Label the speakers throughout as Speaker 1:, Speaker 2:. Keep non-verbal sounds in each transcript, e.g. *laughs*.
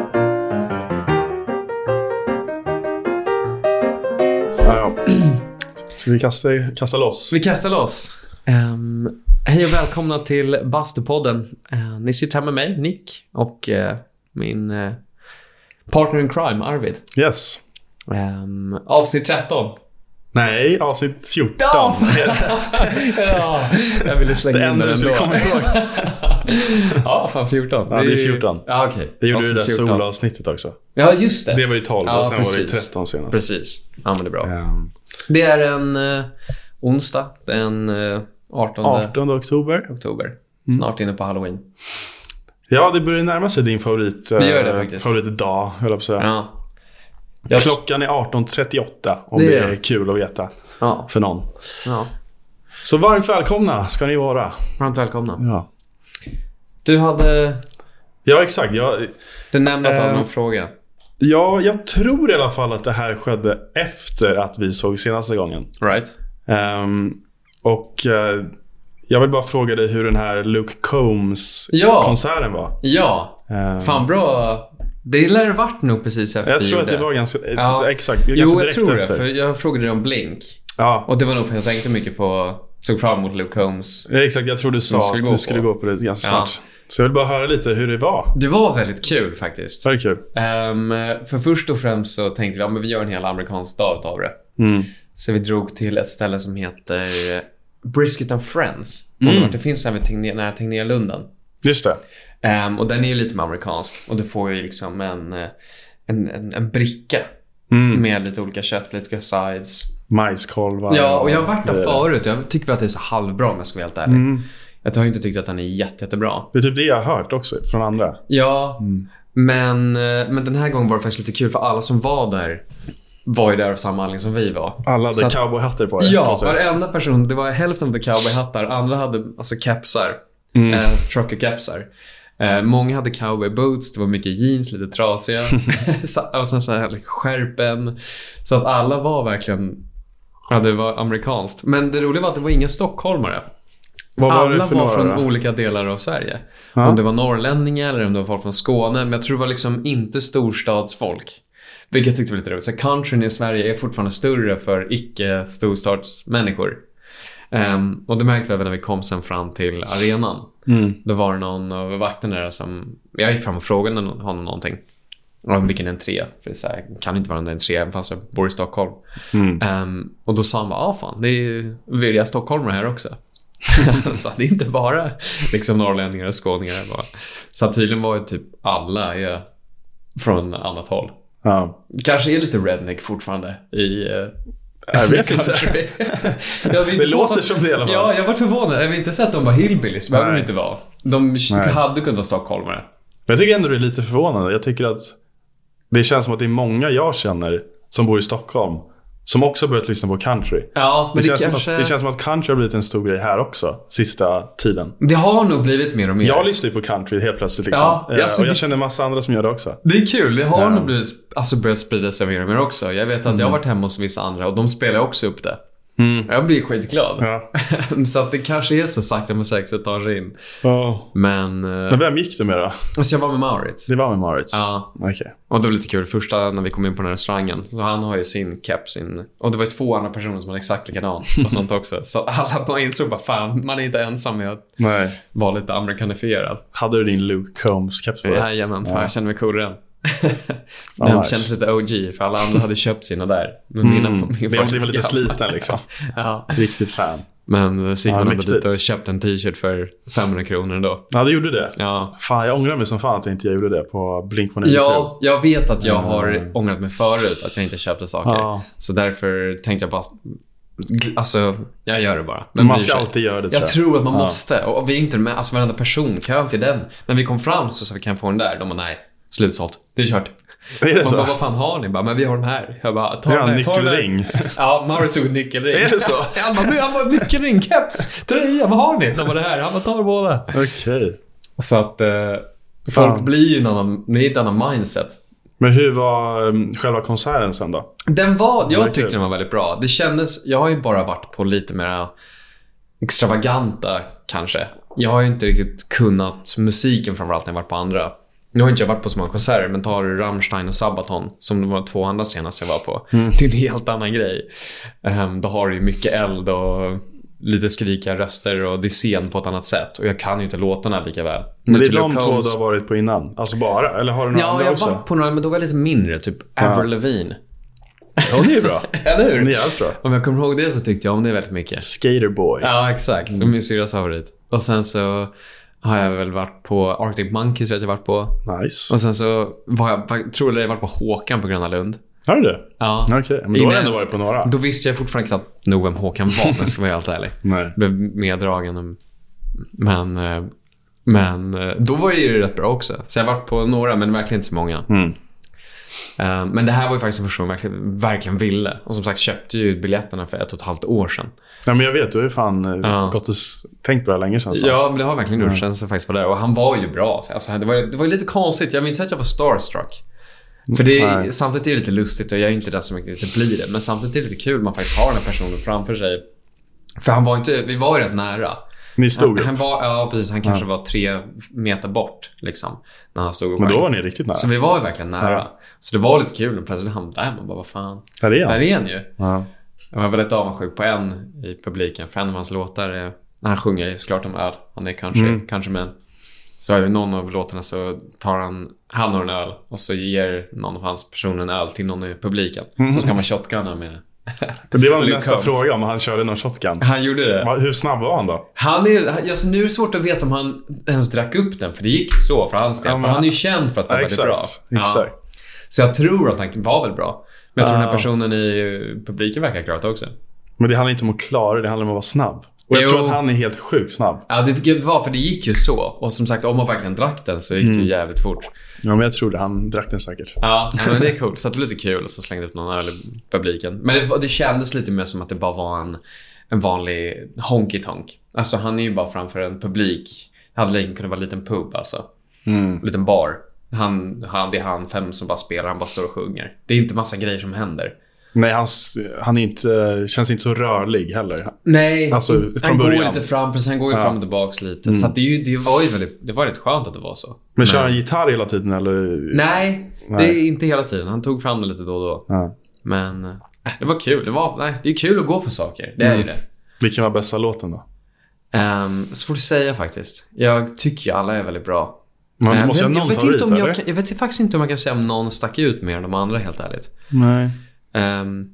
Speaker 1: *clears throat* Ska vi kasta, kasta loss?
Speaker 2: Vi kastar loss. Ehm, hej och välkomna till Bastupodden. Eh, ni sitter här med mig, Nick, och eh, min eh, partner in crime, Arvid.
Speaker 1: Yes.
Speaker 2: Ehm, avsnitt 13.
Speaker 1: Nej, avsnitt 14.
Speaker 2: Ja, *laughs* ja, jag ville slänga
Speaker 1: Det
Speaker 2: in
Speaker 1: enda
Speaker 2: den
Speaker 1: du skulle
Speaker 2: ändå.
Speaker 1: komma ihåg.
Speaker 2: *laughs* ja, fan 14.
Speaker 1: Ja, det är 14.
Speaker 2: Ja, okej.
Speaker 1: Jag gjorde
Speaker 2: *laughs*
Speaker 1: ju det
Speaker 2: Avsnitt
Speaker 1: där
Speaker 2: 14.
Speaker 1: solavsnittet också.
Speaker 2: Ja, just det.
Speaker 1: Det var ju 12
Speaker 2: Ja,
Speaker 1: och sen var det
Speaker 2: precis.
Speaker 1: 13 senast.
Speaker 2: Precis. Ja, men det är bra.
Speaker 1: Ehm,
Speaker 2: Det är en eh, onsdag den eh, 18
Speaker 1: 18 oktober.
Speaker 2: oktober.
Speaker 1: Mm.
Speaker 2: Snart inne på halloween.
Speaker 1: Ja, det börjar närma sig din favorit, eh,
Speaker 2: Det gör det faktiskt.
Speaker 1: favoritdag, höll jag på att säga.
Speaker 2: Ja. Jag,
Speaker 1: Klockan är 18.38 om
Speaker 2: Det
Speaker 1: det,
Speaker 2: är-
Speaker 1: är kul att veta
Speaker 2: ja,
Speaker 1: för någon.
Speaker 2: ja.
Speaker 1: Så varmt välkomna ska ni vara.
Speaker 2: Varmt välkomna.
Speaker 1: Ja,
Speaker 2: Du hade...
Speaker 1: ja exakt. Jag,
Speaker 2: Du nämnde att du hade
Speaker 1: Eh.
Speaker 2: någon fråga.
Speaker 1: ja, jag tror i alla fall att det här skedde efter att vi såg senaste gången.
Speaker 2: Right?
Speaker 1: Ehm, och eh, jag vill bara fråga dig hur den här Luke
Speaker 2: Ja.
Speaker 1: Combs-konserten var.
Speaker 2: Ja.
Speaker 1: Ehm,
Speaker 2: Fan, bra. Det lär det varit nog precis efter
Speaker 1: jag
Speaker 2: vi
Speaker 1: tror att det
Speaker 2: gjorde.
Speaker 1: var ganska... eh,
Speaker 2: Ja.
Speaker 1: Exakt. ganska
Speaker 2: Jo, jag
Speaker 1: direkt
Speaker 2: tror det.
Speaker 1: efter.
Speaker 2: För jag frågade dig om Blink.
Speaker 1: Ja,
Speaker 2: Och det var nog för att jag tänkte mycket på... Såg fram emot Luke Holmes.
Speaker 1: eh, exakt. Jag tror du sa
Speaker 2: skulle
Speaker 1: att
Speaker 2: gå
Speaker 1: du
Speaker 2: på.
Speaker 1: skulle gå på det ganska
Speaker 2: Ja.
Speaker 1: snart. Så jag vill bara höra lite hur det var.
Speaker 2: Det var väldigt kul faktiskt.
Speaker 1: Det här är kul.
Speaker 2: Ehm, för först och främst så tänkte vi att ja, men vi gör en hel amerikansk dag utav det.
Speaker 1: Mm.
Speaker 2: Så vi drog till ett ställe som heter Brisket and Friends.
Speaker 1: Mm.
Speaker 2: Mm. Det finns även Tegné, nära Tegnérlunden.
Speaker 1: Just det.
Speaker 2: Ehm, och den är ju lite mer amerikansk. Och du får ju liksom en, eh, en, en, en bricka
Speaker 1: Mm.
Speaker 2: med lite olika kött, lite olika sides.
Speaker 1: Majskolvar.
Speaker 2: Ja, och jag har varit där
Speaker 1: grejer.
Speaker 2: förut. Jag tycker väl att det är så halvbra om jag ska vara helt ärlig.
Speaker 1: Mm.
Speaker 2: Jag har ju inte tyckt att den är jätte, jättebra.
Speaker 1: Det är typ det jag har hört också från andra.
Speaker 2: Ja,
Speaker 1: Mm.
Speaker 2: men, eh, men den här gången var det faktiskt lite kul för alla som var där var ju där av samma anledning som vi var.
Speaker 1: Alla
Speaker 2: Så
Speaker 1: hade
Speaker 2: att-
Speaker 1: cowboyhattar på sig.
Speaker 2: Ja, varenda person. Det var hälften hade cowboyhattar, andra hade alltså kepsar.
Speaker 1: Mm.
Speaker 2: Eh, trucker-kepsar. Eh, många hade cowboyboots, det var mycket jeans, lite trasiga. *laughs* Så- och sen så här liksom, skärpen. Så att alla var verkligen... Ja, det var amerikanskt. Men det roliga var att det var inga stockholmare.
Speaker 1: Vad var
Speaker 2: Alla
Speaker 1: det för
Speaker 2: var
Speaker 1: några
Speaker 2: från
Speaker 1: då?
Speaker 2: olika delar av Sverige.
Speaker 1: Ja.
Speaker 2: Om det var norrlänningar eller om det var folk från Skåne. Men jag tror det var liksom inte storstadsfolk. Vilket jag tyckte var lite roligt. Så countryn i Sverige är fortfarande större för icke-storstadsmänniskor. Ehm, och det märkte vi även när vi kom sen fram till arenan.
Speaker 1: Mm.
Speaker 2: Då var det någon av vakterna där som... Jag gick fram och frågade nå- honom någonting. Om vilken entré? För det är så här, kan inte vara en entré även fast jag bor i Stockholm.
Speaker 1: Mm.
Speaker 2: Ehm, och då sa han bara, ah, fan, det är ju villiga stockholmare här också. *laughs* så det är inte bara liksom norrlänningar och skåningar. här Bara. Så att tydligen var ju typ alla är från annat håll.
Speaker 1: Ja.
Speaker 2: Kanske är lite redneck fortfarande i... eh,
Speaker 1: Jag vet inte. *laughs*
Speaker 2: country. Jag vill
Speaker 1: Det
Speaker 2: inte
Speaker 1: låter
Speaker 2: påstå-
Speaker 1: som det i alla fall.
Speaker 2: Ja, jag var förvånad. Jag vill inte säga att de var hillbillies. Det behöver de
Speaker 1: Nej.
Speaker 2: inte vara. De
Speaker 1: Nej.
Speaker 2: hade kunnat vara stockholmare.
Speaker 1: Men jag tycker ändå det är lite förvånande. Jag tycker att det känns som att det är många jag känner som bor i Stockholm som också har börjat lyssna på country.
Speaker 2: Ja,
Speaker 1: Det,
Speaker 2: men det,
Speaker 1: känns
Speaker 2: kanske...
Speaker 1: som att, det känns som att country har blivit en stor grej här också, sista tiden.
Speaker 2: det har nog blivit mer och mer.
Speaker 1: Jag lyssnar ju på country helt plötsligt. Liksom.
Speaker 2: Ja,
Speaker 1: Eh,
Speaker 2: alltså
Speaker 1: och jag
Speaker 2: det-
Speaker 1: känner massa andra som gör det också.
Speaker 2: Det är kul. Det har
Speaker 1: Ja. Mm.
Speaker 2: nog blivit, alltså börjat sprida sig mer och mer också. Jag vet att jag har varit hemma hos vissa andra och de spelar också upp det. Jag blir skitglad.
Speaker 1: Ja.
Speaker 2: *laughs* så att det kanske är så sakta men säkert att ta sig in. Men, eh,
Speaker 1: Men vem gick du med då?
Speaker 2: alltså jag var med Maurits.
Speaker 1: Det var med Maurits?
Speaker 2: Ja,
Speaker 1: Okej.
Speaker 2: och det var lite kul. Första när vi kom in på den här restaurangen, så han har ju sin keps, sin... Och det var ju två andra personer som hade
Speaker 1: *laughs*
Speaker 2: exakt likadan och sånt också. Så alla bara insåg bara fan, man är inte ensam med att
Speaker 1: Nej.
Speaker 2: vara lite amerikanifierad.
Speaker 1: Hade du din Luke Combs-keps på dig?
Speaker 2: Jajamän, fan jag känner mig
Speaker 1: *laughs*
Speaker 2: coolare än. Den
Speaker 1: nice.
Speaker 2: kändes lite OG för alla andra hade köpt sina där. Men mina,
Speaker 1: Mm.
Speaker 2: min
Speaker 1: Det var, det var lite
Speaker 2: gammal.
Speaker 1: sliten
Speaker 2: *laughs*
Speaker 1: liksom.
Speaker 2: Ja.
Speaker 1: Riktigt fan.
Speaker 2: Men eh, så gick
Speaker 1: Ja,
Speaker 2: man ändå dit
Speaker 1: mäktigt.
Speaker 2: och köpte en t-shirt för 500 kronor ändå.
Speaker 1: Ja, du gjorde det.
Speaker 2: Ja.
Speaker 1: Fan, jag ångrar mig som fan att jag inte gjorde det på Blink-182.
Speaker 2: ja, jag vet att jag har
Speaker 1: Mm.
Speaker 2: ångrat mig förut att jag inte köpte saker.
Speaker 1: Ja.
Speaker 2: Så därför tänkte jag bara, alltså jag gör det bara. Vem
Speaker 1: Man
Speaker 2: bryr
Speaker 1: ska
Speaker 2: sig?
Speaker 1: alltid göra det
Speaker 2: Jag
Speaker 1: tror
Speaker 2: tror att man måste. Och vi är inte med, alltså varenda person, kön till den. När vi kom fram så sa vi kan jag få den där. De bara nej, slutsålt. Det är kört.
Speaker 1: jag. Är det
Speaker 2: Man bara,
Speaker 1: så?
Speaker 2: vad fan har ni? Bara, men vi har den här. Jag bara, ta
Speaker 1: Det är
Speaker 2: den
Speaker 1: en
Speaker 2: här. Ta den här.
Speaker 1: nyckelring.
Speaker 2: *laughs* Ja, Maurits tog en nyckelring.
Speaker 1: Är det så?
Speaker 2: *laughs* Han bara, "Nu, han bara nyckelring, keps, tröja, vad har ni? De bara, det här. Han bara, ta båda.
Speaker 1: Okej.
Speaker 2: Så att eh, folk
Speaker 1: Fan.
Speaker 2: blir ju en annan, det är ett annat mindset.
Speaker 1: Men hur var um, själva konserten sen då?
Speaker 2: Den var, jag
Speaker 1: Verkligen.
Speaker 2: tyckte den var väldigt bra. Det kändes, jag har ju bara varit på lite mer äh, extravaganta kanske. Jag har ju inte riktigt kunnat musiken framförallt när jag varit på andra. Nu har inte jag varit på så många konserter, men tar du Rammstein och Sabaton, som de var två andra senast jag var på.
Speaker 1: Mm.
Speaker 2: Det är en helt annan grej. Ehm, då har du ju mycket eld och lite skrikiga röster och det är scen på ett annat sätt. Och jag kan ju inte låtarna lika väl.
Speaker 1: Men det är
Speaker 2: Nutella
Speaker 1: de två
Speaker 2: Cones-
Speaker 1: du har varit på innan? Alltså bara? Eller har du några
Speaker 2: Ja,
Speaker 1: andra
Speaker 2: jag
Speaker 1: också?
Speaker 2: var på några, men då var jag lite mindre. Typ Avril Lavigne. *laughs*
Speaker 1: Ja, det är bra.
Speaker 2: Eller
Speaker 1: Det
Speaker 2: hur?
Speaker 1: är allt bra.
Speaker 2: Om jag kommer ihåg det så tyckte jag om det väldigt mycket.
Speaker 1: Skaterboy.
Speaker 2: Ja, exakt. Mm. Min syrras favorit. Och sen så har jag väl varit på Arctic Monkeys, vet jag varit på.
Speaker 1: Nice.
Speaker 2: Och sen så var jag, tror jag, jag varit på Håkan på Gröna Lund.
Speaker 1: Har du det?
Speaker 2: Ja.
Speaker 1: Okej, men då har
Speaker 2: Innan-
Speaker 1: du ändå varit på några.
Speaker 2: Då visste jag fortfarande knappt nog vem Håkan var, om jag ska vara helt ärlig.
Speaker 1: Nej.
Speaker 2: Blev meddragen. Men, eh, men eh, då var det ju rätt bra också. Så jag har varit på några, men verkligen inte så många.
Speaker 1: Mm.
Speaker 2: Eh, Men det här var ju faktiskt en första gången jag verkligen, verkligen ville. Och som sagt köpte ju biljetterna för ett och ett halvt år sedan.
Speaker 1: Ja, men jag vet, du har ju fan eh,
Speaker 2: Ja.
Speaker 1: gått och s- tänkt på det här länge sedan. så.
Speaker 2: Ja, men det har verkligen gjort sen sen faktiskt var där. Och han var ju bra. Så, Alltså, det, var, det var ju lite konstigt. Jag minns att jag var starstruck. För det är,
Speaker 1: Nej.
Speaker 2: samtidigt är det lite lustigt och jag är inte den som riktigt blir det. Men samtidigt är det lite kul att man faktiskt har den här personen framför sig. För han var inte, vi var ju rätt nära.
Speaker 1: Ni stod
Speaker 2: Han,
Speaker 1: upp.
Speaker 2: han var, ja precis. Han kanske var tre meter bort liksom. När han stod och
Speaker 1: Men då
Speaker 2: sjöng.
Speaker 1: var ni riktigt nära.
Speaker 2: Så vi var ju verkligen nära.
Speaker 1: Ja.
Speaker 2: Så det var lite kul och plötsligt han där. Man bara, vad fan.
Speaker 1: Där är
Speaker 2: Där
Speaker 1: han.
Speaker 2: är han ju.
Speaker 1: Ja.
Speaker 2: Jag var väldigt avundsjuk på en i publiken för en av hans låtar är, när han sjunger ju såklart om öl. Han är country,
Speaker 1: Mm.
Speaker 2: countryman. Så i någon av låtarna så tar han, han har en öl och så ger någon av hans personer en öl till någon i publiken.
Speaker 1: Mm.
Speaker 2: Så ska man shotgunna med.
Speaker 1: Det var min
Speaker 2: Luke
Speaker 1: nästa
Speaker 2: Combs.
Speaker 1: fråga, om han körde någon shotgun.
Speaker 2: Han gjorde det.
Speaker 1: Va, Hur snabb var han då?
Speaker 2: Han är, han- alltså nu är det svårt att veta om han ens drack upp den för det gick så för hans del.
Speaker 1: Ja, men
Speaker 2: för han är ju känd för att vara
Speaker 1: Ja,
Speaker 2: väldigt
Speaker 1: exakt.
Speaker 2: bra. Ja.
Speaker 1: exakt.
Speaker 2: Så jag tror att han var väl bra. Men jag tror den här
Speaker 1: Ja.
Speaker 2: personen i publiken verkar ha klarat det också.
Speaker 1: Men det handlar inte om att klara det, det handlar om att vara snabb. Och jag
Speaker 2: Jo.
Speaker 1: tror att han är helt sjukt snabb.
Speaker 2: Ja, det fick vara för det gick ju så. Och som sagt, om man verkligen drack den så gick det ju jävligt fort.
Speaker 1: Ja, men jag tror det. Han drack den säkert.
Speaker 2: Mm. Ja, men det är coolt. Så att det var lite kul och så slängde upp någon öl i publiken. Men det, var- det kändes lite mer som att det bara var en, en vanlig honky tonk. Alltså han är ju bara framför en publik. Det hade lika kunnat vara en liten pub alltså. En liten bar. Han, han, det är han fem som bara spelar, han bara står och sjunger. Det är inte massa grejer som händer.
Speaker 1: Nej, han, han är inte, känns inte så rörlig heller.
Speaker 2: Nej,
Speaker 1: Alltså,
Speaker 2: han
Speaker 1: från
Speaker 2: går
Speaker 1: början. Mm.
Speaker 2: lite fram, precis han går ju fram och tillbaks lite. Så att det, är ju- det var ju väldigt, det var rätt skönt att det var så.
Speaker 1: Men kör han gitarr hela tiden eller?
Speaker 2: Nej, det
Speaker 1: Nej.
Speaker 2: är inte hela tiden. Han tog fram det lite då och då.
Speaker 1: Ja.
Speaker 2: Men eh, det var kul. Det, var, nej, det är kul att gå på saker. Det är
Speaker 1: Mm.
Speaker 2: ju det.
Speaker 1: Vilken var bästa låten då?
Speaker 2: Um, svårt att säga faktiskt. Jag tycker ju alla är väldigt bra.
Speaker 1: Man
Speaker 2: Eh,
Speaker 1: måste
Speaker 2: men
Speaker 1: ha någon
Speaker 2: jag, vet
Speaker 1: favorit,
Speaker 2: inte om
Speaker 1: eller?
Speaker 2: jag, kan, jag vet faktiskt inte om jag kan säga om någon stack ut mer än de andra helt ärligt.
Speaker 1: Nej.
Speaker 2: Ehm,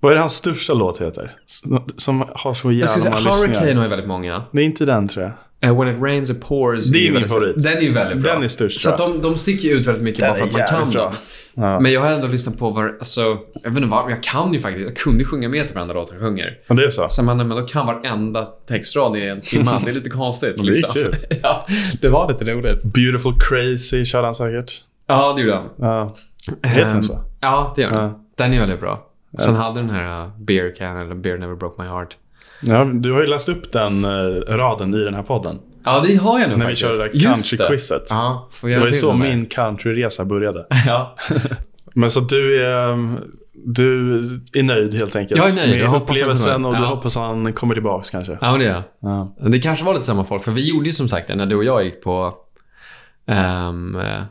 Speaker 1: Vad är det hans största låt heter? Som- Som har så
Speaker 2: jag skulle
Speaker 1: jävla
Speaker 2: säga
Speaker 1: många
Speaker 2: Hurricane
Speaker 1: lyssningar.
Speaker 2: har ju väldigt många.
Speaker 1: Det är inte den tror jag.
Speaker 2: Eh, When it rains it pours.
Speaker 1: Det är
Speaker 2: ju
Speaker 1: min
Speaker 2: väldigt-
Speaker 1: favorit.
Speaker 2: Den är ju väldigt bra.
Speaker 1: Den är störst,
Speaker 2: Så att
Speaker 1: tror
Speaker 2: de, de sticker ju ut väldigt mycket bara för
Speaker 1: är
Speaker 2: att man
Speaker 1: jävligt
Speaker 2: kan
Speaker 1: bra.
Speaker 2: dem.
Speaker 1: Ja.
Speaker 2: Men jag har ändå lyssnat på var, alltså, jag vet inte varför, jag kan ju faktiskt, jag kunde ju sjunga med till varenda låt jag sjunger.
Speaker 1: Ja, det är så. alltså.
Speaker 2: Så man, men då kan varenda textrad i en timme. Det är lite konstigt.
Speaker 1: är
Speaker 2: liksom.
Speaker 1: kul.
Speaker 2: *laughs* ja, det var lite roligt.
Speaker 1: Beautiful Crazy körde han säkert.
Speaker 2: Ja, det gjorde han.
Speaker 1: Ja. Heter
Speaker 2: Ehm,
Speaker 1: den så?
Speaker 2: Ja, det gör den.
Speaker 1: Ja.
Speaker 2: Den är väldigt bra. Sen hade den här uh, Beer Can, eller Beer Never Broke My Heart.
Speaker 1: Ja, du har ju läst upp den eh, raden i den här podden.
Speaker 2: Ja, det har jag nog
Speaker 1: När vi
Speaker 2: faktiskt.
Speaker 1: körde det där
Speaker 2: Just
Speaker 1: countryquizet.
Speaker 2: Ja, får
Speaker 1: Det
Speaker 2: göra
Speaker 1: var ju
Speaker 2: till
Speaker 1: så
Speaker 2: den där.
Speaker 1: min countryresa började.
Speaker 2: *laughs* Ja.
Speaker 1: Men så att du är, du är nöjd helt enkelt?
Speaker 2: Jag är nöjd.
Speaker 1: Med
Speaker 2: Jag hoppas han
Speaker 1: upplevelsen
Speaker 2: kommer.
Speaker 1: och du
Speaker 2: Ja.
Speaker 1: hoppas han kommer tillbaka kanske?
Speaker 2: ja, men det gör jag.
Speaker 1: Ja.
Speaker 2: Det kanske var lite samma folk, för vi gjorde ju som sagt det när du och jag gick på... ehm, eh,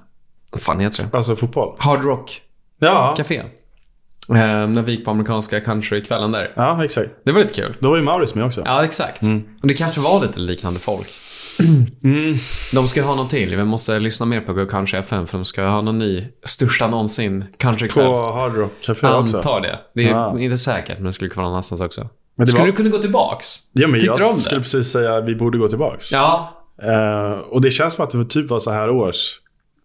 Speaker 2: Vad fan heter det?
Speaker 1: Alltså fotboll?
Speaker 2: Hard Rock
Speaker 1: Ja,
Speaker 2: Café. Ehm, när vi gick på amerikanska countrykvällen där.
Speaker 1: ja exakt.
Speaker 2: Det var lite kul.
Speaker 1: Då var ju Maurits med också.
Speaker 2: Ja, exakt. Och det kanske var lite liknande folk.
Speaker 1: Mm.
Speaker 2: De ska ha någon till. Vi måste lyssna mer på Go Country FM för de ska ha någon ny största någonsin countrykväll.
Speaker 1: På Hard Rock Café också.
Speaker 2: Antar det. Det är
Speaker 1: Ja.
Speaker 2: inte säkert, men det skulle kunna vara någonstans också.
Speaker 1: Men det
Speaker 2: skulle
Speaker 1: var-
Speaker 2: du kunna gå tillbaks?
Speaker 1: Ja, men
Speaker 2: Tyckte du om
Speaker 1: jag
Speaker 2: det?
Speaker 1: skulle precis säga att vi borde gå tillbaka.
Speaker 2: Ja,
Speaker 1: och det känns som att det typ var så här års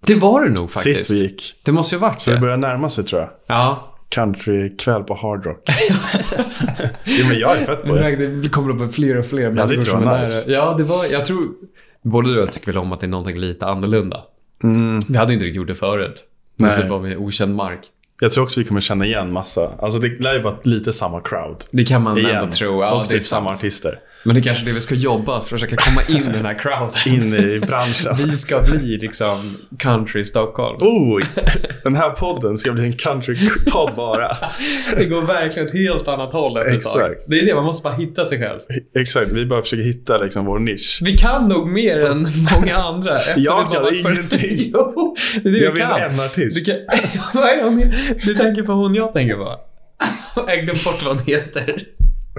Speaker 2: det var det nog faktiskt.
Speaker 1: sist vi gick.
Speaker 2: Det måste ju ha varit
Speaker 1: Så det
Speaker 2: det.
Speaker 1: börjar närma sig tror jag.
Speaker 2: Ja.
Speaker 1: Countrykväll på Hard
Speaker 2: *laughs*
Speaker 1: Rock. jo, men jag är fett på det.
Speaker 2: Det kommer upp fler och fler
Speaker 1: det tror jag
Speaker 2: som är
Speaker 1: var
Speaker 2: där.
Speaker 1: nice.
Speaker 2: Ja, det var, jag tror både du och jag tycker väl om att det är någonting lite annorlunda. Vi hade ju inte riktigt gjort det förut. Nej.
Speaker 1: Mm. Nej.
Speaker 2: Så var vi i okänd mark.
Speaker 1: Jag tror också vi kommer känna igen massa. Alltså det lär ju vara lite samma crowd.
Speaker 2: Det kan man
Speaker 1: Igen.
Speaker 2: ändå tro. Ja,
Speaker 1: och
Speaker 2: det är
Speaker 1: typ samma artister.
Speaker 2: sant. Men det är kanske är det vi ska jobba, att försöka komma in i den här crowden.
Speaker 1: *laughs* in i branschen.
Speaker 2: *laughs* Vi ska bli liksom country Stockholm.
Speaker 1: Oh, den här podden ska bli en countrypodd
Speaker 2: *laughs*
Speaker 1: bara.
Speaker 2: Det går verkligen ett helt annat håll efter ett tag.
Speaker 1: Exakt.
Speaker 2: Det är det, man måste bara hitta sig själv.
Speaker 1: Exakt, vi bara försöker hitta liksom vår nisch.
Speaker 2: Vi kan nog mer än
Speaker 1: *laughs*
Speaker 2: många andra. efter
Speaker 1: Jag
Speaker 2: vi
Speaker 1: kan
Speaker 2: jobbat för-
Speaker 1: ingenting.
Speaker 2: *laughs* jo, det är det
Speaker 1: Jag
Speaker 2: vi
Speaker 1: vet
Speaker 2: kan.
Speaker 1: en
Speaker 2: Du,
Speaker 1: artist.
Speaker 2: kan... *laughs* Vad är hon? du tänker på hon jag tänker på. *laughs* Jag glömde bort vad hon heter.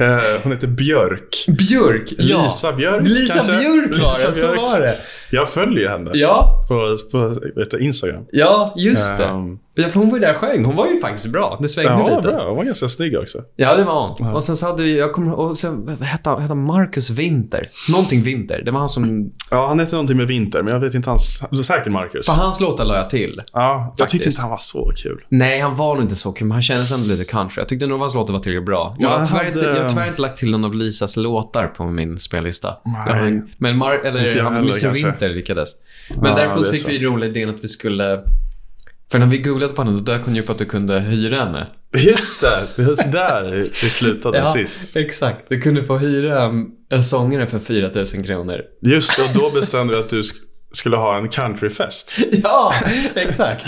Speaker 1: Eh, hon heter Björk.
Speaker 2: Björk. Ja.
Speaker 1: Lisa Björk
Speaker 2: Lisa
Speaker 1: kanske?
Speaker 2: Björk var
Speaker 1: Lisa
Speaker 2: det, så
Speaker 1: Björk.
Speaker 2: var det.
Speaker 1: Jag följer ju henne
Speaker 2: Ja,
Speaker 1: på, på vet du, Instagram.
Speaker 2: ja just det.
Speaker 1: Ehm,
Speaker 2: Ja, för hon var ju där och sjöng. Hon var ju faktiskt bra. Det svängde
Speaker 1: ja,
Speaker 2: lite.
Speaker 1: bra. Hon var ganska snygg också.
Speaker 2: Ja, det var hon.
Speaker 1: Ja.
Speaker 2: Och sen så hade vi, jag kommer och sen vad hette han, hette han Marcus Winter? Någonting Winter. Det var han som,
Speaker 1: Ja, han heter någonting med Vinter, men jag vet inte hans... det är Säkert Marcus.
Speaker 2: för hans låtar la jag till.
Speaker 1: Ja, jag
Speaker 2: Faktiskt.
Speaker 1: tyckte inte han var så kul.
Speaker 2: Nej, han var nog inte så kul, men han kändes ändå lite country. Jag tyckte nog hans låtar var tillräckligt bra. Jag
Speaker 1: Ja,
Speaker 2: har
Speaker 1: han
Speaker 2: tyvärr,
Speaker 1: hade-
Speaker 2: inte, jag har tyvärr inte lagt till någon av Lisas låtar på min spellista.
Speaker 1: Nej.
Speaker 2: Det var- Men Mar-
Speaker 1: Inte
Speaker 2: eller
Speaker 1: jag heller,
Speaker 2: Mr
Speaker 1: kanske.
Speaker 2: Winter lyckades. Men
Speaker 1: Ja,
Speaker 2: däremot
Speaker 1: det är
Speaker 2: fick
Speaker 1: så.
Speaker 2: vi roliga idén att vi skulle... För när vi googlade på henne, då dök hon ju upp att du kunde hyra henne.
Speaker 1: Just det, det var där vi slutade sist.
Speaker 2: exakt. Du kunde få hyra um, en sångare för 4 000 kronor.
Speaker 1: Just det, och då bestämde vi att du sk- skulle ha en countryfest.
Speaker 2: *laughs* Ja, exakt.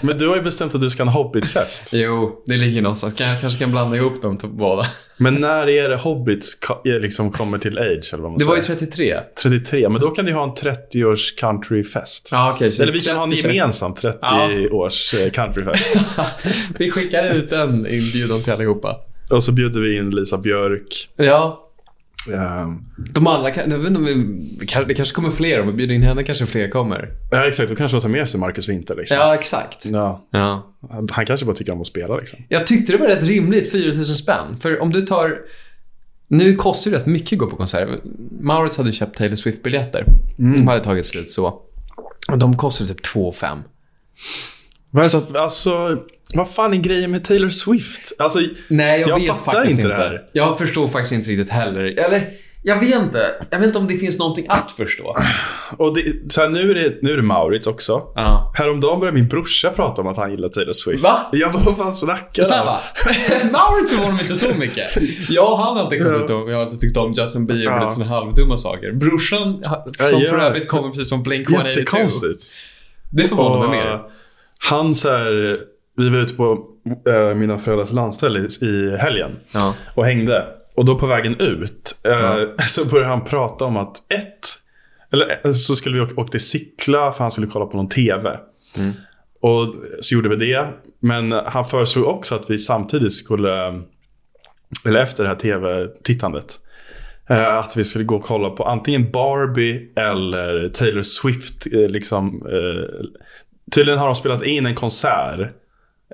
Speaker 1: Men du har ju bestämt att du ska ha en hobbitfest.
Speaker 2: *laughs* jo, det ligger någonstans. Kan- Jag kanske kan blanda ihop dem till båda.
Speaker 1: Men när är det hobbits ka- är liksom kommer till age? Eller vad man
Speaker 2: Det var ju
Speaker 1: säger?
Speaker 2: 33.
Speaker 1: 33, men då kan du ha en 30-års countryfest.
Speaker 2: Ja, okej. så
Speaker 1: Eller vi kan ha en
Speaker 2: 30
Speaker 1: gemensam 30-års eh, countryfest.
Speaker 2: *laughs* vi skickar ut en inbjudan till allihopa.
Speaker 1: Och så bjuder vi in Lisa Björk.
Speaker 2: Ja.
Speaker 1: Ehm,
Speaker 2: De alla kan, jag vet inte om vi, det kan- det kanske kommer fler. Om vi bjuder in henne kanske fler kommer.
Speaker 1: Ja, exakt. Då kanske de tar med sig Marcus Winter. Liksom.
Speaker 2: Ja, exakt.
Speaker 1: Ja.
Speaker 2: Ja.
Speaker 1: Han kanske bara tycker om att spela. Liksom.
Speaker 2: Jag tyckte det var rätt rimligt, 4000 spänn. För om du tar... Nu kostar det rätt mycket att gå på konserter. Maurits hade köpt Taylor Swift-biljetter.
Speaker 1: Mm.
Speaker 2: De hade tagit slut så. Och de kostar typ 2 5.
Speaker 1: Varför? Så, alltså, vad fan är grejen med Taylor Swift? Alltså,
Speaker 2: Nej, jag,
Speaker 1: Jag
Speaker 2: vet
Speaker 1: fattar
Speaker 2: faktiskt
Speaker 1: inte
Speaker 2: inte.
Speaker 1: det här.
Speaker 2: Jag förstår faktiskt inte riktigt heller. Eller, jag vet inte. Jag vet inte om det finns någonting att förstå.
Speaker 1: och det, så här, nu, är det, nu är det Maurits också.
Speaker 2: Ja.
Speaker 1: Häromdagen började min brorsa prata om att han gillar Taylor Swift.
Speaker 2: Va?
Speaker 1: Jag bara, vad fan snackar
Speaker 2: Så här
Speaker 1: han *laughs*
Speaker 2: va. *laughs* Maurits förvånar mig inte så mycket. Jag och han har alltid, kommit om, jag har alltid tyckt om Justin Bieber och
Speaker 1: Ja.
Speaker 2: lite såna halvdumma saker. Brorsan, som
Speaker 1: Ja,
Speaker 2: för
Speaker 1: ja.
Speaker 2: övrigt kommer precis som Blink-182.
Speaker 1: Jättekonstigt.
Speaker 2: Det förvånar mig
Speaker 1: Och,
Speaker 2: mer.
Speaker 1: eh, Han så här, vi var ute på eh, mina föräldrars landställe i, i helgen
Speaker 2: Ja.
Speaker 1: och hängde. Och då på vägen ut eh,
Speaker 2: Ja.
Speaker 1: *laughs* så började han prata om att ett, eller eh, så skulle vi åka, åka till Sickla för han skulle kolla på någon TV.
Speaker 2: Mm.
Speaker 1: Och så gjorde vi det. Men han föreslog också att vi samtidigt skulle, eh, eller efter det här TV-tittandet, eh, att vi skulle gå och kolla på antingen Barbie eller Taylor Swift. eh, Liksom, eh, tydligen har de spelat in en konsert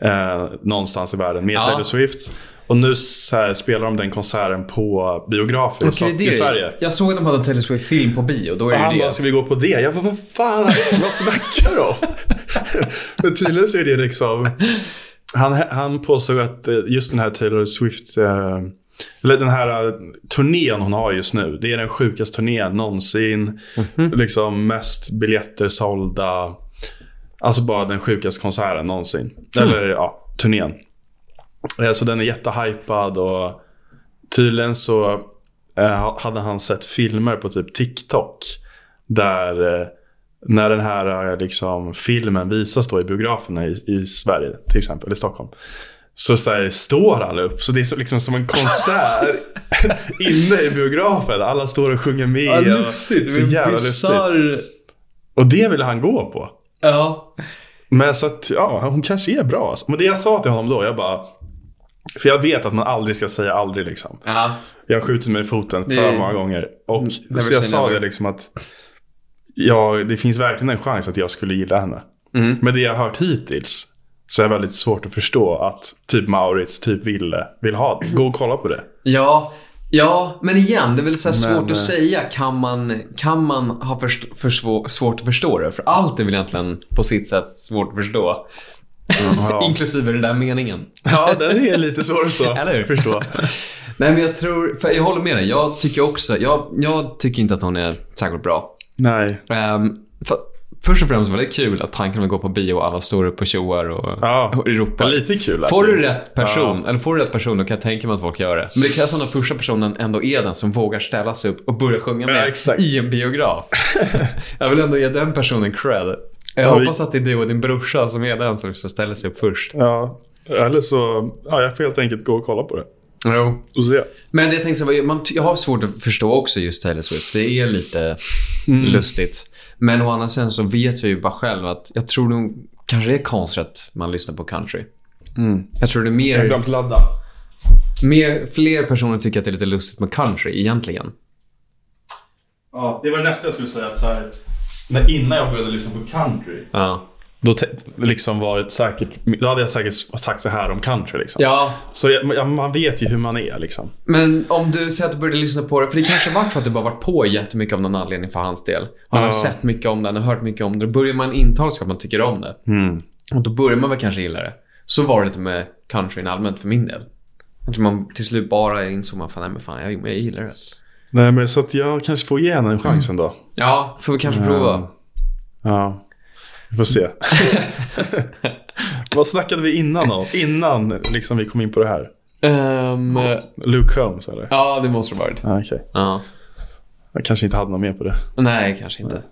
Speaker 1: eh, någonstans i världen med
Speaker 2: Ja.
Speaker 1: Taylor Swift. Och nu så här, spelar de den konserten på biografer i
Speaker 2: Okej,
Speaker 1: Stock-
Speaker 2: det är
Speaker 1: i
Speaker 2: det.
Speaker 1: Sverige.
Speaker 2: Jag såg att de hade en Taylor Swift-film på bio. Då är
Speaker 1: Och han
Speaker 2: det
Speaker 1: bara,
Speaker 2: det.
Speaker 1: ska vi gå på det? Jag bara, vad fan, vad snackar du om? *laughs* Men tydligen så är det liksom... Han, han påstod att eh, just den här Taylor Swift, eh, eller den här eh, turnén hon har just nu, det är den sjukaste turnén någonsin. Liksom mest biljetter sålda. Alltså bara den sjukaste konserten någonsin. Eller ja, turnén. Eh, Så den är jättehypad och tydligen så eh, hade han sett filmer på typ TikTok. Där eh, när den här eh, liksom, filmen visas då i biograferna i, i Sverige till exempel, i Stockholm. Så, så här, står alla upp, så det är så, liksom som en konsert
Speaker 2: *laughs*
Speaker 1: inne i biografen. Alla står och sjunger med.
Speaker 2: Ja,
Speaker 1: och-
Speaker 2: lustigt.
Speaker 1: så
Speaker 2: Det
Speaker 1: jävla
Speaker 2: är
Speaker 1: lustigt.
Speaker 2: bisarr...
Speaker 1: Och det ville han gå på.
Speaker 2: Ja.
Speaker 1: Men så att, ja, hon kanske är bra. alltså. Men det jag sa till honom då, jag bara... För jag vet att man aldrig ska säga aldrig liksom.
Speaker 2: ja.
Speaker 1: Jag har skjutit mig i foten för
Speaker 2: Det- Mm,
Speaker 1: många gånger. Och
Speaker 2: never
Speaker 1: så jag
Speaker 2: say
Speaker 1: sa
Speaker 2: never.
Speaker 1: det liksom att ja, det finns verkligen en chans att jag skulle gilla henne.
Speaker 2: Mm.
Speaker 1: Men det jag har hört hittills så är det väldigt svårt att förstå att typ Maurits, typ Ville, vill ha Gå och kolla på
Speaker 2: *laughs*
Speaker 1: det.
Speaker 2: Ja, ja men igen, det är väl så här
Speaker 1: Men,
Speaker 2: svårt
Speaker 1: eh,
Speaker 2: att säga. Kan man, kan man ha först, för svå, svårt att förstå det? För allt är väl egentligen på sitt sätt svårt att förstå.
Speaker 1: Ja,
Speaker 2: *laughs* Inklusive den där meningen.
Speaker 1: ja den är lite svår att stå.
Speaker 2: Eller hur?
Speaker 1: förstå.
Speaker 2: Nej, men jag tror... För jag håller med dig. Jag tycker också... Jag, jag tycker inte att hon är särskilt bra.
Speaker 1: Nej.
Speaker 2: Ehm, för, först och främst väldigt kul att tanken om att gå på bio och alla står upp och tjoar och,
Speaker 1: Ja.
Speaker 2: och
Speaker 1: Det är
Speaker 2: ropar.
Speaker 1: lite kul. att
Speaker 2: Får
Speaker 1: det-
Speaker 2: du rätt person, eller får du rätt person, då kan jag tänka mig att folk gör det. Men det krävs att den första personen ändå är den som vågar ställa sig upp och börja sjunga
Speaker 1: Ja,
Speaker 2: med
Speaker 1: exakt.
Speaker 2: i
Speaker 1: *laughs*
Speaker 2: en biograf. jag vill ändå ge den personen cred. Jag
Speaker 1: Ja, vi-
Speaker 2: hoppas att det är du och din brorsa som är den som som ställer sig upp först.
Speaker 1: Ja. Eller så, ja, jag får helt enkelt gå och kolla på det.
Speaker 2: Jo.
Speaker 1: Och se.
Speaker 2: Men jag tänkte så här, man, jag har svårt att förstå också just Taylor Swift. Det är lite
Speaker 1: Mm.
Speaker 2: lustigt. Men å andra sidan så vet jag ju bara själv att jag tror nog kanske det är konstigt att man lyssnar på country.
Speaker 1: Mm.
Speaker 2: Jag tror det är
Speaker 1: Jag har
Speaker 2: mer,
Speaker 1: glömt ladda.
Speaker 2: mer, fler personer tycker att det är lite lustigt med country egentligen.
Speaker 1: Ja, det var det nästa jag skulle säga. Att så här, när, innan jag började lyssna på country.
Speaker 2: Ja.
Speaker 1: Då te- liksom var det säkert, då hade jag säkert sagt så här om country. Liksom.
Speaker 2: ja,
Speaker 1: Så jag, ja, man vet ju hur man är. Liksom.
Speaker 2: men om du säger att du började lyssna på det, för det kanske var för att du bara varit på jättemycket av någon anledning för hans del. Och Han har
Speaker 1: Ja.
Speaker 2: sett mycket om den och hört mycket om det. Då börjar man intala sig att man tycker om det. Och då börjar man väl kanske gilla det. Så var det lite med countryn allmänt för min del. Jag tror man till slut bara insåg man, fan, nej, men fan jag, jag gillar det.
Speaker 1: Nej, men så att jag kanske får ge henne en chans ändå.
Speaker 2: Ja, får vi kanske prova.
Speaker 1: Ja, vi får *laughs* se. Vad snackade vi innan om? Innan liksom, vi kom in på det här?
Speaker 2: Ehm,
Speaker 1: Luke Holmes eller?
Speaker 2: ja, det måste det ha varit.
Speaker 1: Ja, Okej,
Speaker 2: Ja.
Speaker 1: jag kanske inte hade något mer på det.
Speaker 2: Nej, kanske inte.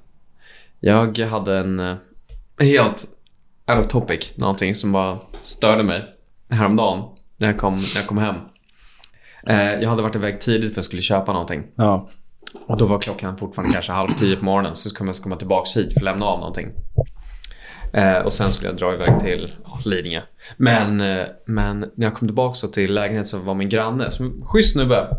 Speaker 2: Jag hade en eh, helt out of topic, någonting som bara störde mig häromdagen när jag kom, när jag kom hem. Eh, jag hade varit iväg tidigt för att jag skulle köpa någonting.
Speaker 1: Ja.
Speaker 2: Och då var klockan fortfarande kanske halv tio på morgonen. Så skulle jag komma tillbaka hit för att lämna av någonting. Eh, och sen skulle jag dra iväg till ja, Lidingö. Men, eh, men när jag kom tillbaka så till lägenheten så var min granne, som är en schysst snubbe. Jag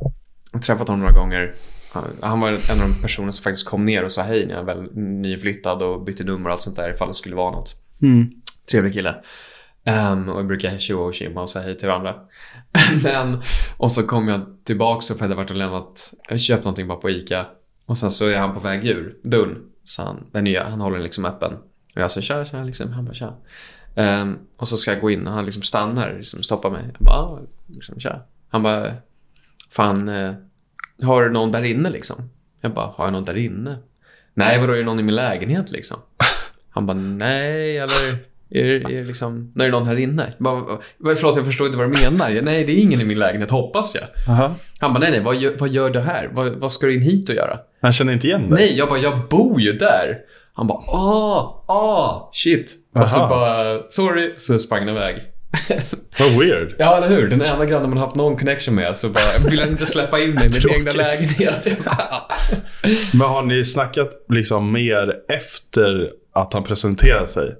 Speaker 2: har träffat honom några gånger. Han- Han var en av de personer som faktiskt kom ner och sa hej när jag väl nyflyttad och bytte nummer och allt sånt där ifall det skulle vara något.
Speaker 1: Mm.
Speaker 2: Trevlig kille. Ehm, och vi brukar tjoa och tjimma och säga hej till varandra. *laughs* Men, och så kom jag tillbaka för jag hade varit och lämnat, jag köpt någonting bara på ICA. Och sen så är han på väg ur dörren. Så han, den nya, han håller den liksom öppen. Och jag säger tja, tja, liksom. Han bara tja. Ehm, och så ska jag gå in och han liksom stannar, liksom stoppar mig. Jag bara, ah, liksom tja. Han bara, fan, eh, har du någon där inne liksom? Jag bara, har jag någon där inne? Nej, vadå, är det någon i min lägenhet liksom? Han bara, nej, eller är det, är det liksom, när är det någon här inne? Jag bara, "Vad- förlåt, jag förstår inte vad du menar. Jag, nej, det är ingen i min lägenhet, hoppas jag.
Speaker 1: Aha.
Speaker 2: Han bara, nej, nej, vad gör, vad gör du här? Vad, vad ska du in hit och göra?
Speaker 1: Han känner inte igen dig?
Speaker 2: Nej, jag bara, jag bor ju där. Han bara, ah, ah, shit. Och så
Speaker 1: Aha.
Speaker 2: bara, sorry, så sprang han iväg. *laughs*
Speaker 1: Vad weird.
Speaker 2: Ja, eller hur? Den enda grannen man haft någon connection med så bara, jag vill inte släppa in mig i min
Speaker 1: *laughs*
Speaker 2: egna
Speaker 1: Tråkigt.
Speaker 2: lägenhet. Jag bara, "Ah."
Speaker 1: Men har ni snackat liksom mer efter att han presenterar sig?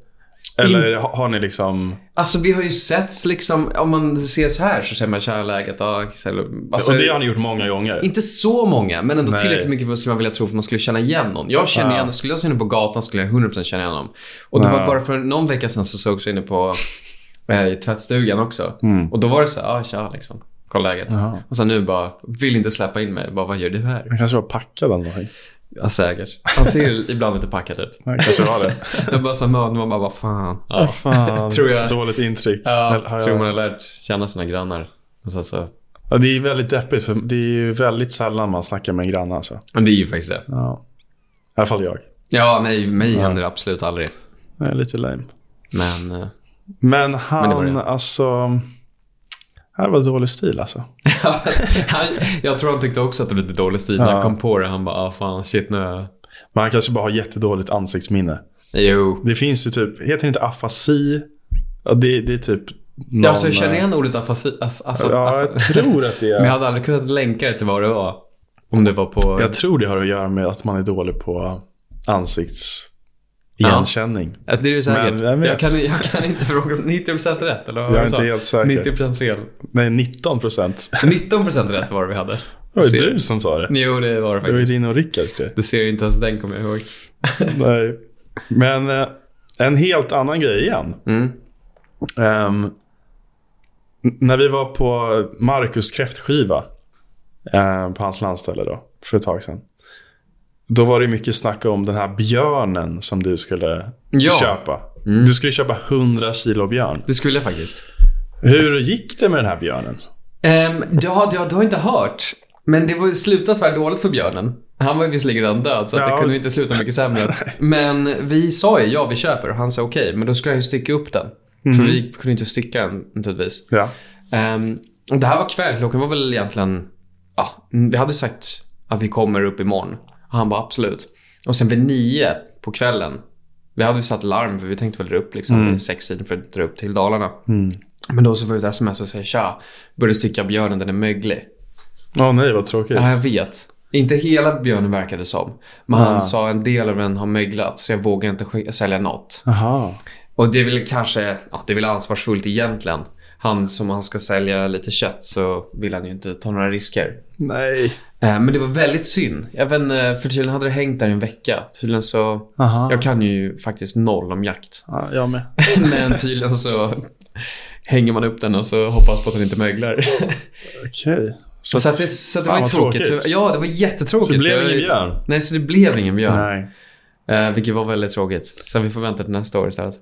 Speaker 1: Eller ha- har ni liksom...
Speaker 2: Alltså vi har ju setts liksom, om man ses här så säger man tja läget, ja, eller, alltså,
Speaker 1: och det har ni gjort många gånger.
Speaker 2: Inte så många, men ändå
Speaker 1: Nej.
Speaker 2: tillräckligt mycket för att skulle man vilja tro för att man skulle känna igen någon. Jag känner
Speaker 1: Ja.
Speaker 2: igen, skulle jag se henne på gatan skulle jag 100% känna igen honom. Och det var
Speaker 1: Ja.
Speaker 2: bara för någon vecka sedan så sågs vi inne på eh, i tvättstugan också.
Speaker 1: Mm.
Speaker 2: Och då var det så här, ah, tja liksom. Kolla läget.
Speaker 1: Jaha.
Speaker 2: Och sen nu bara, vill inte släppa in mig. Bara, vad gör du här?
Speaker 1: Han kanske var packad eller någonting.
Speaker 2: Ja, säkert. Han ser ibland lite packad ut.
Speaker 1: Han kanske var det.
Speaker 2: Jag bara så här, man bara, vad fan.
Speaker 1: Ja,
Speaker 2: Ja.
Speaker 1: fan.
Speaker 2: Tror jag.
Speaker 1: Dåligt intryck.
Speaker 2: Ja,
Speaker 1: Eller har
Speaker 2: tror
Speaker 1: jag-
Speaker 2: man har lärt känna sina grannar. Och så, så.
Speaker 1: Ja, det är väldigt deppigt. För det är ju väldigt sällan man snackar med en granne. Alltså.
Speaker 2: Men det är ju faktiskt det.
Speaker 1: Ja. I alla fall jag.
Speaker 2: Ja, nej, mig händer det absolut aldrig.
Speaker 1: Jag är lite lame.
Speaker 2: Men eh,
Speaker 1: Men
Speaker 2: det var
Speaker 1: han,
Speaker 2: det.
Speaker 1: alltså... Det här var dålig stil alltså.
Speaker 2: han, jag tror han tyckte också att det var lite dålig stil. När han kom på det, han bara, ah, fan, shit nu. är
Speaker 1: Men han kanske bara har jättedåligt ansiktsminne.
Speaker 2: jag-" Jo.
Speaker 1: Det finns ju typ, heter det inte afasi? Ja, det, det är typ någon,
Speaker 2: alltså, jag känner igen ordet afasi. Alltså, alltså,
Speaker 1: Ja, jag tror att det *laughs*
Speaker 2: *laughs* Men jag
Speaker 1: är.
Speaker 2: hade aldrig kunnat länka det till vad det var. Om det var på...
Speaker 1: Jag tror det har att göra med att man är dålig på ansiktsigenkänning.
Speaker 2: att det är det säkert.
Speaker 1: Men vem vet?
Speaker 2: jag, kan, jag kan inte fråga om 90% rätt, eller vad
Speaker 1: Jag
Speaker 2: var
Speaker 1: är
Speaker 2: det
Speaker 1: inte
Speaker 2: så?
Speaker 1: helt säker.
Speaker 2: 90% fel.
Speaker 1: Nej, 19 procent.
Speaker 2: 19% rätt var det vi hade.
Speaker 1: Det var
Speaker 2: Ser-
Speaker 1: ju du som sa det.
Speaker 2: Jo, det var det
Speaker 1: Det var ju
Speaker 2: faktiskt.
Speaker 1: din och Rickards grej.
Speaker 2: Du ser inte ens den, kommer jag ihåg.
Speaker 1: Nej. Men eh, en helt annan grej igen.
Speaker 2: Mm.
Speaker 1: Ehm, n- när vi var på Marcus kräftskiva eh, på hans landställe då, för ett tag sedan. Då var det mycket snack om den här björnen som du skulle
Speaker 2: Ja. Mm.
Speaker 1: köpa. Du skulle köpa 100 kilo björn.
Speaker 2: Det skulle jag faktiskt.
Speaker 1: Hur gick det med den här björnen?
Speaker 2: Ehm, Um, ja, du, har- du har inte hört. Men det var slutat tyvärr dåligt för björnen. Han var ju visserligen redan död så att
Speaker 1: Ja.
Speaker 2: det kunde ju inte sluta mycket sämre. Men vi sa ju ja, vi köper och han sa okej, men då skulle jag ju stycka upp den. För vi kunde inte stycka den naturligtvis.
Speaker 1: Ja.
Speaker 2: Ehm, och det här var kväll, klockan var väl egentligen... Ja, vi hade sagt att vi kommer upp imorgon. Och han bara absolut. Och sen vid nio på kvällen, vi hade ju satt larm för vi tänkte väl dra upp liksom vid sextiden för att dra upp till Dalarna. Men då så får vi ett sms och säger tja, började stycka björnen, den är möglig.
Speaker 1: Åh nej, vad tråkigt.
Speaker 2: Ja, jag vet. Inte hela björnen verkade som. Men han sa en del av den har möglat så jag vågar inte sk- sälja något.
Speaker 1: Aha.
Speaker 2: Och det är väl kanske ja, det är väl ansvarsfullt egentligen. Han som han ska sälja lite kött så vill han ju inte ta några risker.
Speaker 1: Nej.
Speaker 2: Eh, Men det var väldigt synd. Jag vet inte, för tydligen hade det hängt där i en vecka. Tydligen så...
Speaker 1: Aha.
Speaker 2: Jag kan ju faktiskt noll om jakt. *laughs*
Speaker 1: Ja, jag med.
Speaker 2: Men tydligen så hänger man upp den och så hoppas på att den
Speaker 1: *laughs*
Speaker 2: inte möglar.
Speaker 1: Okej.
Speaker 2: Så, att det, så att det var
Speaker 1: Fan,
Speaker 2: ju
Speaker 1: vad
Speaker 2: tråkigt.
Speaker 1: tråkigt.
Speaker 2: Så, ja, det var jättetråkigt.
Speaker 1: Så det blev
Speaker 2: Jag-
Speaker 1: ingen björn?
Speaker 2: Nej, så det blev ingen björn.
Speaker 1: Nej.
Speaker 2: Eh, vilket var väldigt tråkigt. Så vi får vänta till nästa år istället.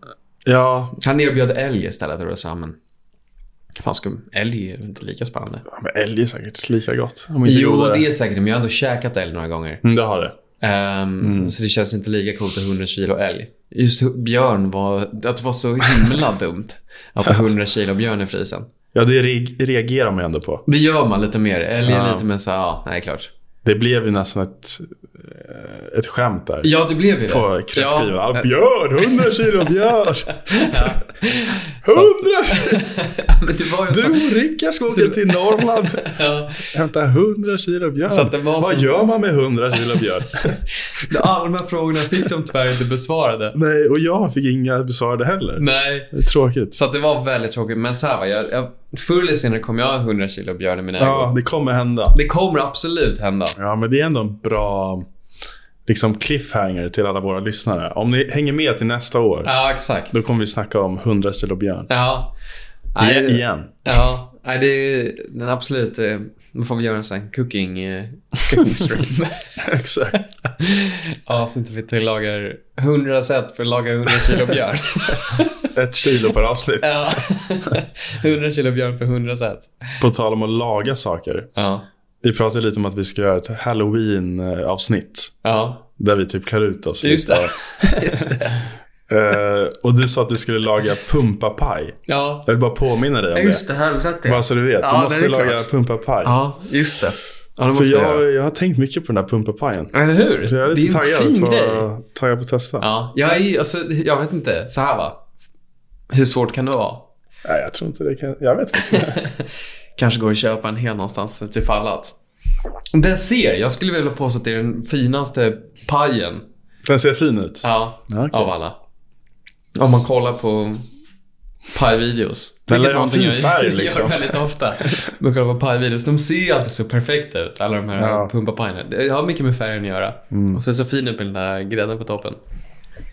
Speaker 1: Ja,
Speaker 2: Han erbjöd älg istället och då sa han, men... Fan, skum. Älg är inte lika spännande.
Speaker 1: men älg är säkert lika gott. Om inte
Speaker 2: Jo,
Speaker 1: godare.
Speaker 2: det är säkert men jag har ändå käkat älg några gånger.
Speaker 1: Mm, det har det.
Speaker 2: Ehm,
Speaker 1: Mm.
Speaker 2: Så det känns inte lika coolt att 100 kilo älg. Just hu- björn var... Att det var så
Speaker 1: *laughs*
Speaker 2: himla dumt. Att ha 100 kilo björn i frysen.
Speaker 1: Ja, det re- reagerar man ju ändå på.
Speaker 2: Det gör man lite mer. Älg är
Speaker 1: Ja.
Speaker 2: lite mer så här, ja, nej, klart.
Speaker 1: Det blev ju nästan ett, eh, ett skämt där.
Speaker 2: Ja, det blev ju det.
Speaker 1: På kretskivan.
Speaker 2: Ja.
Speaker 1: Ja. Björn, 100 kilo björn.
Speaker 2: *laughs* Ja.
Speaker 1: 100 kilo.
Speaker 2: *laughs* Men det var ju så...
Speaker 1: Du och Rickard ska åka till Norrland.
Speaker 2: Ja.
Speaker 1: Hämta 100 kilo björn.
Speaker 2: Så att det var
Speaker 1: Vad
Speaker 2: som-
Speaker 1: gör man med 100 kilo
Speaker 2: *laughs*
Speaker 1: björn?
Speaker 2: Alla de här frågorna fick de tyvärr inte besvarade.
Speaker 1: Nej, och jag fick inga besvarade heller.
Speaker 2: Nej.
Speaker 1: Det är tråkigt.
Speaker 2: Så att det var väldigt tråkigt. Men så här var jag, jag, förr eller senare kommer jag ha 100 kilo björn i mina
Speaker 1: Ja,
Speaker 2: ägor.
Speaker 1: det kommer hända.
Speaker 2: Det kommer absolut hända.
Speaker 1: Ja, men det är ändå en bra liksom cliffhanger till alla våra lyssnare. Om ni hänger med till nästa år,
Speaker 2: Ja, exakt.
Speaker 1: då kommer vi snacka om 100 kilo björn.
Speaker 2: Ja.
Speaker 1: Igen.
Speaker 2: Nej,
Speaker 1: igen. *laughs*
Speaker 2: ja. Nej, det är den absolut... eh, Då får vi göra en sån här cooking, eh,
Speaker 1: *laughs*
Speaker 2: cooking stream.
Speaker 1: Exakt.
Speaker 2: Avsnitt där vi tillagar 100 sätt för att laga 100 kilo
Speaker 1: *laughs*
Speaker 2: björn.
Speaker 1: Ett kilo per avsnitt.
Speaker 2: ja. 100 kilo björn för 100 sätt.
Speaker 1: På tal om att laga saker.
Speaker 2: Ja.
Speaker 1: Vi pratade lite om att vi ska göra ett halloween-avsnitt.
Speaker 2: Ja.
Speaker 1: Där vi typ klär ut oss.
Speaker 2: Just
Speaker 1: lite.
Speaker 2: det. *laughs* Just det.
Speaker 1: Eh, och du sa att du skulle laga pumpapaj.
Speaker 2: Ja.
Speaker 1: Jag vill bara påminna dig om
Speaker 2: Just det, har du sett
Speaker 1: det. Bara
Speaker 2: det?
Speaker 1: så du vet.
Speaker 2: Ja,
Speaker 1: du måste
Speaker 2: det
Speaker 1: laga
Speaker 2: är klart.
Speaker 1: pumpapaj.
Speaker 2: Ja, just det. Ja, det
Speaker 1: För
Speaker 2: måste jag göra.
Speaker 1: jag, jag har tänkt mycket på den här pumpapajen.
Speaker 2: Eller hur?
Speaker 1: Så jag är
Speaker 2: det
Speaker 1: lite
Speaker 2: är en
Speaker 1: taggad,
Speaker 2: fin
Speaker 1: på,
Speaker 2: grej.
Speaker 1: taggad på att testa.
Speaker 2: Ja, jag, är, ju- alltså, jag vet inte. Så här va. Hur svårt kan det vara?
Speaker 1: Nej, jag tror inte det kan... Jag vet faktiskt inte. *laughs*
Speaker 2: Kanske går att köpa en hel någonstans ute i fallat. Den ser, jag skulle vilja påstå att det är den finaste pajen
Speaker 1: Den ser fin ut.
Speaker 2: ja,
Speaker 1: Ja, okej.
Speaker 2: av alla. Om man kollar på pajvideos.
Speaker 1: Den
Speaker 2: vilket
Speaker 1: lär ha en
Speaker 2: någonting
Speaker 1: fin färg,
Speaker 2: jag gör
Speaker 1: liksom.
Speaker 2: väldigt ofta. Man kollar på pajvideos. De ser ju alltid så perfekta ut, alla de här
Speaker 1: Ja. Mm.
Speaker 2: pumpapajerna. Det har mycket med färgen att göra. Och så är det så fin ut med den där grädden på toppen.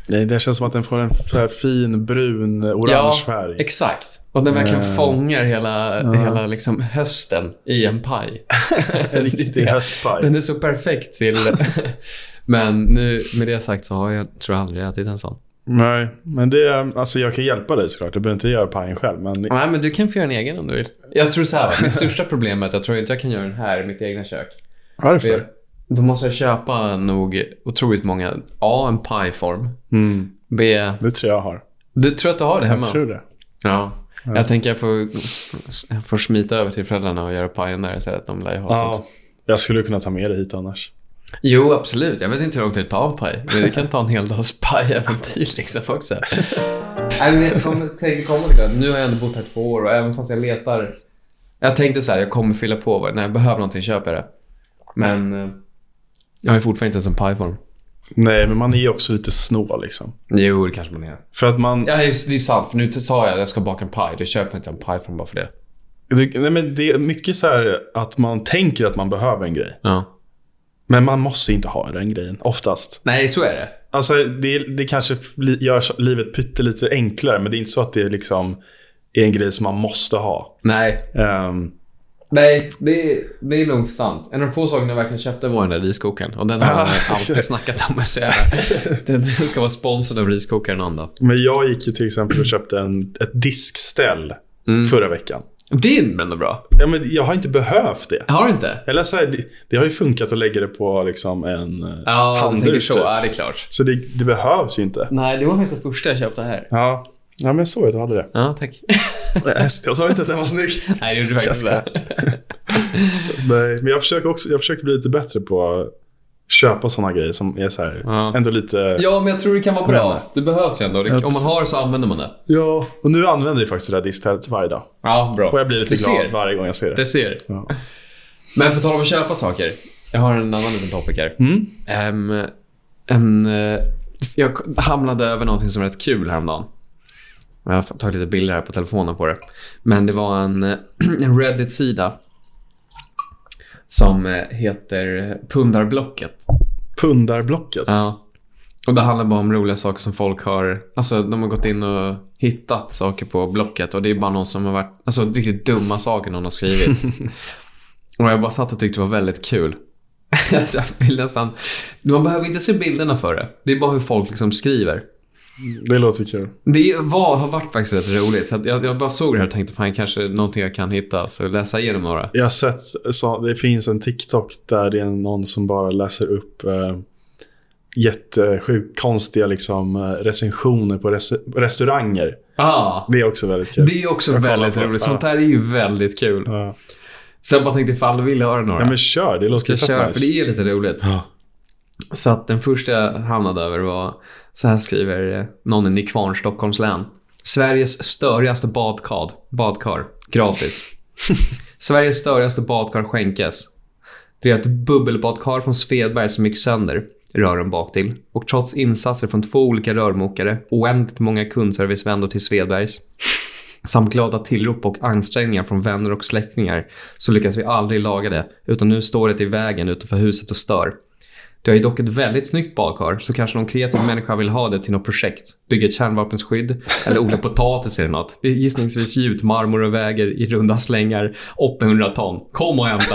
Speaker 1: Nej, det känns som att den får en så här fin brun, orange färg.
Speaker 2: exakt. Och den verkligen fångar hela, hela liksom hösten i en paj.
Speaker 1: En
Speaker 2: *laughs*
Speaker 1: riktig höstpaj.
Speaker 2: Den är så perfekt till...
Speaker 1: *laughs*
Speaker 2: Men nu, med det sagt så har jag, tror jag aldrig jag ätit en sån.
Speaker 1: Nej, men det... Alltså jag kan hjälpa dig såklart. Du behöver inte göra pajen själv. Men
Speaker 2: Nej, men du kan få göra en egen om du vill. Jag tror så här, va, mitt största problem är att jag tror inte jag kan göra den här i mitt egna kök. För jag-
Speaker 1: varför?
Speaker 2: Då måste jag köpa nog otroligt många. A. En pajform.
Speaker 1: Mm,
Speaker 2: B.
Speaker 1: det tror jag har.
Speaker 2: Du tror att du har det hemma?
Speaker 1: Jag tror det.
Speaker 2: Ja. Jag tänker jag får, jag får smita över till föräldrarna och göra pajen där så att de lär ju ha sånt.
Speaker 1: Ja, jag skulle kunna ta med det hit annars.
Speaker 2: Jo, absolut. Jag vet inte hur lång tid det tar en paj. Men det kan ta en hel dags pajäventyr liksom också. Nej, men jag kommer- tänker komma till det. Nu har jag ändå bott här två år och även fast jag letar. Jag tänkte så här, jag kommer fylla på. vad- När jag behöver någonting köper jag det. Men eh, jag har ju fortfarande inte ens en pajform.
Speaker 1: Nej, men man är ju också lite snål liksom.
Speaker 2: Jo, det kanske man är.
Speaker 1: För att man...
Speaker 2: Ja, just, det är sant. För nu sa jag att jag ska baka en paj. Då köper jag inte en pajform bara för det.
Speaker 1: Du, nej, men det är mycket så här att man tänker att man behöver en grej.
Speaker 2: Ja.
Speaker 1: Men man måste inte ha den grejen, oftast.
Speaker 2: Nej, så är det.
Speaker 1: Alltså, det, det kanske li- gör så- livet pyttelite enklare, men det är inte så att det liksom är en grej som man måste ha.
Speaker 2: Nej,
Speaker 1: Ehm,
Speaker 2: Nej, det, det är nog sant. En av de få sakerna jag verkligen köpte var den där riskokaren. Och den har jag alltid snackat om. Så jag,
Speaker 1: *laughs*
Speaker 2: den ska vara sponsrad av riskokaren Anda.
Speaker 1: Mm. men jag gick ju till exempel och köpte en, ett diskställ förra veckan.
Speaker 2: Det är ändå bra.
Speaker 1: Ja, men jag har inte behövt det.
Speaker 2: Har du inte?
Speaker 1: Eller så här, det, det har ju funkat att lägga det på liksom en eh,
Speaker 2: Ja, jag tänker
Speaker 1: handduk.
Speaker 2: så.
Speaker 1: typ.
Speaker 2: Ja, det är klart.
Speaker 1: Så det, det behövs ju inte.
Speaker 2: Nej, det var faktiskt det första jag köpte här.
Speaker 1: Ja. ja, men jag såg att du hade det.
Speaker 2: Ja, tack.
Speaker 1: *laughs* Jag sa inte att den var snygg.
Speaker 2: Nej, det gjorde du faktiskt
Speaker 1: Jag
Speaker 2: inte.
Speaker 1: Nej, men jag försöker, också, jag försöker bli lite bättre på att köpa sådana grejer som är så här,
Speaker 2: Ja.
Speaker 1: ändå lite...
Speaker 2: Ja, men jag tror det kan vara bra. Det behövs ju ändå. Det,
Speaker 1: eh, Jag-
Speaker 2: om man har så använder man det.
Speaker 1: Ja, och nu använder jag faktiskt det där disktältet varje dag.
Speaker 2: Ja, bra.
Speaker 1: Och jag blir lite
Speaker 2: Du
Speaker 1: glad
Speaker 2: ser.
Speaker 1: varje gång jag ser det.
Speaker 2: Det ser.
Speaker 1: Ja.
Speaker 2: Men på tal om att köpa saker. Jag har en annan liten topic här.
Speaker 1: Mm.
Speaker 2: Ehm, en, eh, jag hamnade över någonting som var rätt kul häromdagen. Jag har tagit lite bilder här på telefonen på det. Men det var en, eh, *clears throat* en Reddit-sida som eh, heter Pundarblocket.
Speaker 1: Pundarblocket.
Speaker 2: Ja. Och det handlar bara om roliga saker som folk har... Alltså de har gått in och hittat saker på Blocket och det är bara någon som har varit... Alltså riktigt dumma saker någon har skrivit.
Speaker 1: *laughs*
Speaker 2: och jag bara satt och tyckte det var väldigt kul. alltså, jag vill nästan... Man behöver inte se bilderna för det. Det är bara hur folk liksom skriver.
Speaker 1: Det låter kul.
Speaker 2: Det var, har varit faktiskt rätt roligt. Så att jag, jag bara såg det här och tänkte fan kanske någonting jag kan hitta. Så läsa igenom några.
Speaker 1: Jag har sett, så, det finns en TikTok där det är någon som bara läser upp eh, jättesjukt konstiga liksom, eh, recensioner på res- restauranger.
Speaker 2: Ah,
Speaker 1: Det är också väldigt kul.
Speaker 2: det är också
Speaker 1: Typ. Jag kollar
Speaker 2: väldigt
Speaker 1: på det.
Speaker 2: roligt. Sånt här är ju väldigt kul.
Speaker 1: Ja.
Speaker 2: Så jag bara tänkte ifall du vill höra några.
Speaker 1: Nej men kör, det
Speaker 2: Ska
Speaker 1: låter
Speaker 2: jag köra?
Speaker 1: fett
Speaker 2: För
Speaker 1: nice.
Speaker 2: det är lite roligt.
Speaker 1: Ja.
Speaker 2: Så att den första jag hamnade över var, så här skriver eh, någon i Nykvarn, Stockholms län. Sveriges störigaste badkad, badkar, gratis. Sveriges störigaste badkar skänkes. Det är ett bubbelbadkar från Svedberg som gick sönder, rören bak till. Och trots insatser från två olika rörmokare, oändligt många kundservicevändor till Svedbergs, samt glada tillrop och ansträngningar från vänner och släktingar, så lyckas vi aldrig laga det, utan nu står det i vägen utanför huset och stör. Du har ju dock ett väldigt snyggt badkar, så kanske någon kreativ människa vill ha det till något projekt. Bygga ett kärnvapensskydd eller odla potatis eller något. Det är gissningsvis gjut, marmor och väger i runda slängar 800 ton. Kom och hämta!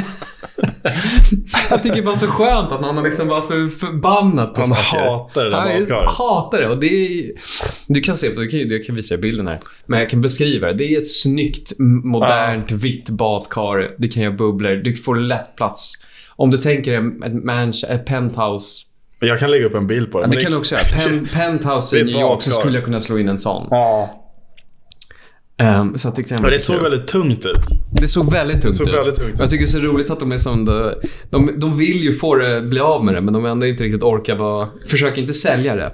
Speaker 2: *laughs* Jag tycker bara så skönt att man har liksom bara så förbannat på
Speaker 1: Han
Speaker 2: saker.
Speaker 1: hatar det där
Speaker 2: Han
Speaker 1: badkaret.
Speaker 2: hatar det. Och det är, du kan se på, du kan, ju- jag kan visa dig bilden här. Men jag kan beskriva det. Det är ett snyggt, m- modernt, vitt badkar. Det kan göra bubblor. Du får lätt plats. Om du tänker dig ett, mansion, ett penthouse.
Speaker 1: Men Jag kan lägga upp en bild på det.
Speaker 2: Ja,
Speaker 1: men
Speaker 2: det kan du också göra.
Speaker 1: *laughs*
Speaker 2: Pen, penthouse
Speaker 1: det
Speaker 2: i
Speaker 1: är
Speaker 2: New York så
Speaker 1: badkar.
Speaker 2: skulle jag kunna slå in en sån.
Speaker 1: Ja.
Speaker 2: Ehm, så jag tyckte den var
Speaker 1: Men det
Speaker 2: lite
Speaker 1: såg
Speaker 2: kul.
Speaker 1: väldigt tungt ut.
Speaker 2: Det såg väldigt tungt
Speaker 1: såg
Speaker 2: ut.
Speaker 1: väldigt tungt ut.
Speaker 2: Jag tycker det är så roligt att de är som... De, de, de vill ju få det, bli av med det, men de ändå inte riktigt orkar vara... Försök inte sälja det.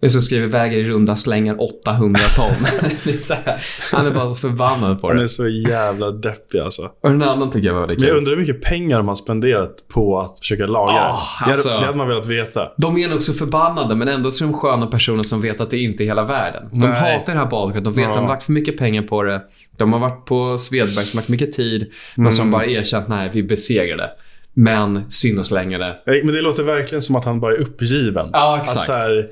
Speaker 2: Men så skriver väger i runda slängar 800 ton.
Speaker 1: *laughs*
Speaker 2: det är så här, han är bara så förbannad på
Speaker 1: Han är
Speaker 2: det.
Speaker 1: så jävla deppig alltså.
Speaker 2: Och den andra tycker jag var väldigt
Speaker 1: Men jag
Speaker 2: kul.
Speaker 1: undrar hur mycket pengar de har spenderat på att försöka laga det.
Speaker 2: Ah,
Speaker 1: det.
Speaker 2: alltså.
Speaker 1: Hade, det hade man velat veta.
Speaker 2: De är nog så förbannade, men ändå så är de sköna personer som vet att det inte är hela världen. De
Speaker 1: Nej.
Speaker 2: hatar det här badkaret. De vet att de har
Speaker 1: Ja.
Speaker 2: lagt för mycket pengar på det. De har varit på Svedberg, som har lagt mycket tid, men
Speaker 1: Mm.
Speaker 2: som bara erkänt nej, vi besegrade. Men synd att slänga det.
Speaker 1: Nej, Men det låter verkligen som att han bara är uppgiven.
Speaker 2: Ja, exakt.
Speaker 1: Att så här,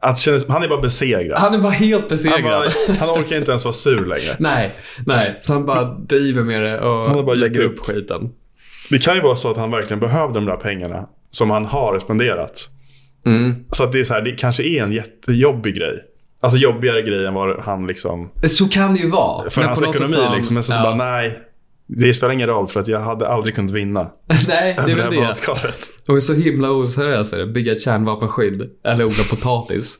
Speaker 1: att känna, han är bara besegrad.
Speaker 2: Han är bara helt
Speaker 1: Han,
Speaker 2: besegrad.
Speaker 1: bara, *laughs* han orkar inte ens vara sur längre.
Speaker 2: *laughs* nej, nej. Så han bara driver med det och
Speaker 1: har bara
Speaker 2: lägger
Speaker 1: gett
Speaker 2: upp skiten.
Speaker 1: Det kan ju vara så att han verkligen behöver de där pengarna som han har spenderat.
Speaker 2: Mm.
Speaker 1: Så att det, är så här, det kanske är en jättejobbig grej. Alltså jobbigare grej än vad han liksom...
Speaker 2: Så kan det ju vara.
Speaker 1: För
Speaker 2: Men
Speaker 1: hans
Speaker 2: på något sätt
Speaker 1: ekonomi
Speaker 2: har han-
Speaker 1: liksom. Men så, så
Speaker 2: ja.
Speaker 1: bara, nej. Det spelar ingen roll för att jag hade aldrig kunnat vinna.
Speaker 2: *laughs* nej, det är
Speaker 1: över
Speaker 2: väl
Speaker 1: det här
Speaker 2: det.
Speaker 1: badkaret.
Speaker 2: De är så himla oseriösa. Bygga ett kärnvapenskydd eller odla
Speaker 1: *laughs*
Speaker 2: potatis.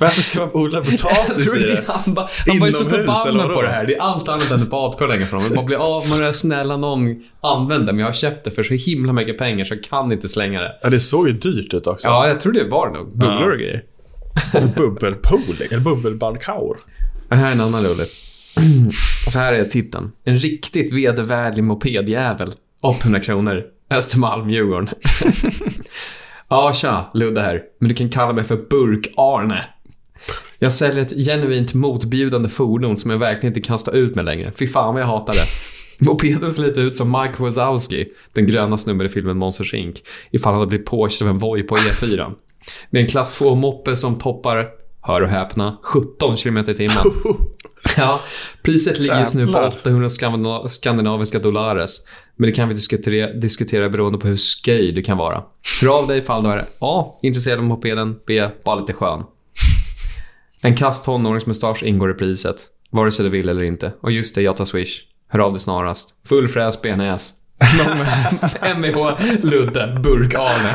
Speaker 1: Varför ska man odla potatis i det?
Speaker 2: han bara, han bara är så
Speaker 1: Inomhus, eller
Speaker 2: förbannad
Speaker 1: vadå?
Speaker 2: på det här. Det är allt annat än ett badkar längre fram. Bara bli av med det. Snälla någon, använd det. Men jag har köpt det för så himla mycket pengar så jag kan inte slänga det.
Speaker 1: Ja, det såg ju dyrt ut också.
Speaker 2: Ja, jag tror det var nog. Bubblor och grejer.
Speaker 1: Bubbelpool, eller bubbelbadkaur.
Speaker 2: Det här är en annan rolig. *clears throat* Så här är titeln. En riktigt vedervärdig mopedjävel. 800 kronor. Östermalm, Djurgården. *laughs* ja, tja, Ludde här. Men du kan kalla mig för Burk-Arne. Jag säljer ett genuint motbjudande fordon som jag verkligen inte kan stå ut med längre. Fy fan vad jag hatar det. Mopeden ser lite ut som Mike Wazowski, den gröna snubben i filmen Monsters Inc. Ifall han hade blivit påkörd av en Voi på E E4. Det är en klass 2-moppe som toppar, hör och häpna, 17 km i timmen. Ja, priset ligger just nu på
Speaker 1: Jävlar.
Speaker 2: 800 skandina- skandinaviska dollares. Men det kan vi diskutera, diskutera beroende på hur sköj du kan vara. Hör av dig ifall du är A. Intresserad av mopeden. B. Bara lite skön. En kass tonåringsmustasch ingår i priset. Vare sig du vill eller inte. Och just det, jag tar Swish. Hör av dig snarast. Full fräs, benäs. *laughs* Mvh, Ludde, Burk-Arne.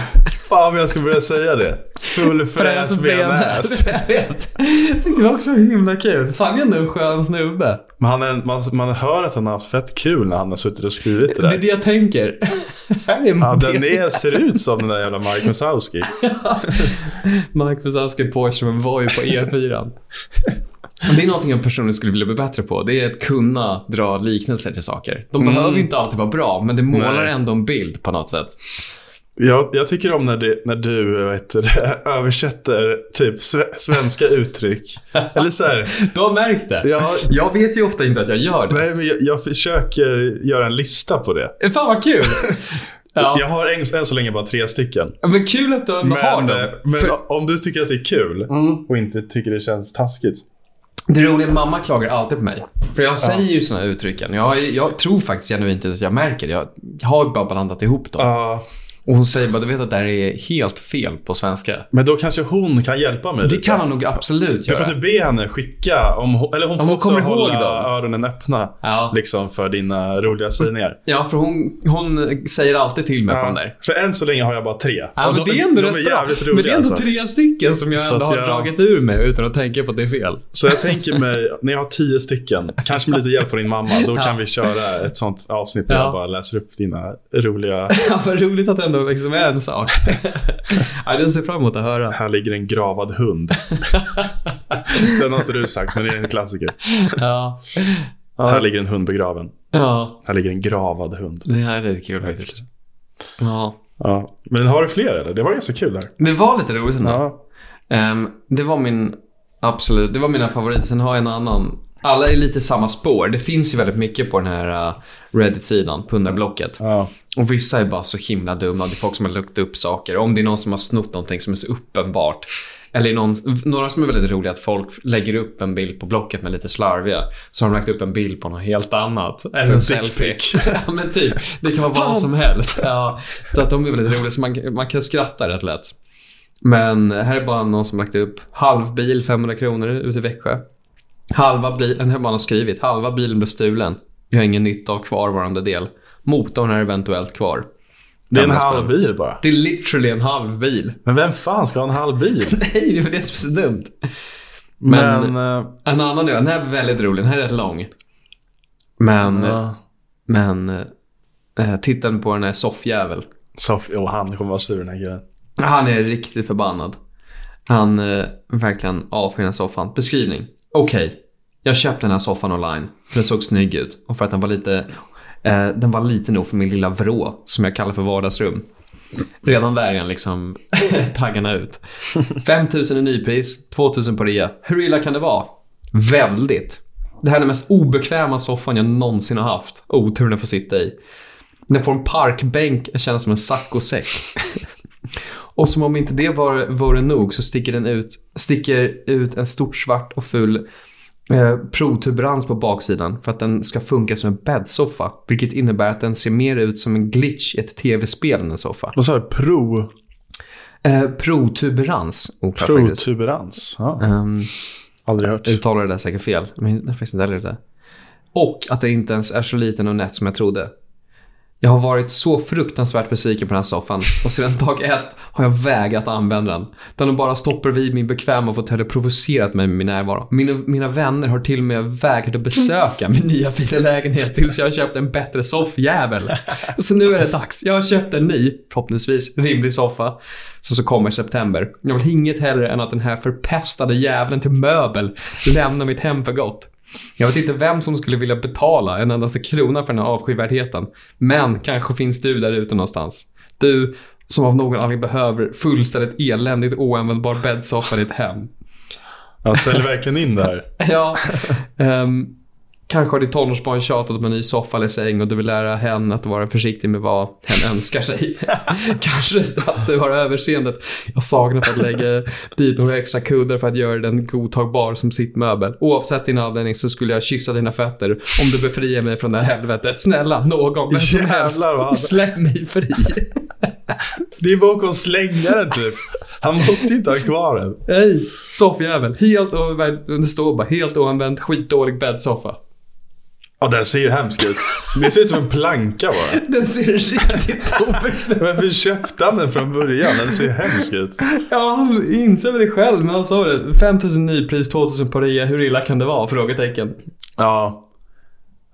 Speaker 1: Fan vad jag ska börja säga det. Full fräs, benäs.
Speaker 2: *laughs* Jag vet. Det var också himla kul. Sangen är en skön snubbe.
Speaker 1: Men han är, man, man hör att han har haft fett kul när han har suttit och skrivit det
Speaker 2: Det är
Speaker 1: där.
Speaker 2: det jag tänker. *laughs* Här är
Speaker 1: Ja,
Speaker 2: ja,
Speaker 1: den är, ser ut som den där jävla Mike Wazowski.
Speaker 2: Mark Wazowski Porsche men var ju på E4. Det är någonting jag personligen skulle vilja bli bättre på. Det är att kunna dra liknelser till saker. De behöver inte alltid vara bra, men det målar
Speaker 1: Mm. Nej.
Speaker 2: ändå en bild på något sätt.
Speaker 1: Jag, jag tycker om när, det, när du vet, du det, *laughs* översätter typ sve- svenska uttryck. Eller så här,
Speaker 2: Du har märkt det.
Speaker 1: Ja.
Speaker 2: Jag vet ju ofta inte att jag gör det.
Speaker 1: nej, men jag, jag försöker göra en lista på det.
Speaker 2: Fan
Speaker 1: *laughs*
Speaker 2: vad kul! Ja.
Speaker 1: Jag har än, än så länge bara tre stycken.
Speaker 2: Men kul att du ändå har
Speaker 1: Men, eh,
Speaker 2: dem.
Speaker 1: men
Speaker 2: För- Mm.
Speaker 1: om du tycker att det är kul och inte tycker det känns taskigt.
Speaker 2: Det roliga är mamma klagar alltid på mig. För jag säger ju såna här uttrycken. Jag, jag tror faktiskt genuint inte att jag märker det. Jag, jag har ju bara blandat ihop dem.
Speaker 1: Ja,
Speaker 2: Och hon säger bara, du vet att det här är helt fel på svenska.
Speaker 1: men då kanske hon kan hjälpa mig
Speaker 2: Det
Speaker 1: lite.
Speaker 2: kan hon nog absolut
Speaker 1: Du får
Speaker 2: göra.
Speaker 1: typ be henne skicka, om hon, eller hon får
Speaker 2: hon
Speaker 1: också
Speaker 2: kommer ihåg
Speaker 1: hålla
Speaker 2: dem.
Speaker 1: öronen öppna.
Speaker 2: Ja.
Speaker 1: Liksom för dina roliga sägningar.
Speaker 2: ja, för hon, hon säger alltid till mig på den där.
Speaker 1: För än så länge har jag bara tre.
Speaker 2: Ja,
Speaker 1: Och
Speaker 2: men det är ändå
Speaker 1: de
Speaker 2: rätt
Speaker 1: är
Speaker 2: bra.
Speaker 1: jävligt roliga
Speaker 2: Men det är ändå
Speaker 1: alltså.
Speaker 2: tre stycken som jag
Speaker 1: Så
Speaker 2: ändå
Speaker 1: att
Speaker 2: har
Speaker 1: jag-
Speaker 2: dragit ur mig utan att tänka på att det är fel.
Speaker 1: Så jag tänker mig, när jag har tio stycken, kanske med lite hjälp från din mamma, då
Speaker 2: Ja.
Speaker 1: kan vi köra ett sånt avsnitt där
Speaker 2: Ja.
Speaker 1: jag bara läser upp dina roliga...
Speaker 2: *laughs* Ja, vad roligt att det ändå liksom är en *laughs* sak. ja, den ser fram emot att höra.
Speaker 1: Här ligger en gravad
Speaker 2: *laughs*
Speaker 1: hund. Den har inte du sagt, men det är en klassiker.
Speaker 2: Ja.
Speaker 1: Här
Speaker 2: Ja.
Speaker 1: ligger en hund begraven.
Speaker 2: ja,
Speaker 1: Här ligger en gravad hund.
Speaker 2: det här är lite kul faktiskt. Ja.
Speaker 1: Ja. Men har du fler eller? Det var ganska kul där.
Speaker 2: Det var lite roligt ändå.
Speaker 1: Ja.
Speaker 2: Ehm, det var min absolut, det var mina favoriter. Sen har jag en annan. Alla är lite samma spår. Det finns ju väldigt mycket på den här eh, Reddit-sidan, pundarblocket.
Speaker 1: ja.
Speaker 2: Och vissa är bara så himla dumma. Det är folk som har lukt upp saker. Om det är någon som har snott någonting som är så uppenbart. Eller någon, några som är väldigt roliga att folk lägger upp en bild på blocket med lite slarviga. Så har de lagt upp en bild på något helt annat. Eller en,
Speaker 1: En
Speaker 2: selfie.
Speaker 1: dick
Speaker 2: *laughs* ja, men typ. Det kan vara
Speaker 1: Fan.
Speaker 2: vad som helst. Ja, så att de är väldigt roliga. Så man, man kan skratta rätt lätt. Men här är bara någon som lagt upp halv bil 500 kronor ute i Växjö. Halva bilen, här har man skrivit, halva bilen blev stulen. Jag har ingen nytta av kvarvarande del. Motorn är eventuellt kvar.
Speaker 1: Det är en
Speaker 2: Gamla spänn.
Speaker 1: halv bil bara.
Speaker 2: Det är literally en halv bil. *laughs*
Speaker 1: Men vem fan ska ha en halv bil?
Speaker 2: Nej, det är för det som är så dumt. Men-
Speaker 1: Men... eh,
Speaker 2: En annan nu, den här är väldigt rolig, den här är rätt lång. Men,
Speaker 1: ja.
Speaker 2: men eh, titeln på den är soffjävel.
Speaker 1: Så, och han kommer vara sur den här killen.
Speaker 2: Han är riktigt förbannad. Han eh, verkligen avskyr den här soffan. Beskrivning. Okej, jag köpte den här soffan online för den såg snygg ut och för att den var lite, eh, den var lite nog för min lilla vrå som jag kallar för vardagsrum. Redan där är han liksom *laughs* taggarna ut. 5 000 i nypris, 2 000 på rea. Hur illa kan det vara? Väldigt. Det här är den mest obekväma soffan jag någonsin har haft. Oturen att få sitta i. Den får en parkbänk, jag känner som en saccosäck. Och som om inte det var, vore nog så sticker den ut, sticker ut en stort svart och ful eh, protuberans på baksidan för att den ska funka som en bäddsoffa. Vilket innebär att den ser mer ut som en glitch i ett tv-spel än en soffa.
Speaker 1: Vad sa du? Pro,
Speaker 2: Eh, protuberans, oklart faktiskt.
Speaker 1: protuberans? Ja,
Speaker 2: Ehm,
Speaker 1: aldrig hört.
Speaker 2: uttalar det där säkert fel. Men jag har faktiskt inte heller det. Och att det inte ens är så liten och nätt som jag trodde. Jag har varit så fruktansvärt besviken på den här soffan och sedan dag ett har jag vägrat använda den. Den har bara stoppar vid min bekväma fåtölj och provocerat mig med min närvaro. Mina, mina vänner har till och med vägrat att besöka min nya fina lägenhet tills jag har köpt en bättre soffjävel. Så nu är det dags. Jag har köpt en ny, förhoppningsvis rimlig soffa som så kommer i september. Jag vill inget hellre än att den här förpestade jäveln till möbel lämnar mitt hem för gott. Jag vet inte vem som skulle vilja betala en endaste krona för den här avskyvärdheten. Men kanske finns du där ute någonstans. Du som av någon anledning behöver fullständigt eländigt oanvändbar bäddsoffa i ditt hem.
Speaker 1: Han säljer verkligen in det *laughs* här.
Speaker 2: Ja. *laughs* ehm, kanske har ditt tonårsbarn tjatat om en ny soffa eller säng och du vill lära henne att vara försiktig med vad hen önskar *laughs* sig. kanske att du har överseendet. Jag saknar att lägga dit några extra kuddar för att göra den godtagbar som sitt möbel. Oavsett din anledning så skulle jag kyssa dina fötter om du befriar mig från det här helvetet. Snälla, någon, vem som helst.
Speaker 1: Jävlar vad han...
Speaker 2: Släpp mig fri.
Speaker 1: Det är bara att gå och slänga den typ. Han måste inte ha kvar den.
Speaker 2: Nej, soffjävel. Helt oanvänd. Det står bara helt oanvänd, skitdålig bäddsoffa.
Speaker 1: Ja, den ser ju hemsk ut. Det ser ut som en planka bara.
Speaker 2: Den ser riktigt obekväm ut.
Speaker 1: Varför köpte han den från början? Den ser hemsk ut.
Speaker 2: Ja, han inser väl det själv, men han sa det. 5000 nypris, 2000 på rea. Hur illa kan det vara? Frågetecken.
Speaker 1: Ja.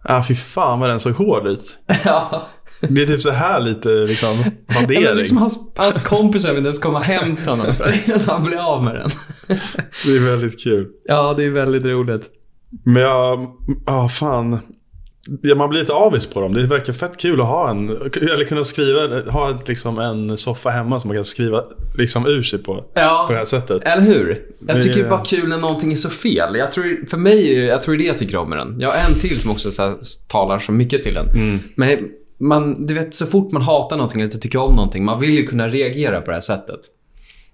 Speaker 1: Ja, fy fan vad den såg hård ut.
Speaker 2: *laughs* Ja.
Speaker 1: Det är typ så här lite liksom
Speaker 2: Ja,
Speaker 1: bandering.
Speaker 2: men liksom hans, hans kompisar vill inte ens komma hem till *laughs* honom för- innan han blir av med den.
Speaker 1: Det är väldigt kul.
Speaker 2: Ja, det är väldigt roligt.
Speaker 1: Men jag, ja fan. Ja, man blir lite avis på dem. Det verkar fett kul att ha en, eller kunna skriva, ha ett, liksom en soffa hemma som man kan skriva liksom ur sig på. På det
Speaker 2: Ja,
Speaker 1: här sättet.
Speaker 2: eller hur? Jag
Speaker 1: Det-
Speaker 2: tycker det är bara kul när någonting är så fel. Jag tror, för mig, är det- jag tror det är det jag tycker om med den. Jag har en till som också så här, talar så mycket till den.
Speaker 1: Mm.
Speaker 2: Men man, du vet, så fort man hatar någonting eller inte tycker om någonting, man vill ju kunna reagera på det här sättet.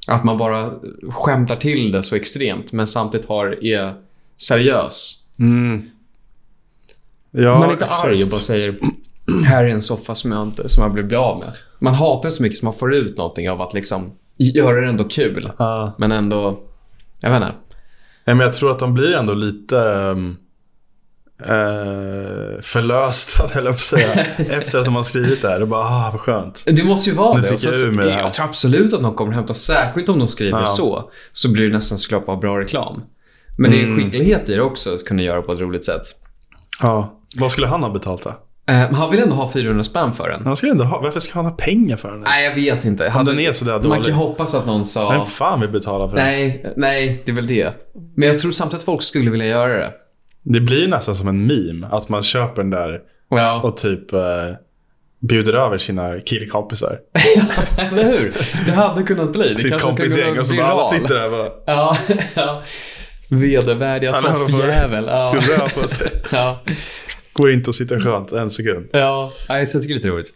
Speaker 2: Att man bara skämtar till det så extremt, men samtidigt har, är seriös.
Speaker 1: Ja,
Speaker 2: Mm. man är inte
Speaker 1: exakt.
Speaker 2: arg och bara säger här är en soffa som jag, inte, som jag blev bli av med. Man hatar så mycket som man får ut någonting av att liksom göra det ändå kul.
Speaker 1: Ja.
Speaker 2: Men ändå, jag vet inte.
Speaker 1: Nej, men jag tror att de blir ändå lite ehm, eh, förlösta, *laughs* höll jag på att
Speaker 2: *laughs*
Speaker 1: säga. efter att de har skrivit det här. Och bara, ah, vad skönt.
Speaker 2: Det måste ju vara
Speaker 1: Nu
Speaker 2: det.
Speaker 1: fick
Speaker 2: Och sen
Speaker 1: jag
Speaker 2: så-
Speaker 1: ur med det här.
Speaker 2: jag tror absolut att de kommer hämta, särskilt om de skriver
Speaker 1: Ja.
Speaker 2: så, så blir det nästan såklart bara bra reklam. Men det
Speaker 1: Mm.
Speaker 2: är skicklighet i det också, att kunna göra på ett roligt sätt.
Speaker 1: Ja. Vad skulle han ha betalt då?
Speaker 2: Eh, Men han vill ändå ha 400 spänn för den.
Speaker 1: Han skulle ändå ha, varför ska han ha pengar för den? ens?
Speaker 2: Nej, jag vet inte. Hade,
Speaker 1: den är sådär
Speaker 2: man kan
Speaker 1: dålig.
Speaker 2: ju hoppas att någon sa...
Speaker 1: Vem fan vill betala för den?
Speaker 2: Nej, nej, det är väl det. Men jag tror samtidigt att folk skulle vilja göra det.
Speaker 1: Det blir nästan som en meme. Att man köper den där
Speaker 2: Ja.
Speaker 1: och typ eh, bjuder över sina killkompisar.
Speaker 2: *laughs* Eller hur? Det hade kunnat bli. Det
Speaker 1: Sitt
Speaker 2: kanske skulle
Speaker 1: kompisgäng
Speaker 2: kunna
Speaker 1: och så
Speaker 2: bli
Speaker 1: bara alla
Speaker 2: viral.
Speaker 1: sitter där och bara
Speaker 2: Ja, *laughs* ja. Vedervärdiga
Speaker 1: Alla har
Speaker 2: soffjävel. Ja.
Speaker 1: rör på sig.
Speaker 2: Ja.
Speaker 1: Går inte att sitta skönt en sekund.
Speaker 2: ja. Nej, så jag tycker det är lite roligt.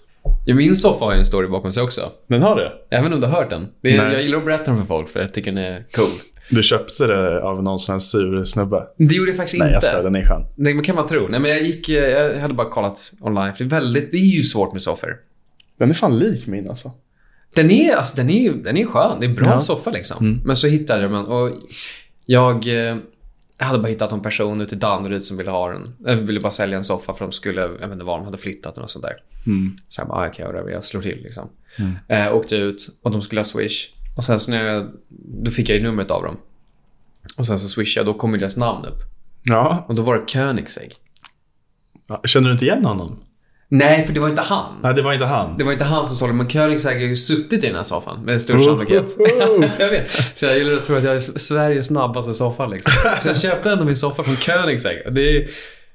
Speaker 2: Ja, Min soffa har ju en story bakom sig också.
Speaker 1: Men har det?
Speaker 2: Även om du har hört den. Det är,
Speaker 1: Nej.
Speaker 2: jag gillar att berätta den för folk för jag tycker den är cool.
Speaker 1: Du köpte det av någon sån här sur snubbe?
Speaker 2: Det gjorde jag faktiskt
Speaker 1: Nej, jag skojar.
Speaker 2: inte.
Speaker 1: Den är skön.
Speaker 2: Nej, men kan man tro. Nej, men jag, gick, eh, jag hade bara kollat online. Det är, väldigt, det är ju svårt med soffor.
Speaker 1: Den är fan lik min alltså.
Speaker 2: Den är, alltså, den är, ju- den är skön. Det är en bra
Speaker 1: Ja.
Speaker 2: soffa liksom. Men så hittade jag den. Och jag eh, hade bara hittat en person ute i Danderyd som ville ha den. Jag ville bara sälja en soffa för de skulle, jag vet inte vad, de hade flyttat och något sånt där. Så jag bara, ah, okej, okay, jag slår till liksom. Eh, åkte ut och de skulle ha Swish. Och sen så när jag, då fick jag ju numret av dem. Och sen så swishade jag, då kom ju deras namn upp.
Speaker 1: Ja.
Speaker 2: Och då var det Koenigsegg.
Speaker 1: Känner du inte igen honom?
Speaker 2: Nej, för det var inte han.
Speaker 1: Nej, det var inte han.
Speaker 2: Det var inte han som sa det, men Koenigsegg har ju suttit i den här soffan med stor
Speaker 1: Oh. *laughs*
Speaker 2: sannolikhet. *laughs* jag vet. Så jag gillar att tro att jag är Sveriges snabbaste soffa liksom. Så jag köpte ändå min soffa från Koenigsegg. Och Det är,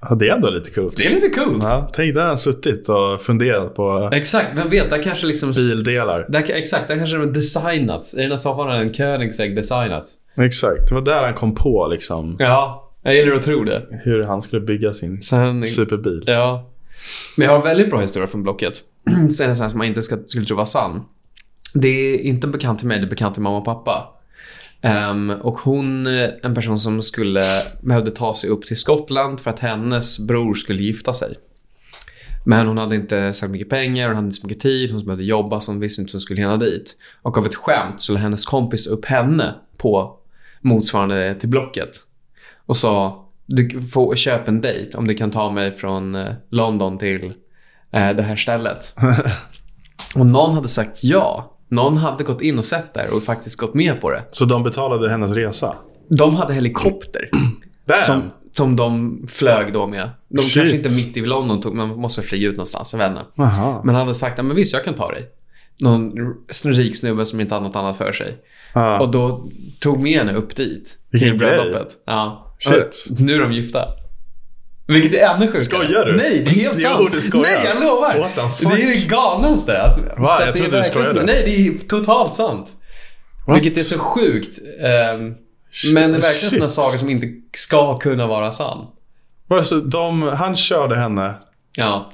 Speaker 1: Ja, det är ändå lite coolt.
Speaker 2: det är lite coolt.
Speaker 1: Ja, tänk där har han suttit och funderat på
Speaker 2: Exakt, vem vet? Där kanske liksom...
Speaker 1: bildelar.
Speaker 2: Där, exakt, där kanske de har designat. I den här soffan har en Koenigsegg designat.
Speaker 1: Exakt, det var där han kom på liksom,
Speaker 2: Ja, jag gillar att tro det.
Speaker 1: hur han skulle bygga sin
Speaker 2: Sen,
Speaker 1: superbil.
Speaker 2: ja. Men jag har en väldigt bra historia från Blocket. *clears throat* Sen en sån här som man inte ska, skulle tro var sann. Det är inte en bekant till mig, det är bekant till mamma och pappa. Ehm, och hon, eh, en person som skulle, behövde ta sig upp till Skottland för att hennes bror skulle gifta sig. Men hon hade inte så mycket pengar, hon hade inte så mycket tid, hon behövde jobba så hon visste inte hur hon skulle hinna dit. Och av ett skämt så la hennes kompis upp henne på motsvarande till Blocket. Och sa, du får köp en dejt om du kan ta mig från eh, London till eh, det här stället.
Speaker 1: *laughs*
Speaker 2: Och någon hade sagt ja. Någon hade gått in och sett där och faktiskt gått med på det.
Speaker 1: Så de betalade hennes resa?
Speaker 2: De hade helikopter
Speaker 1: *clears throat* Damn.
Speaker 2: som, som de flög då med. De
Speaker 1: Shit.
Speaker 2: kanske inte mitt i London tog, man måste flyga ut någonstans, jag vet inte.
Speaker 1: Aha.
Speaker 2: Men hade sagt, "Ja, men visst jag kan ta dig. Någon r- rik snubbe som inte har något annat för sig.
Speaker 1: Ja.
Speaker 2: Och då tog med henne upp dit. Till
Speaker 1: Vilken grej.
Speaker 2: bröllopet. Ja.
Speaker 1: Shit.
Speaker 2: Och nu är de gifta. Vilket är ännu sjukare.
Speaker 1: Skojar du?
Speaker 2: Nej, det är helt
Speaker 1: *laughs* Jo,
Speaker 2: sant.
Speaker 1: du skojar.
Speaker 2: Nej, jag lovar.
Speaker 1: What the fuck?
Speaker 2: Det är det galnaste. Att,
Speaker 1: Va?
Speaker 2: så
Speaker 1: Jag
Speaker 2: att det
Speaker 1: trodde
Speaker 2: är
Speaker 1: du
Speaker 2: verkligen-
Speaker 1: skojade.
Speaker 2: Nej, det är totalt sant.
Speaker 1: What?
Speaker 2: Vilket är så sjukt. Ehm, men det är verkligen sådana sagor som inte ska kunna vara sann.
Speaker 1: Vadå, så Alltså, de, han körde henne
Speaker 2: Ja.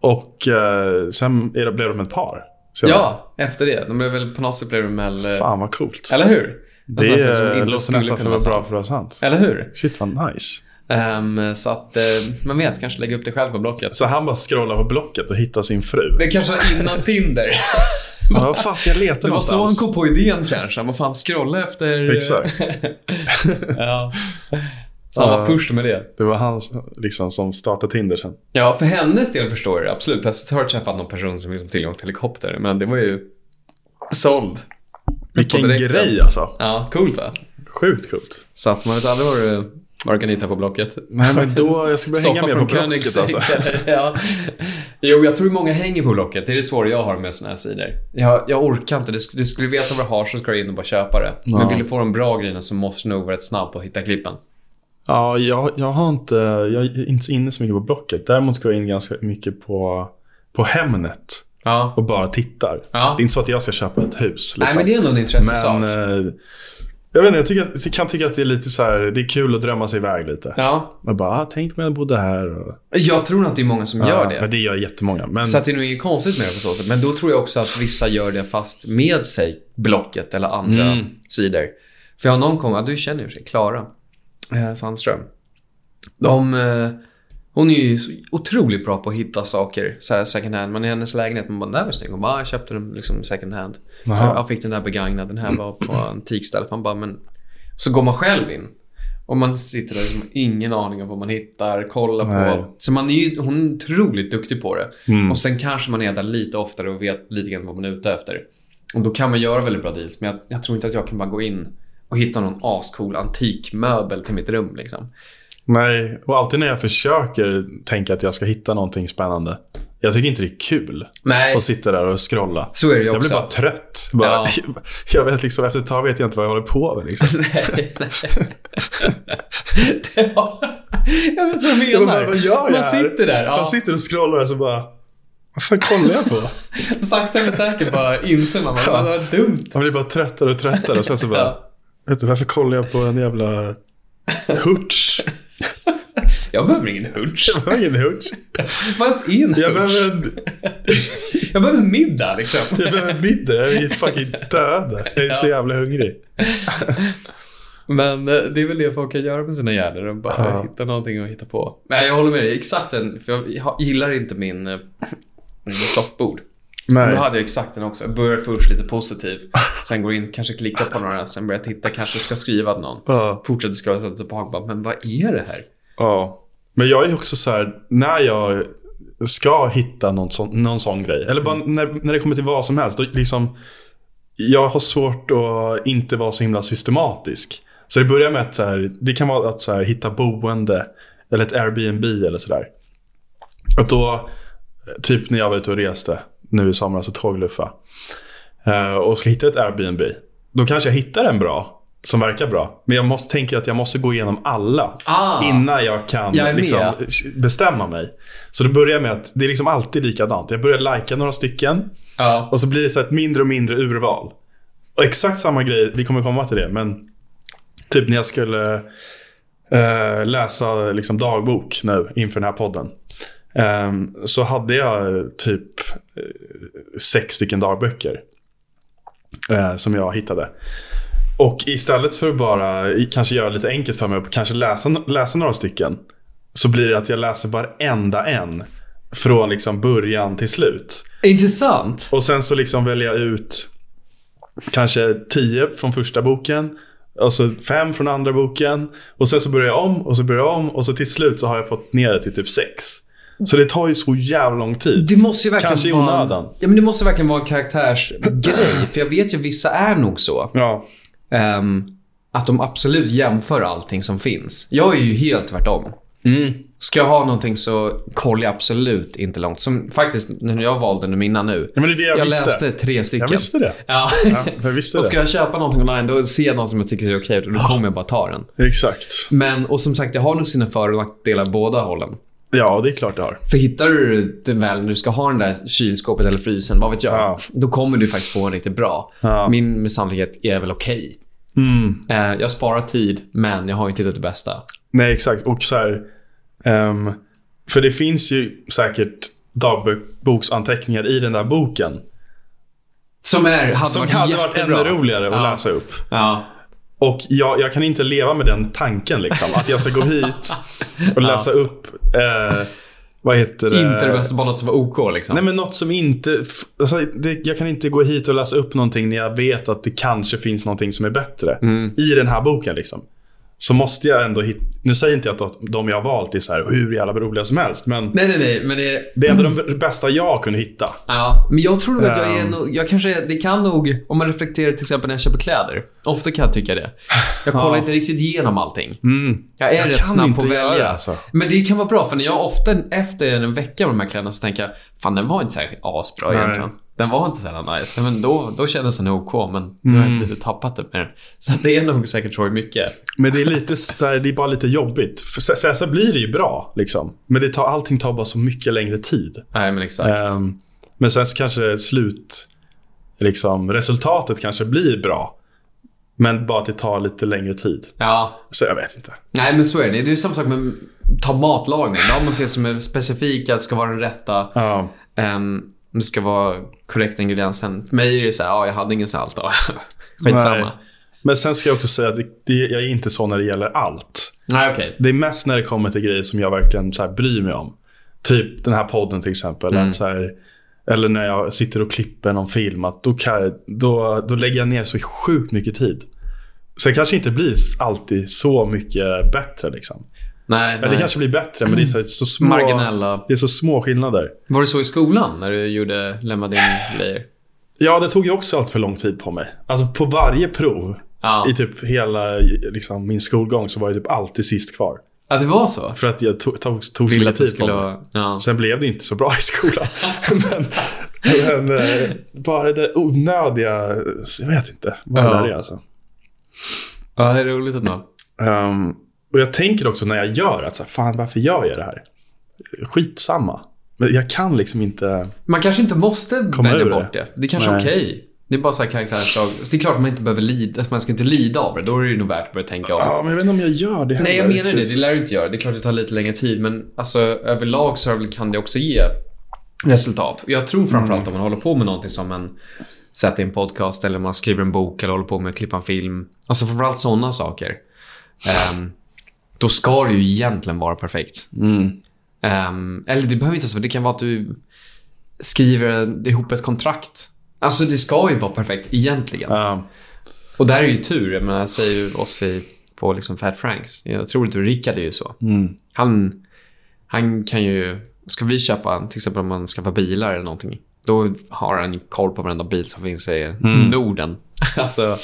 Speaker 1: och eh, sen är det- blev de ett par? Så jag
Speaker 2: ja, efter det. De blev väl på något sätt blev de väl... eh,
Speaker 1: bara, Fan vad coolt.
Speaker 2: Eller hur?
Speaker 1: det
Speaker 2: Alltså, som
Speaker 1: eh,
Speaker 2: inte
Speaker 1: låter
Speaker 2: skulle
Speaker 1: nästan för
Speaker 2: kunna
Speaker 1: att
Speaker 2: vara
Speaker 1: vara bra
Speaker 2: sant.
Speaker 1: för att vara sant.
Speaker 2: Eller hur?
Speaker 1: Shit vad nice.
Speaker 2: Ehm, så att eh, man vet, kanske lägga upp det själv på Blocket.
Speaker 1: Så han bara scrollar på Blocket och hittar sin fru.
Speaker 2: *laughs* Det kanske var innan Tinder.
Speaker 1: Men Vad fan ska jag leta
Speaker 2: Det var så han
Speaker 1: någonstans?
Speaker 2: kom på idén kanske. Han bara, fan scrolla efter...
Speaker 1: Exakt.
Speaker 2: *laughs* ja. Så han var
Speaker 1: Ja.
Speaker 2: först med det.
Speaker 1: Det var han som- liksom, som startade Tinder sen.
Speaker 2: Ja, för hennes del förstår jag det, absolut. Plötsligt har jag träffat någon person som vill ha tillgång till helikopter. Men det var ju såld.
Speaker 1: Vilken
Speaker 2: På direkten.
Speaker 1: grej alltså.
Speaker 2: Ja, coolt va?
Speaker 1: Sjukt coolt.
Speaker 2: Så att man vet aldrig vad du, vad du kan hitta på Blocket.
Speaker 1: Nej, men
Speaker 2: *laughs*
Speaker 1: då, jag ska börja hänga
Speaker 2: Soffa
Speaker 1: med
Speaker 2: från
Speaker 1: på Blocket
Speaker 2: Koenigsegg.
Speaker 1: alltså.
Speaker 2: *laughs* ja. Jo, jag tror många hänger på Blocket. Det är det svåra jag har med såna här sidor. Jag, jag orkar inte. Du, sk- du skulle veta vad du har så ska du in och bara köpa det. Men
Speaker 1: Ja.
Speaker 2: vill du få de bra grejerna så måste du nog vara rätt snabb på att hitta klippen.
Speaker 1: Ja, jag, jag, har inte, jag är inte så inne så mycket på Blocket. Däremot ska jag in ganska mycket på, på Hemnet
Speaker 2: Ja.
Speaker 1: och bara tittar.
Speaker 2: Ja.
Speaker 1: Det är inte så att jag ska köpa ett hus.
Speaker 2: Nej,
Speaker 1: Liksom.
Speaker 2: men det är ändå en intressesak.
Speaker 1: men eh, jag, vet inte, jag, tycker att, jag kan tycka att det är lite så här, det är kul att drömma sig iväg lite.
Speaker 2: Ja.
Speaker 1: Jag bara, ah, tänk om jag bodde här. Och,
Speaker 2: Jag tror att det är många som gör
Speaker 1: Ja,
Speaker 2: det.
Speaker 1: Men det gör jättemånga. Men,
Speaker 2: Så att det är nog inget konstigt med det på så sätt. Men då tror jag också att vissa gör det fast med sig Blocket eller andra
Speaker 1: Mm.
Speaker 2: sidor. För jag har någon kompis, ja, du känner ju sig, Klara eh, Sandström. De, eh, hon är ju så otroligt bra på att hitta saker så här second hand. Man är i hennes lägenhet man bara, den där var snygg. Hon bara, "Ah, jag köpte den liksom second hand.
Speaker 1: Jaha.
Speaker 2: Jag fick den där begagnad. Den här
Speaker 1: *clears throat*
Speaker 2: var på antikstället. Man bara, men... Så går man själv in. Och man sitter där och liksom, har ingen aning om vad man hittar, kollar
Speaker 1: Nej.
Speaker 2: på. Så man är ju, hon är otroligt duktig på det.
Speaker 1: Mm.
Speaker 2: Och sen kanske man är där lite oftare och vet lite grann vad man är ute efter. Och då kan man göra väldigt bra deals. Men jag, jag tror inte att jag kan bara gå in och hitta någon ascool antikmöbel till mitt rum. Liksom.
Speaker 1: Nej, och alltid när jag försöker tänka att jag ska hitta någonting spännande. Jag tycker inte det är kul
Speaker 2: Nej,
Speaker 1: att sitta där och scrolla.
Speaker 2: så är det ju
Speaker 1: Jag
Speaker 2: också.
Speaker 1: blir
Speaker 2: *laughs*
Speaker 1: bara trött. Bara,
Speaker 2: Ja.
Speaker 1: *laughs* jag vet liksom, efter ett tag vet jag inte vad jag håller på med.
Speaker 2: *laughs*
Speaker 1: Liksom.
Speaker 2: nej, nej. Det var- jag vet vad du
Speaker 1: Jag
Speaker 2: menar.
Speaker 1: bara, vad gör jag
Speaker 2: man
Speaker 1: här?
Speaker 2: sitter där. Ja.
Speaker 1: Man sitter och scrollar och så bara, vad fan kollar jag
Speaker 2: *laughs*
Speaker 1: på?
Speaker 2: Sakta men säkert bara inser man bara, vad vad dumt.
Speaker 1: Man blir bara tröttare och tröttare och sen så bara,
Speaker 2: Ja.
Speaker 1: vet du, varför kollar jag på en jävla Hurts?
Speaker 2: Jag behöver ingen
Speaker 1: *laughs*
Speaker 2: hunch.
Speaker 1: Jag behöver ingen Hurts.
Speaker 2: Vad ens är en hunch?
Speaker 1: Jag behöver, en,
Speaker 2: jag behöver middag liksom.
Speaker 1: jag behöver middag. Jag är fucking död. Jag är så
Speaker 2: Ja.
Speaker 1: jävla hungrig.
Speaker 2: Men eh, det är väl det folk kan göra med sina hjärnor. De bara
Speaker 1: Ja.
Speaker 2: hitta någonting att hitta på. Nej, jag håller med dig. Exakt den. För jag ha- gillar inte min, eh, min soffbord. Men då
Speaker 1: Nej.
Speaker 2: hade jag exakt den också. Jag börjar först lite positiv. Sen går in, kanske klickar på några. Sen börjar jag titta, kanske ska skriva åt någon.
Speaker 1: Ja.
Speaker 2: Fortsätter skriva så att jag bara, men vad är det här?
Speaker 1: Ja. Men jag är också så här, när jag ska hitta någon sån, någon sån grej, eller bara när, när det kommer till vad som helst, då liksom, jag har svårt att inte vara så himla systematisk. Så det börjar med att så här, det kan vara att så här, hitta boende eller ett Airbnb eller sådär. Att då, typ när jag var ute och reste nu i somras och tågluffa eh, och ska hitta ett Airbnb. Då kanske jag hittar en bra, som verkar bra. Men jag måste tänka att jag måste gå igenom alla
Speaker 2: Ah,
Speaker 1: innan jag kan
Speaker 2: Jag är med.
Speaker 1: liksom, bestämma mig. Så det börjar med att det är liksom alltid likadant. Jag börjar lika några stycken
Speaker 2: ja.
Speaker 1: och så blir det så här ett mindre och mindre urval. Och exakt samma grej, vi kommer komma till det, men typ när jag skulle eh, läsa liksom, dagbok nu inför den här podden. ehm, så hade jag eh, typ eh, sex stycken dagböcker eh, som jag hittade. Och istället för att bara eh, kanske göra lite enkelt för mig och kanske läsa, läsa några stycken. Så blir det att jag läser varenda en. Från liksom början till slut.
Speaker 2: Intressant.
Speaker 1: Och sen så liksom väljer jag ut kanske tio från första boken. Alltså fem från andra boken. Och sen så börjar jag om och så börjar jag om. Och så till slut så har jag fått ner det till typ sex. Så det tar ju så jävla lång tid.
Speaker 2: Det måste ju verkligen
Speaker 1: Kanske i
Speaker 2: vara...
Speaker 1: onödan.
Speaker 2: Ja, men det måste verkligen vara en karaktärsgrej. För jag vet ju vissa är nog så.
Speaker 1: Ja.
Speaker 2: Ehm, att de absolut jämför allting som finns. Jag är ju helt tvärtom.
Speaker 1: Mm.
Speaker 2: Ska jag ha någonting så kollar jag absolut inte långt. Som faktiskt när jag valde nu mina nu.
Speaker 1: Ja, men det är det jag,
Speaker 2: Jag
Speaker 1: visste.
Speaker 2: läste tre stycken.
Speaker 1: Jag visste det.
Speaker 2: Ja. *laughs*
Speaker 1: Ja, jag visste
Speaker 2: och ska
Speaker 1: det.
Speaker 2: jag köpa någonting online, då ser jag någon som jag tycker är okej. Då kommer jag bara ta den.
Speaker 1: Exakt.
Speaker 2: Men, och som sagt, det har nog sina för och nackdelar båda hållen.
Speaker 1: Ja, det är klart det har.
Speaker 2: För hittar du det väl när du ska ha den där kylskåpet eller frysen, vad vet jag.
Speaker 1: Ja.
Speaker 2: Då kommer du faktiskt få en riktigt bra.
Speaker 1: Ja.
Speaker 2: Min med sannolikhet är väl okej.
Speaker 1: Mm.
Speaker 2: Eh, jag sparar tid, men jag har inte hittat det bästa.
Speaker 1: Nej, exakt. Och så här, ehm, för det finns ju säkert dagboksanteckningar i den där boken.
Speaker 2: Som är, hade
Speaker 1: Som
Speaker 2: varit
Speaker 1: hade varit
Speaker 2: jättebra.
Speaker 1: ännu roligare att
Speaker 2: Ja.
Speaker 1: läsa upp.
Speaker 2: Ja.
Speaker 1: Och jag, jag kan inte
Speaker 2: *laughs*
Speaker 1: leva med den tanken liksom. Att jag ska gå hit och läsa upp eh, Vad heter det?
Speaker 2: Inte det bästa, bara något som var OK liksom.
Speaker 1: Nej, men något som inte... f- Alltså, det, jag kan inte gå hit och läsa upp någonting när jag vet att det kanske finns någonting som är bättre.
Speaker 2: Mm.
Speaker 1: I den här boken liksom. Så måste jag ändå hitta... Nu säger inte jag att de jag har valt är så här hur jävla roliga som helst, men
Speaker 2: nej, nej, nej. Men det,
Speaker 1: det är ändå de bästa jag kunde hitta.
Speaker 2: Ja, men jag tror nog att jag är
Speaker 1: Ehm.
Speaker 2: nog, jag kanske, det kan nog, om man reflekterar till exempel när jag köper kläder. Ofta kan jag tycka det. Jag kollar
Speaker 1: Ja.
Speaker 2: inte riktigt igenom allting.
Speaker 1: Mm.
Speaker 2: Jag är
Speaker 1: Jag
Speaker 2: rätt
Speaker 1: kan
Speaker 2: snabb
Speaker 1: inte
Speaker 2: på att
Speaker 1: göra
Speaker 2: välja.
Speaker 1: det, alltså.
Speaker 2: Men det kan vara bra, för när jag ofta efter en vecka med de här kläderna så tänker jag, fan den var inte särskilt asbra
Speaker 1: Nej.
Speaker 2: egentligen. Den var inte så här nice. Men då, då kändes den OK, men nu har jag
Speaker 1: Mm.
Speaker 2: lite tappat det med den. Så att det är nog säkert så mycket.
Speaker 1: Men det är lite så här, det är bara lite jobbigt. För så, så, här, så blir det ju bra, liksom. Men det tar, allting tar bara så mycket längre tid.
Speaker 2: Nej, men exakt.
Speaker 1: Ehm, men sen så kanske slut, liksom, resultatet kanske blir bra. Men bara att det tar lite längre tid.
Speaker 2: Ja,
Speaker 1: Så jag vet inte.
Speaker 2: Nej, men så är det. Det är ju samma sak med ta matlagning. Då har man fel som är specifika, ska vara den rätta.
Speaker 1: Ja,
Speaker 2: Ehm, det ska vara korrekta ingrediensen. För mig är det så här, ja, jag hade ingen salt. Då. *laughs* Skitsamma. Nej,
Speaker 1: Nej. men sen ska jag också säga att det, det, jag är inte så när det gäller allt.
Speaker 2: Nej okej.
Speaker 1: Det är mest när det kommer till grejer som jag verkligen så här, bryr mig om. Typ den här podden till exempel.
Speaker 2: Mm.
Speaker 1: Att Så här, eller när jag sitter och klipper någon film. Att då, kan, då, då lägger jag ner så sjukt mycket tid. Sen kanske inte blir alltid så mycket bättre. Liksom.
Speaker 2: Nej,
Speaker 1: Eller
Speaker 2: nej.
Speaker 1: det kanske blir bättre, men det är så, här, så små...
Speaker 2: Marginella.
Speaker 1: Det är så små skillnader.
Speaker 2: Var det så i skolan när du gjorde, lämnade in grejer?
Speaker 1: Ja, det tog ju också allt för lång tid på mig. Alltså på varje prov
Speaker 2: Ja.
Speaker 1: i typ hela liksom, min skolgång så var jag typ alltid sist kvar.
Speaker 2: ja, det var så.
Speaker 1: För att jag tog, tog, tog så
Speaker 2: Ville att
Speaker 1: mycket
Speaker 2: du
Speaker 1: tid på
Speaker 2: skulle
Speaker 1: mig.
Speaker 2: ha... Ja.
Speaker 1: Sen blev det inte så bra i skolan. *laughs* men, men eh, bara det onödiga, jag vet inte. Vad
Speaker 2: Ja.
Speaker 1: är det alltså?
Speaker 2: ja, det är roligt ändå.
Speaker 1: Ehm, och jag tänker också när jag gör att så här, fan varför gör jag det här? Skitsamma. Men jag kan liksom inte.
Speaker 2: Man kanske inte måste
Speaker 1: Komma
Speaker 2: välja
Speaker 1: ur
Speaker 2: bort det. Det är kanske är
Speaker 1: Nej.
Speaker 2: okej. Det är bara så här karaktärsdrag. Så det är klart att man inte behöver lida, att man ska inte lida av det. Då är det ju nog värt att börja tänka om.
Speaker 1: Ja, men jag vet inte om jag gör det
Speaker 2: Nej, jag
Speaker 1: heller.
Speaker 2: menar det. Det lär du inte göra. Det är klart det tar lite längre tid, men alltså, överlag så har väl- kan det också ge resultat. Jag tror framförallt om man håller på med någonting som en sätter in podcast eller man skriver en bok eller håller på med att klippa en film. Alltså framförallt sådana saker. Ehm, då ska det ju egentligen vara perfekt.
Speaker 1: Mm.
Speaker 2: Ehm, eller det behöver inte ens vara. Det kan vara att du skriver ihop ett kontrakt. Alltså det ska ju vara perfekt egentligen.
Speaker 1: Ja.
Speaker 2: Och där är ju tur. Jag menar, jag säger ju oss i, på liksom Fat Franks. Jag tror inte Rickard är ju så.
Speaker 1: Mm.
Speaker 2: Han, han kan ju... Ska vi köpa, till exempel om man skaffar bilar eller någonting, då har han ju koll på varenda bil som finns i
Speaker 1: Mm.
Speaker 2: Norden. *laughs* alltså,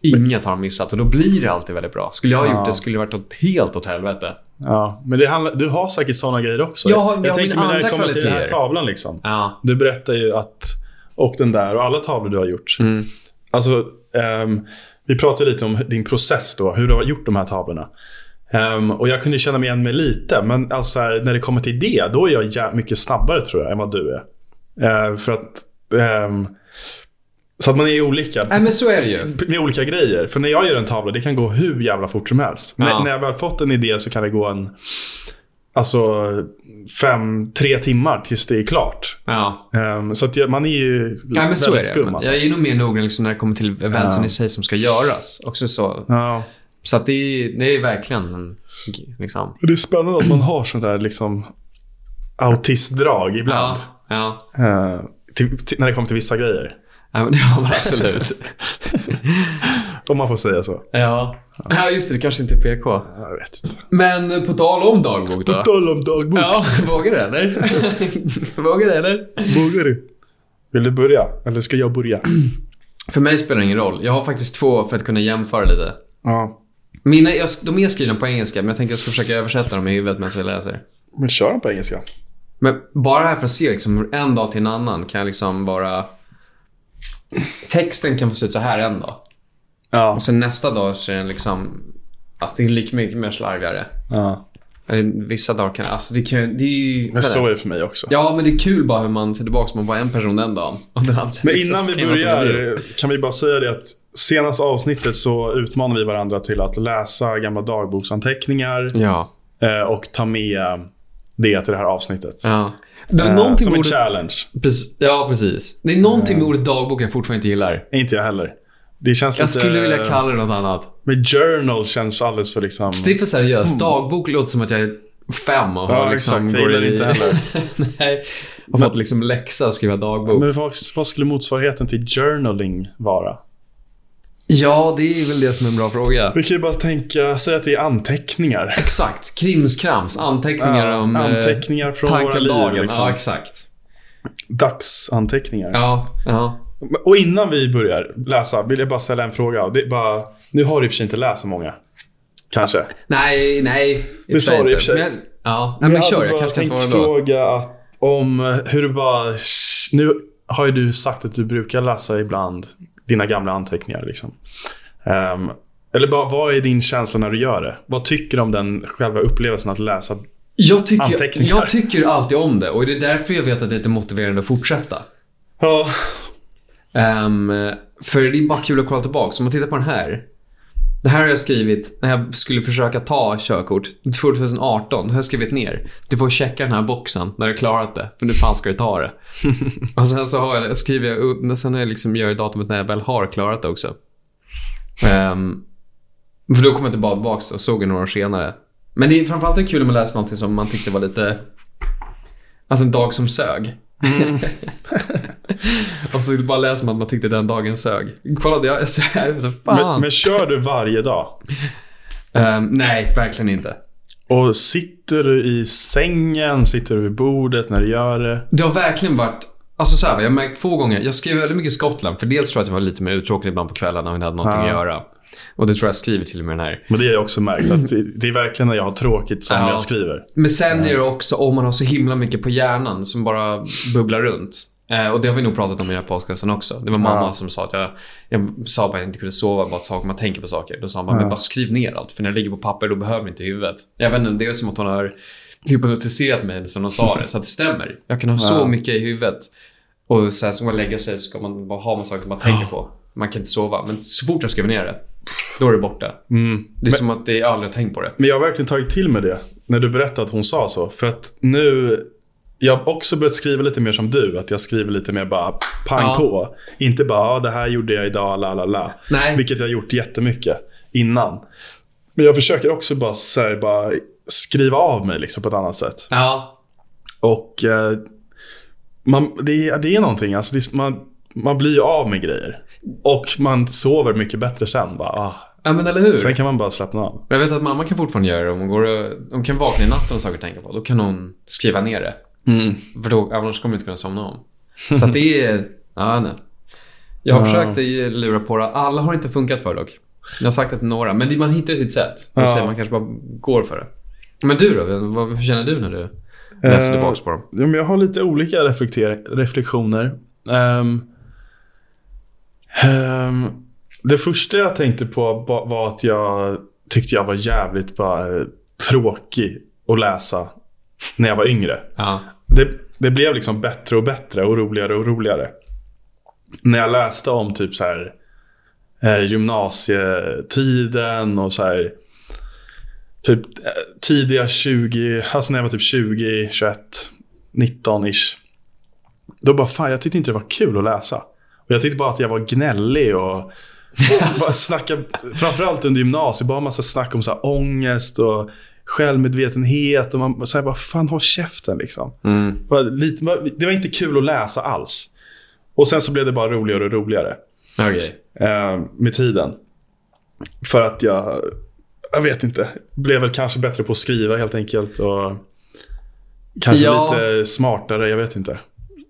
Speaker 2: inget har han missat och då blir det alltid väldigt bra. Skulle jag ha gjort
Speaker 1: Ja.
Speaker 2: det skulle det varit åt, helt åt helvete.
Speaker 1: Ja, men det handlar, du har säkert sådana grejer också.
Speaker 2: Jag har- jag har
Speaker 1: tänker
Speaker 2: mina
Speaker 1: mig när det
Speaker 2: andra
Speaker 1: kommer till den här
Speaker 2: kvaliteter.
Speaker 1: tavlan liksom.
Speaker 2: Ja.
Speaker 1: Du berättar ju att, och den där och alla tavlor du har gjort.
Speaker 2: Mm.
Speaker 1: Alltså, ehm, vi pratade lite om din process då, hur du har gjort de här tavlorna. Ehm, och jag kunde känna mig igen mig lite, men alltså här, när det kommer till det, då är jag jä- mycket snabbare tror jag än vad du är. Ehm, för att, ehm, så att man är olika
Speaker 2: Nej, men så är det ju.
Speaker 1: med olika grejer. För när jag gör en tavla, det kan gå hur jävla fort som helst.
Speaker 2: Ja.
Speaker 1: När, när jag väl fått en idé så kan det gå en, alltså fem, tre timmar tills det är klart.
Speaker 2: Ja.
Speaker 1: Ehm, så att jag, man är ju
Speaker 2: Nej, men så är
Speaker 1: väldigt
Speaker 2: det.
Speaker 1: skum alltså.
Speaker 2: Jag är nog mer noggrann liksom, när det kommer till eventsen
Speaker 1: Ja.
Speaker 2: i sig som ska göras. Också så.
Speaker 1: Ja.
Speaker 2: Så att det, är- det är verkligen en- liksom.
Speaker 1: Det är spännande att man har sådana där liksom autistdrag ibland.
Speaker 2: Ja. ja.
Speaker 1: Eh, till, till, när det kommer till vissa
Speaker 2: *laughs*
Speaker 1: grejer.
Speaker 2: Ja, men det har man
Speaker 1: *laughs*
Speaker 2: absolut.
Speaker 1: Om man får säga så.
Speaker 2: ja. ja, just det. Det kanske inte är PK.
Speaker 1: Jag vet inte.
Speaker 2: Men på tal om dagbok då.
Speaker 1: Tal om dagbok.
Speaker 2: Ja, vågar du eller? *laughs* vågar du eller?
Speaker 1: Vågar du? Vill du börja? Eller ska jag börja?
Speaker 2: För mig spelar det ingen roll. Jag har faktiskt två för att kunna jämföra lite.
Speaker 1: Ja.
Speaker 2: Mina, jag, de är skrivna på engelska, men jag tänker jag ska försöka översätta dem i huvudet medan jag läser.
Speaker 1: Men kör den på engelska.
Speaker 2: Men bara här för att se liksom, hur en dag till en annan kan jag liksom vara... Texten kan se ut så här en dag.
Speaker 1: Ja.
Speaker 2: Och sen nästa dag så är den liksom... Att det är lika mycket mer slarvigare.
Speaker 1: ja.
Speaker 2: Eh, Vissa dagar kan... Alltså det, kan, ju- det är ju...
Speaker 1: Men så är det för mig också.
Speaker 2: Ja, men det är kul bara hur man ser tillbaka som man var en person den dagen. *laughs* Och den andra
Speaker 1: Men
Speaker 2: liksom
Speaker 1: innan vi
Speaker 2: kan vara som en idiot.
Speaker 1: börjar kan vi bara säga det att senaste avsnittet så utmanar vi varandra till att läsa gamla dagboksanteckningar
Speaker 2: Ja.
Speaker 1: eh, och ta med det till det här avsnittet.
Speaker 2: ja. Det är
Speaker 1: Eh,
Speaker 2: någonting
Speaker 1: som
Speaker 2: med
Speaker 1: en
Speaker 2: ordet...
Speaker 1: challenge.
Speaker 2: Precis, ja, precis. Det är någonting med ordet dagbok jag fortfarande inte gillar.
Speaker 1: Inte jag heller. Mm. Det känns
Speaker 2: Jag
Speaker 1: lite...
Speaker 2: skulle vilja kalla det något annat.
Speaker 1: Men journal känns alldeles för liksom...
Speaker 2: Det är för seriöst. Dagbok låter som att jag fem och
Speaker 1: Ja,
Speaker 2: har liksom...
Speaker 1: exakt. Jag gillar det inte
Speaker 2: heller. *laughs* Nej. Har
Speaker 1: Men-
Speaker 2: fått liksom läxa och skriva dagbok.
Speaker 1: Men vad, vad skulle motsvarigheten till journaling vara?
Speaker 2: Ja, det är väl det som är en bra fråga.
Speaker 1: Vi kan ju bara tänka, säg att det är anteckningar. *laughs*
Speaker 2: Exakt. Krimskrams. Anteckningar
Speaker 1: Ja,
Speaker 2: om... eh,
Speaker 1: anteckningar från våra
Speaker 2: tankar om dagen.
Speaker 1: liv. Liksom.
Speaker 2: Ja, exakt.
Speaker 1: Dagsanteckningar.
Speaker 2: Ja, ja.
Speaker 1: Och innan vi börjar läsa vill jag bara ställa en fråga. Det är bara, nu har du i och för sig inte läst så många. Kanske.
Speaker 2: Nej, nej.
Speaker 1: Det sa du i och för sig.
Speaker 2: Men, ja, nej, men kör. Jag
Speaker 1: bara
Speaker 2: kanske kan
Speaker 1: tänkt
Speaker 2: svara då.
Speaker 1: fråga att, om eh, hur du bara... Nu har ju du sagt att du brukar läsa ibland dina gamla anteckningar. Liksom. Ehm, eller bara, vad är din känsla när du gör det? Vad tycker du om den själva upplevelsen att läsa?
Speaker 2: Jag tycker,
Speaker 1: Anteckningar.
Speaker 2: jag tycker alltid om det och det är därför jag vet att det är lite motiverande att fortsätta.
Speaker 1: Ja,
Speaker 2: Ehm, för det är bara kul att kolla tillbaka. Så om man tittar på den här. Det här har jag skrivit när jag skulle försöka ta körkort 2018. Det har jag skrivit ner. Du får checka den här boxen när du har klarat det. För nu fan ska du
Speaker 1: *laughs*
Speaker 2: ta det. och sen så har jag, skriver jag upp- men sen har jag liksom gör jag datumet när jag väl har klarat det också. Ehm, för då kom jag tillbaka och såg det några år senare. Men det är framförallt det är kul om man läser någonting som man tyckte var lite... Alltså en dag som sög.
Speaker 1: Mm.
Speaker 2: *laughs* Och så bara läser man att man tyckte den dagen sög. Kollade jag så här, jag vet inte,
Speaker 1: men,
Speaker 2: fan.
Speaker 1: men kör du varje dag?
Speaker 2: Ehm, nej, verkligen inte.
Speaker 1: Och sitter du i sängen? Sitter du vid bordet när du gör det?
Speaker 2: Det har verkligen varit... Alltså så här, jag har märkt två gånger. Jag skrev väldigt mycket Skottland. För dels tror jag att jag var lite mer uttråkad ibland på kvällarna och inte hade någonting
Speaker 1: Ja.
Speaker 2: att göra. Och det tror jag skriver till och med den här.
Speaker 1: Men det har jag också märkt. Att det- det är verkligen när jag har tråkigt som
Speaker 2: Ja.
Speaker 1: jag skriver.
Speaker 2: Men sen är det också om man har så himla mycket på hjärnan som bara bubblar runt. Eh, och det har vi nog pratat om i den här podcasten också. Det var mamma
Speaker 1: Ja.
Speaker 2: som sa att jag, jag sa bara att jag inte kunde sova, bara att saker, man tänker på saker. Då sa hon bara,
Speaker 1: Ja.
Speaker 2: men bara skriv ner allt, för när det ligger på papper då behöver vi inte i huvudet. Jag vet inte, det är som att hon har hypnotiserat mig sen hon sa det, så att det stämmer. Jag kan ha så
Speaker 1: Ja.
Speaker 2: mycket i huvudet. Och sen ska man lägga sig så ska man bara ha massa saker man tänker på. Man kan inte sova, men så fort jag skriver ner det, då är det borta.
Speaker 1: Mm.
Speaker 2: Det är som att det, jag aldrig har tänkt på det.
Speaker 1: Men jag har verkligen tagit till mig det när du berättade att hon sa så. För att nu, jag har också börjat skriva lite mer som du. Att jag skriver lite mer bara pang
Speaker 2: Ja.
Speaker 1: på. Inte bara ah, det här gjorde jag idag, la la la.
Speaker 2: Nej.
Speaker 1: Vilket jag har gjort jättemycket innan. Men jag försöker också bara, så här, bara skriva av mig liksom, på ett annat sätt.
Speaker 2: Ja,
Speaker 1: Och eh, man, det, är- det är någonting. Alltså, det, är- man, man blir ju av med grejer. Och man sover mycket bättre sen. Bara, ah.
Speaker 2: ja men eller hur?
Speaker 1: Sen kan man bara slappna av.
Speaker 2: Men Jag vet att mamma kan fortfarande göra det. Om hon, går och, hon kan vakna i natten och saker att tänka på. Då kan hon skriva ner det. För då, annars kommer hon inte kunna somna om. Så att det är... Ja, nej. Jag har
Speaker 1: Ja.
Speaker 2: försökt eh, lura på det. Alla har inte funkat för dock. Jag har sagt det till några. Men det- man hittar ju sitt sätt.
Speaker 1: Ja.
Speaker 2: Ja. Säga, man kanske bara går för det. Men du då? Vad, hur känner du när du läser
Speaker 1: Eh,
Speaker 2: tillbaka på dem?
Speaker 1: Ja, men jag har lite olika reflekter- reflektioner. Ehm, ehm, det första jag tänkte på ba- var att jag tyckte jag var jävligt bara, eh, tråkig att läsa när jag var yngre.
Speaker 2: Ja.
Speaker 1: Det, det blev liksom bättre och bättre och roligare och roligare. När jag läste om typ så här eh, gymnasietiden och så här typ eh, tidiga 20, alltså när jag var typ 20, 21, 19 ish. Då bara fan, jag tyckte inte det var kul att läsa. Och jag tyckte bara att jag var gnällig och bara snacka, framförallt under gymnasiet, bara massa snack om så här ångest och självmedvetenhet och man säger bara fan håll käften liksom.
Speaker 2: Mm.
Speaker 1: Bara lite, bara- det var inte kul att läsa alls. Och sen så blev det bara roligare och roligare
Speaker 2: Okej.
Speaker 1: eh, med tiden. För att jag, jag vet inte, blev väl kanske bättre på att skriva helt enkelt. Och kanske
Speaker 2: Ja.
Speaker 1: lite smartare, jag vet inte.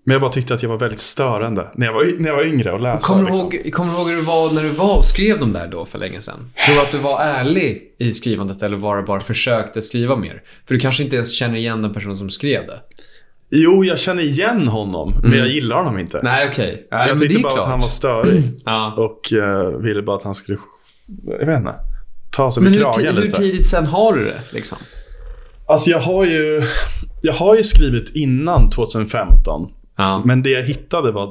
Speaker 1: Men jag bara tyckte att jag var väldigt störande när jag var, y- när jag var yngre och läsa.
Speaker 2: Kommer du
Speaker 1: liksom.
Speaker 2: ihåg, kommer du ihåg hur du var när du var och skrev de där då för länge sedan? Tror du att du var ärlig i skrivandet eller var du bara försökte skriva mer? För du kanske inte ens känner igen den person som skrev det.
Speaker 1: Jo, jag känner igen honom, men jag gillar honom inte.
Speaker 2: Mm. Nej, okej. Nej,
Speaker 1: jag
Speaker 2: men det
Speaker 1: tyckte
Speaker 2: är
Speaker 1: bara
Speaker 2: klart.
Speaker 1: att han var störig
Speaker 2: Ja.
Speaker 1: och eh, ville bara att han skulle, jag vet inte, ta sig
Speaker 2: Men
Speaker 1: vid
Speaker 2: hur,
Speaker 1: kragen
Speaker 2: ti- hur
Speaker 1: lite.
Speaker 2: tidigt sen har du det? Liksom?
Speaker 1: Alltså jag har ju, jag har ju skrivit innan 2015.
Speaker 2: Ja.
Speaker 1: Men det jag hittade var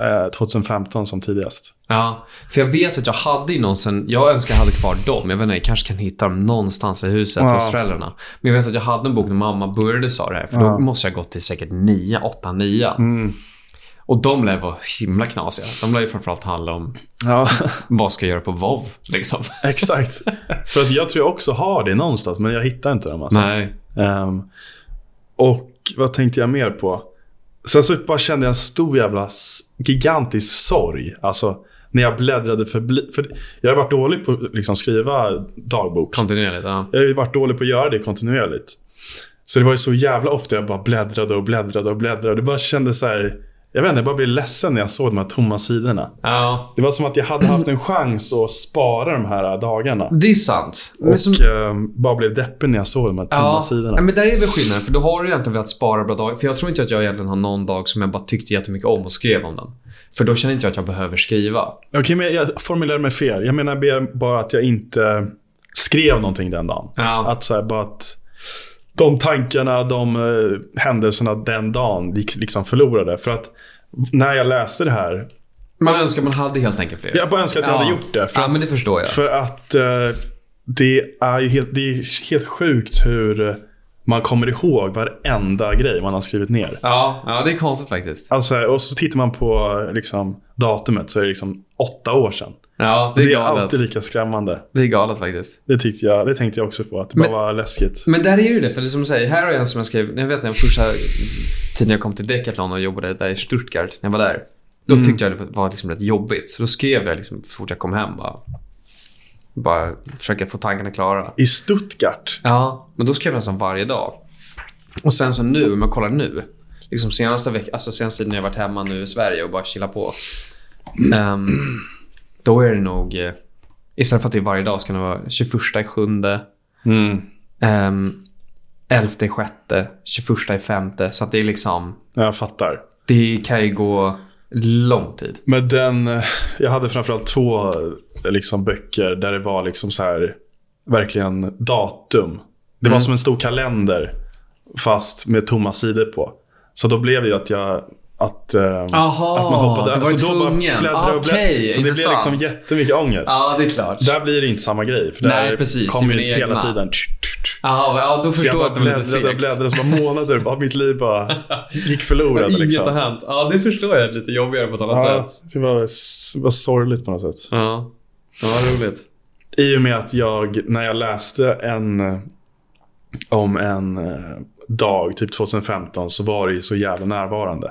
Speaker 1: eh, 2015 som tidigast.
Speaker 2: ja. För jag vet att jag hade ju någon sen... Jag önskar jag hade kvar dem. Jag vet inte, jag kanske kan hitta dem någonstans i huset
Speaker 1: Ja.
Speaker 2: hos föräldrarna. Men jag vet att jag hade en bok när mamma började sa det här. För då
Speaker 1: Ja. Mm.
Speaker 2: måste jag ha gått till säkert 9, 8, 9. Och de lär vara himla knasiga. De lär ju framförallt handla om
Speaker 1: *laughs* Ja,
Speaker 2: vad ska jag göra på vov? Liksom.
Speaker 1: *laughs* exakt. För att jag tror jag också har det någonstans, men jag hittar inte dem. Alltså.
Speaker 2: Nej.
Speaker 1: Ehm, och vad tänkte jag mer på? Sen så bara kände jag en stor jävla s- gigantisk sorg. Alltså när jag bläddrade förbi. För jag har varit dålig på att liksom, skriva dagbok.
Speaker 2: Kontinuerligt, ja.
Speaker 1: Jag har ju varit dålig på att göra det kontinuerligt. Så det var ju så jävla ofta jag bara bläddrade och bläddrade och bläddrade. Det bara kändes så här. Jag vet inte, jag bara blev ledsen när jag såg de här tomma sidorna.
Speaker 2: ja.
Speaker 1: Det var som att jag hade haft en chans att spara de här dagarna.
Speaker 2: Det är sant. Men
Speaker 1: Och
Speaker 2: som,
Speaker 1: eh, bara blev deppig när jag såg de här tomma
Speaker 2: ja,
Speaker 1: sidorna.
Speaker 2: ja, men där är väl skillnaden. För då har du egentligen velat spara bra dagar. För jag tror inte att jag egentligen har någon dag som jag bara tyckte jättemycket om och skrev om den. För då känner inte jag att jag behöver skriva.
Speaker 1: Okej, men jag formulerade mig fel. Jag menar mer bara att jag inte skrev någonting den dagen.
Speaker 2: Ja.
Speaker 1: Att så här, bara att de tankarna, de eh, händelserna den dagen gick liksom förlorade. För att när jag läste det här,
Speaker 2: Man önskar man hade helt enkelt fler.
Speaker 1: jag bara önskar att jag
Speaker 2: Ja.
Speaker 1: hade gjort det. För
Speaker 2: Ja,
Speaker 1: att,
Speaker 2: men det förstår jag.
Speaker 1: alltså, för att eh, det är ju helt, det är helt sjukt hur man kommer ihåg varenda grej man har skrivit ner.
Speaker 2: Ja, ja, det är konstigt faktiskt.
Speaker 1: Alltså, och så tittar man på liksom, datumet så är det liksom åtta år sedan.
Speaker 2: Ja, det
Speaker 1: Det
Speaker 2: är,
Speaker 1: är,
Speaker 2: galet.
Speaker 1: alltid lika skrämmande.
Speaker 2: Det är galet faktiskt.
Speaker 1: Det, tyckte jag, det tänkte jag också på, att det
Speaker 2: Men-
Speaker 1: bara var läskigt.
Speaker 2: Men där är ju det, för det är som du säger, här har jag en som jag skrev, jag vet när jag första tiden jag kom till Decathlon och jobbade där i Stuttgart, när jag var där. Då
Speaker 1: Mm.
Speaker 2: tyckte jag det var liksom rätt jobbigt, så då skrev jag liksom så fort jag kom hem bara, bara försöka få tankarna klara.
Speaker 1: I Stuttgart.
Speaker 2: Ja, men då skrev jag nästan varje dag. Och sen så nu, om jag kollar nu. Liksom senaste veckan, alltså senaste tiden jag varit hemma nu i Sverige och bara chilla på. ehm, då är det nog, eh, istället för att det är varje dag så kan det vara 21 i sjunde, um, 11 i sjätte, 21 i femte. Så att det är liksom,
Speaker 1: Jag fattar.
Speaker 2: det kan ju gå lång tid.
Speaker 1: Men den, eh, jag hade framförallt två eh, liksom, böcker där det var liksom så här, verkligen datum. Det var
Speaker 2: Mm.
Speaker 1: som en stor kalender fast med tomma sidor på. Så då blev det ju att jag att, eh,
Speaker 2: Jaha,
Speaker 1: att man hoppade
Speaker 2: Ah, du var
Speaker 1: alltså, då bara
Speaker 2: tvungen.
Speaker 1: bläddra och bläddra.
Speaker 2: Okej,
Speaker 1: Så det blev
Speaker 2: intressant.
Speaker 1: liksom jättemycket ångest.
Speaker 2: Ja, det är klart.
Speaker 1: Där blir det inte samma grej. För
Speaker 2: Nej,
Speaker 1: där
Speaker 2: precis.
Speaker 1: kommer
Speaker 2: Det är
Speaker 1: ju
Speaker 2: mina
Speaker 1: hela
Speaker 2: egna.
Speaker 1: tiden.
Speaker 2: Ja, ja, då
Speaker 1: Så jag
Speaker 2: förstår jag
Speaker 1: bara
Speaker 2: att det blev lite
Speaker 1: bläddrade och
Speaker 2: segt.
Speaker 1: bläddrade. Så bara månader av mitt liv
Speaker 2: *laughs*
Speaker 1: bara gick
Speaker 2: Men
Speaker 1: förlorade.
Speaker 2: inget
Speaker 1: Liksom.
Speaker 2: har hänt. Ja, det förstår jag. Lite jobbigare på ett annat
Speaker 1: Ja,
Speaker 2: sätt.
Speaker 1: det var, det var sorgligt på något sätt.
Speaker 2: Ja. Ja, vad roligt.
Speaker 1: I och med att jag, när jag läste en eh, om en eh, dag, typ 2015, så var det ju så jävla närvarande.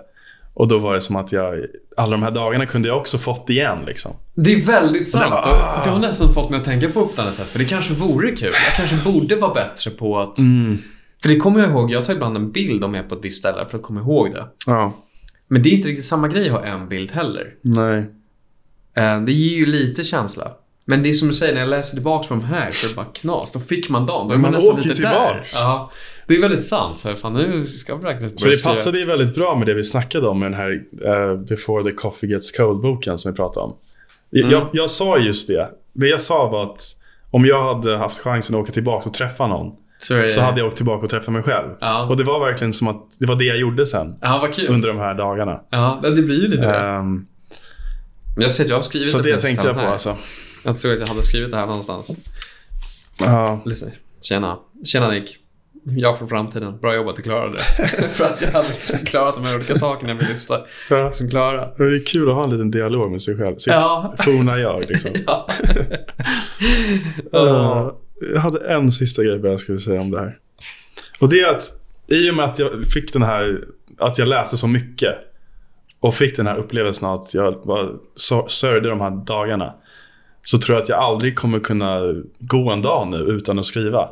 Speaker 1: Och då var det som att jag, alla de här dagarna kunde jag också fått igen. Liksom.
Speaker 2: Det är väldigt sant.
Speaker 1: Nej,
Speaker 2: Det,
Speaker 1: va?
Speaker 2: det har nästan fått mig att tänka på ett annat sätt. För det kanske vore kul. Jag kanske borde vara bättre på att...
Speaker 1: Mm.
Speaker 2: För det kommer jag ihåg. Jag tar ibland en bild om jag är på ett visst ställe för att komma ihåg det.
Speaker 1: Ja,
Speaker 2: Men det är inte riktigt samma grej att ha en bild heller.
Speaker 1: nej.
Speaker 2: Eh, Det ger ju lite känsla. Men det är som du säger, när jag läser tillbaka på de här så är det bara knas. Då fick man dem. Då är man,
Speaker 1: Man
Speaker 2: nästan
Speaker 1: åker
Speaker 2: lite
Speaker 1: tillbaks.
Speaker 2: där. Ja, det är väldigt sant. Så här, fan, nu ska jag verkligen börja
Speaker 1: Så det
Speaker 2: skriva.
Speaker 1: passade ju väldigt bra med det vi snackade om med den här eh, Before the Coffee Gets Cold-boken som vi pratade om. Jag,
Speaker 2: Mm.
Speaker 1: jag, jag sa just det. Det jag sa var att om jag hade haft chansen att åka tillbaka och träffa någon
Speaker 2: Så, är det-
Speaker 1: så hade jag åkt tillbaka och träffat mig själv.
Speaker 2: Eh. Ja.
Speaker 1: Och det var verkligen som att det var det jag gjorde sen
Speaker 2: Ja, vad kul.
Speaker 1: under de här dagarna.
Speaker 2: Ja, det blir ju lite det.
Speaker 1: Ehm,
Speaker 2: Men Jag ser att jag har skrivit
Speaker 1: så
Speaker 2: det
Speaker 1: det
Speaker 2: ett
Speaker 1: tänkte jag på
Speaker 2: ställe här.
Speaker 1: alltså.
Speaker 2: Jag tror att jag hade skrivit det här någonstans.
Speaker 1: Ja.
Speaker 2: Lyssna. Tjena. Tjena Nick. Jag från framtiden. Bra jobbat, du klarade *laughs* det. För att jag hade liksom klarat de här olika sakerna jag vill lista.
Speaker 1: Ja.
Speaker 2: Liksom klara.
Speaker 1: Det är kul att ha en liten dialog med sig själv. Sitt
Speaker 2: Ja.
Speaker 1: forna jag liksom.
Speaker 2: Ja.
Speaker 1: Eh, jag hade en sista grej bara jag skulle säga om det här. Och det är att i och med att jag fick den här, att jag läste så mycket och fick den här upplevelsen att jag var, sör- sörjde de här dagarna. Så tror jag att jag aldrig kommer kunna gå en dag nu utan att skriva.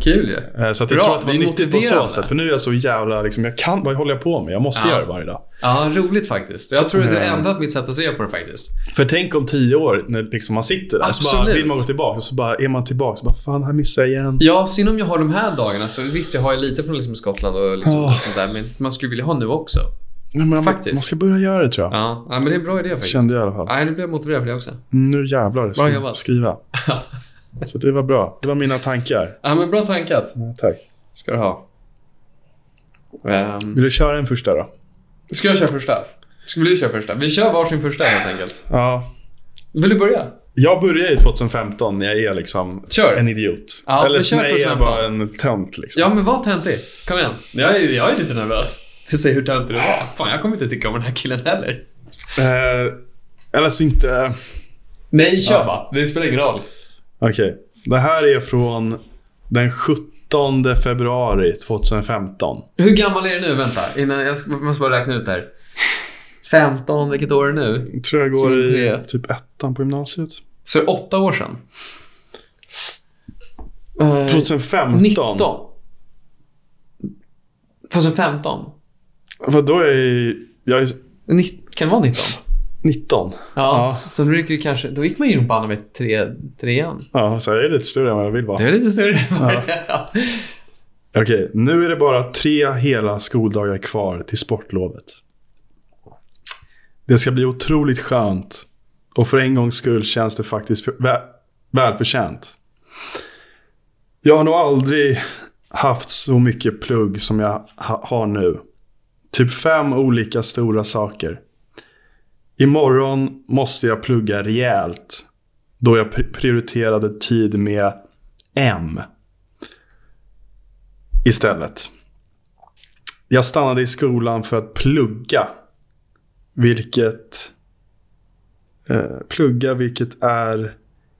Speaker 2: Kul ju.
Speaker 1: Eh, Så att jag
Speaker 2: Bra,
Speaker 1: tror att det var
Speaker 2: det är
Speaker 1: nyttigt på så
Speaker 2: motiverande.
Speaker 1: sätt. För nu är jag så jävla, liksom, jag kan, vad håller jag på med? Jag måste
Speaker 2: Ja.
Speaker 1: göra det varje dag.
Speaker 2: Ja, roligt faktiskt. Jag tror att du har
Speaker 1: Mm.
Speaker 2: ändrat mitt sätt att se på det faktiskt.
Speaker 1: För tänk om tio år när liksom man sitter där så bara
Speaker 2: Absolut.
Speaker 1: vill man gå tillbaka och så bara är man tillbaka så bara fan här missar jag igen.
Speaker 2: Ja, synd om jag har de här dagarna. Så visst, jag har ju lite från liksom Skottland och liksom
Speaker 1: Ja.
Speaker 2: sånt där. Men man skulle vilja ha nu också.
Speaker 1: Men man,
Speaker 2: Faktiskt.
Speaker 1: man ska börja göra det tror jag.
Speaker 2: Ja, ja men det är en bra idé faktiskt.
Speaker 1: Kände jag i alla fall.
Speaker 2: Nej, nu blir jag motiverad för det också.
Speaker 1: Nu jävlar ska
Speaker 2: Bra
Speaker 1: jag
Speaker 2: jobbat. *laughs*
Speaker 1: skriva. Så det var bra. Det var mina tankar.
Speaker 2: Ja, men bra tankat.
Speaker 1: Ja, Tack.
Speaker 2: Ska du ha. Ehm,
Speaker 1: Vill du köra en första då?
Speaker 2: Ska jag köra första? Ska du köra första? Vi kör varsin första helt enkelt.
Speaker 1: Ja.
Speaker 2: Vill du börja?
Speaker 1: Jag började ju 2015 när jag är liksom
Speaker 2: Kör.
Speaker 1: en idiot.
Speaker 2: Ja,
Speaker 1: Eller
Speaker 2: men kör
Speaker 1: när jag är
Speaker 2: 2015.
Speaker 1: bara en tönt liksom.
Speaker 2: Ja, men var töntig. Kom igen. Jag är, jag är lite nervös. Du säger hur töntig du var. Fan, jag kommer inte tycka om den här killen heller.
Speaker 1: Eh, eller så inte...
Speaker 2: Nej, kör bara. Det spelar ingen roll.
Speaker 1: Okej. Det här är från den 17 19 februari 2015.
Speaker 2: Hur gammal är du nu? Vänta, innan jag ska- måste bara räkna ut det här. 15, vilket år är det nu?
Speaker 1: Jag tror jag går i
Speaker 2: 2003.
Speaker 1: typ ettan på gymnasiet.
Speaker 2: Så det är åtta år sedan. Eh,
Speaker 1: 2015?
Speaker 2: 19. 2015?
Speaker 1: Vadå är jag- jag är
Speaker 2: Ni- Kan det vara 19?
Speaker 1: 19?
Speaker 2: Ja, så nu gick vi kanske, då gick man ju på med tre, trean.
Speaker 1: Ja, så jag är lite större än vad jag vill vara.
Speaker 2: Det är lite *laughs* större.
Speaker 1: Okej, nu är det bara tre hela skoldagar kvar till sportlovet. Det ska bli otroligt skönt och för en gångs skull känns det faktiskt för, vä, välförtjänt. Jag har nog aldrig haft så mycket plugg som jag ha, har nu. Typ fem olika stora saker. Imorgon måste jag plugga rejält då jag pri- prioriterade tid med M istället. Jag stannade i skolan för att plugga. Vilket... Eh, plugga, vilket är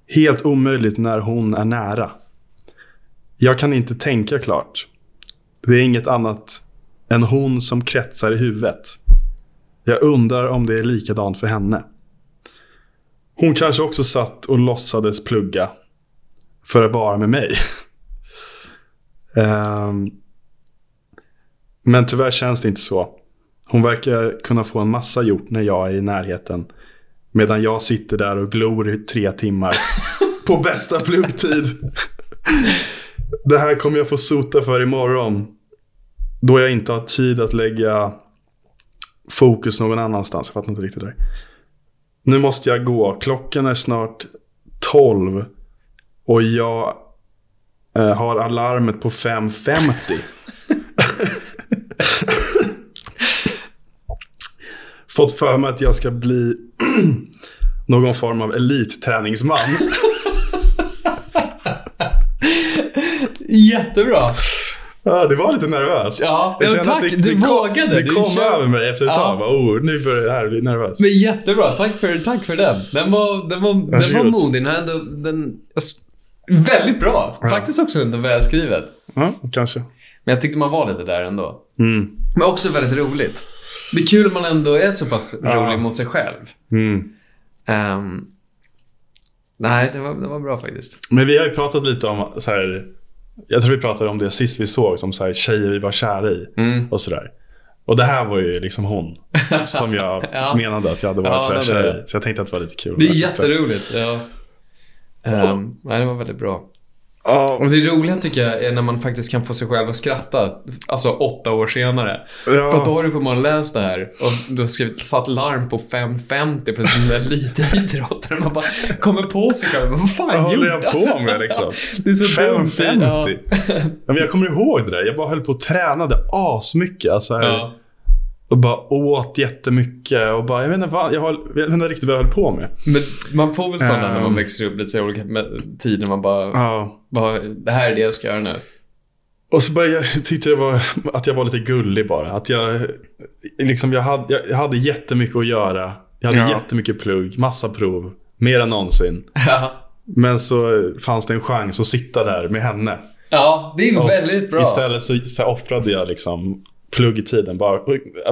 Speaker 1: helt omöjligt när hon är nära. Jag kan inte tänka klart. Det är inget annat än hon som kretsar i huvudet. Jag undrar om det är likadant för henne. Hon kanske också satt och låtsades plugga. För att vara med mig. Ehm, men tyvärr känns det inte så. Hon verkar kunna få en massa gjort när jag är i närheten. Medan jag sitter där och glor i tre timmar. på bästa pluggtid. det här kommer jag få sota för imorgon. Då jag inte har tid att lägga fokus någon annanstans. Jag fattar inte riktigt det där. Nu måste jag gå. Klockan är snart 12. Och jag eh, har alarmet på 5.50. Fått för mig att jag ska bli *clears throat* någon form av elitträningsman.
Speaker 2: Jättebra.
Speaker 1: Ja, det var lite nervöst.
Speaker 2: Ja, men
Speaker 1: kände
Speaker 2: tack,
Speaker 1: att
Speaker 2: du
Speaker 1: kom-
Speaker 2: vågade,
Speaker 1: Det
Speaker 2: du
Speaker 1: kom
Speaker 2: kör-
Speaker 1: över mig efter ett
Speaker 2: Ja.
Speaker 1: tag. Bara, oh, nu börjar det här bli nervöst.
Speaker 2: Men jättebra. Tack för, tack för den. Den var, den var, den var
Speaker 1: Varsågod.
Speaker 2: modig. Den, ändå, den, alltså, väldigt bra. Faktiskt också ändå välskrivet.
Speaker 1: Ja, kanske.
Speaker 2: Men jag tyckte man var lite där ändå.
Speaker 1: Mm.
Speaker 2: Men också väldigt roligt. Det är kul att man ändå är så pass rolig mot sig själv.
Speaker 1: Mm.
Speaker 2: Ehm, nej, det var, det var bra faktiskt.
Speaker 1: Men vi har ju pratat lite om, så här, jag tror vi pratade om det sist vi såg, som så här, tjejer vi var kära i.
Speaker 2: Mm.
Speaker 1: och sådär. Och det här var ju liksom
Speaker 2: *laughs*
Speaker 1: hon som jag
Speaker 2: Ja.
Speaker 1: menade att jag hade varit
Speaker 2: Ja,
Speaker 1: sådär
Speaker 2: det
Speaker 1: kär
Speaker 2: var
Speaker 1: i. Så jag tänkte att det var lite kul.
Speaker 2: Det är
Speaker 1: att läsa upp
Speaker 2: jätteroligt. Ja. Ehm, nej, det var väldigt bra.
Speaker 1: Ja,
Speaker 2: Och det roliga tycker jag är när man faktiskt kan få sig själv att skratta, alltså åtta år senare. För att då
Speaker 1: ja.
Speaker 2: har du uppenbarligen läst det här och du har skrivit, satt larm på 5.50 på sin lilla
Speaker 1: *laughs*
Speaker 2: lite idrottare. Man bara kommer på sig själv. Vad fan
Speaker 1: Vad håller
Speaker 2: gjorde
Speaker 1: jag på med, liksom?
Speaker 2: *laughs* Det är så dumt.
Speaker 1: 550.
Speaker 2: *laughs*
Speaker 1: Ja, men jag kommer ihåg det där. Jag bara höll på och tränade asmycket. Alltså,
Speaker 2: Ja.
Speaker 1: här,
Speaker 2: Ja.
Speaker 1: Och bara åt jättemycket. Och bara, jag vet inte, vad, jag, höll, jag vet inte riktigt vad jag höll på med.
Speaker 2: Men man får väl sådana när man
Speaker 1: Ehm.
Speaker 2: växer upp lite så i olika med- tider. Man bara,
Speaker 1: Ja.
Speaker 2: bara, det här är det jag ska göra nu.
Speaker 1: Och så bara, jag tyckte det var, att jag var lite gullig bara. Att jag, liksom, jag, hade, jag hade jättemycket att göra. Jag hade
Speaker 2: Ja.
Speaker 1: jättemycket plugg, massa prov. Mer än någonsin.
Speaker 2: Ja,
Speaker 1: Men så fanns det en chans att sitta där med henne.
Speaker 2: ja det är
Speaker 1: Och
Speaker 2: väldigt bra.
Speaker 1: Istället så, så offrade jag liksom plugg i tiden bara,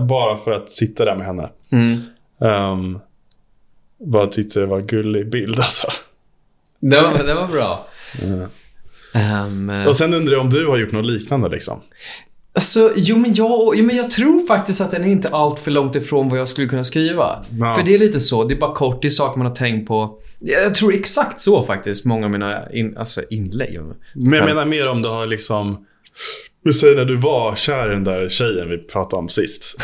Speaker 1: bara för att sitta där med henne.
Speaker 2: Mm.
Speaker 1: Ehm, bara tyckte det var en gullig bild alltså.
Speaker 2: Det, var, det var bra. Ehm,
Speaker 1: Och sen undrar jag om du har gjort något liknande liksom.
Speaker 2: Alltså, jo men, jag, jo men jag tror faktiskt att den är inte allt för långt ifrån vad jag skulle kunna skriva.
Speaker 1: Ja.
Speaker 2: För det är lite så, det är bara kort, det är saker man har tänkt på. Jag tror exakt så faktiskt, många av mina in, alltså inlägg.
Speaker 1: Men jag menar mer om du har liksom, vi säger när du var kär i den där tjejen vi pratade om
Speaker 2: *laughs*
Speaker 1: sist.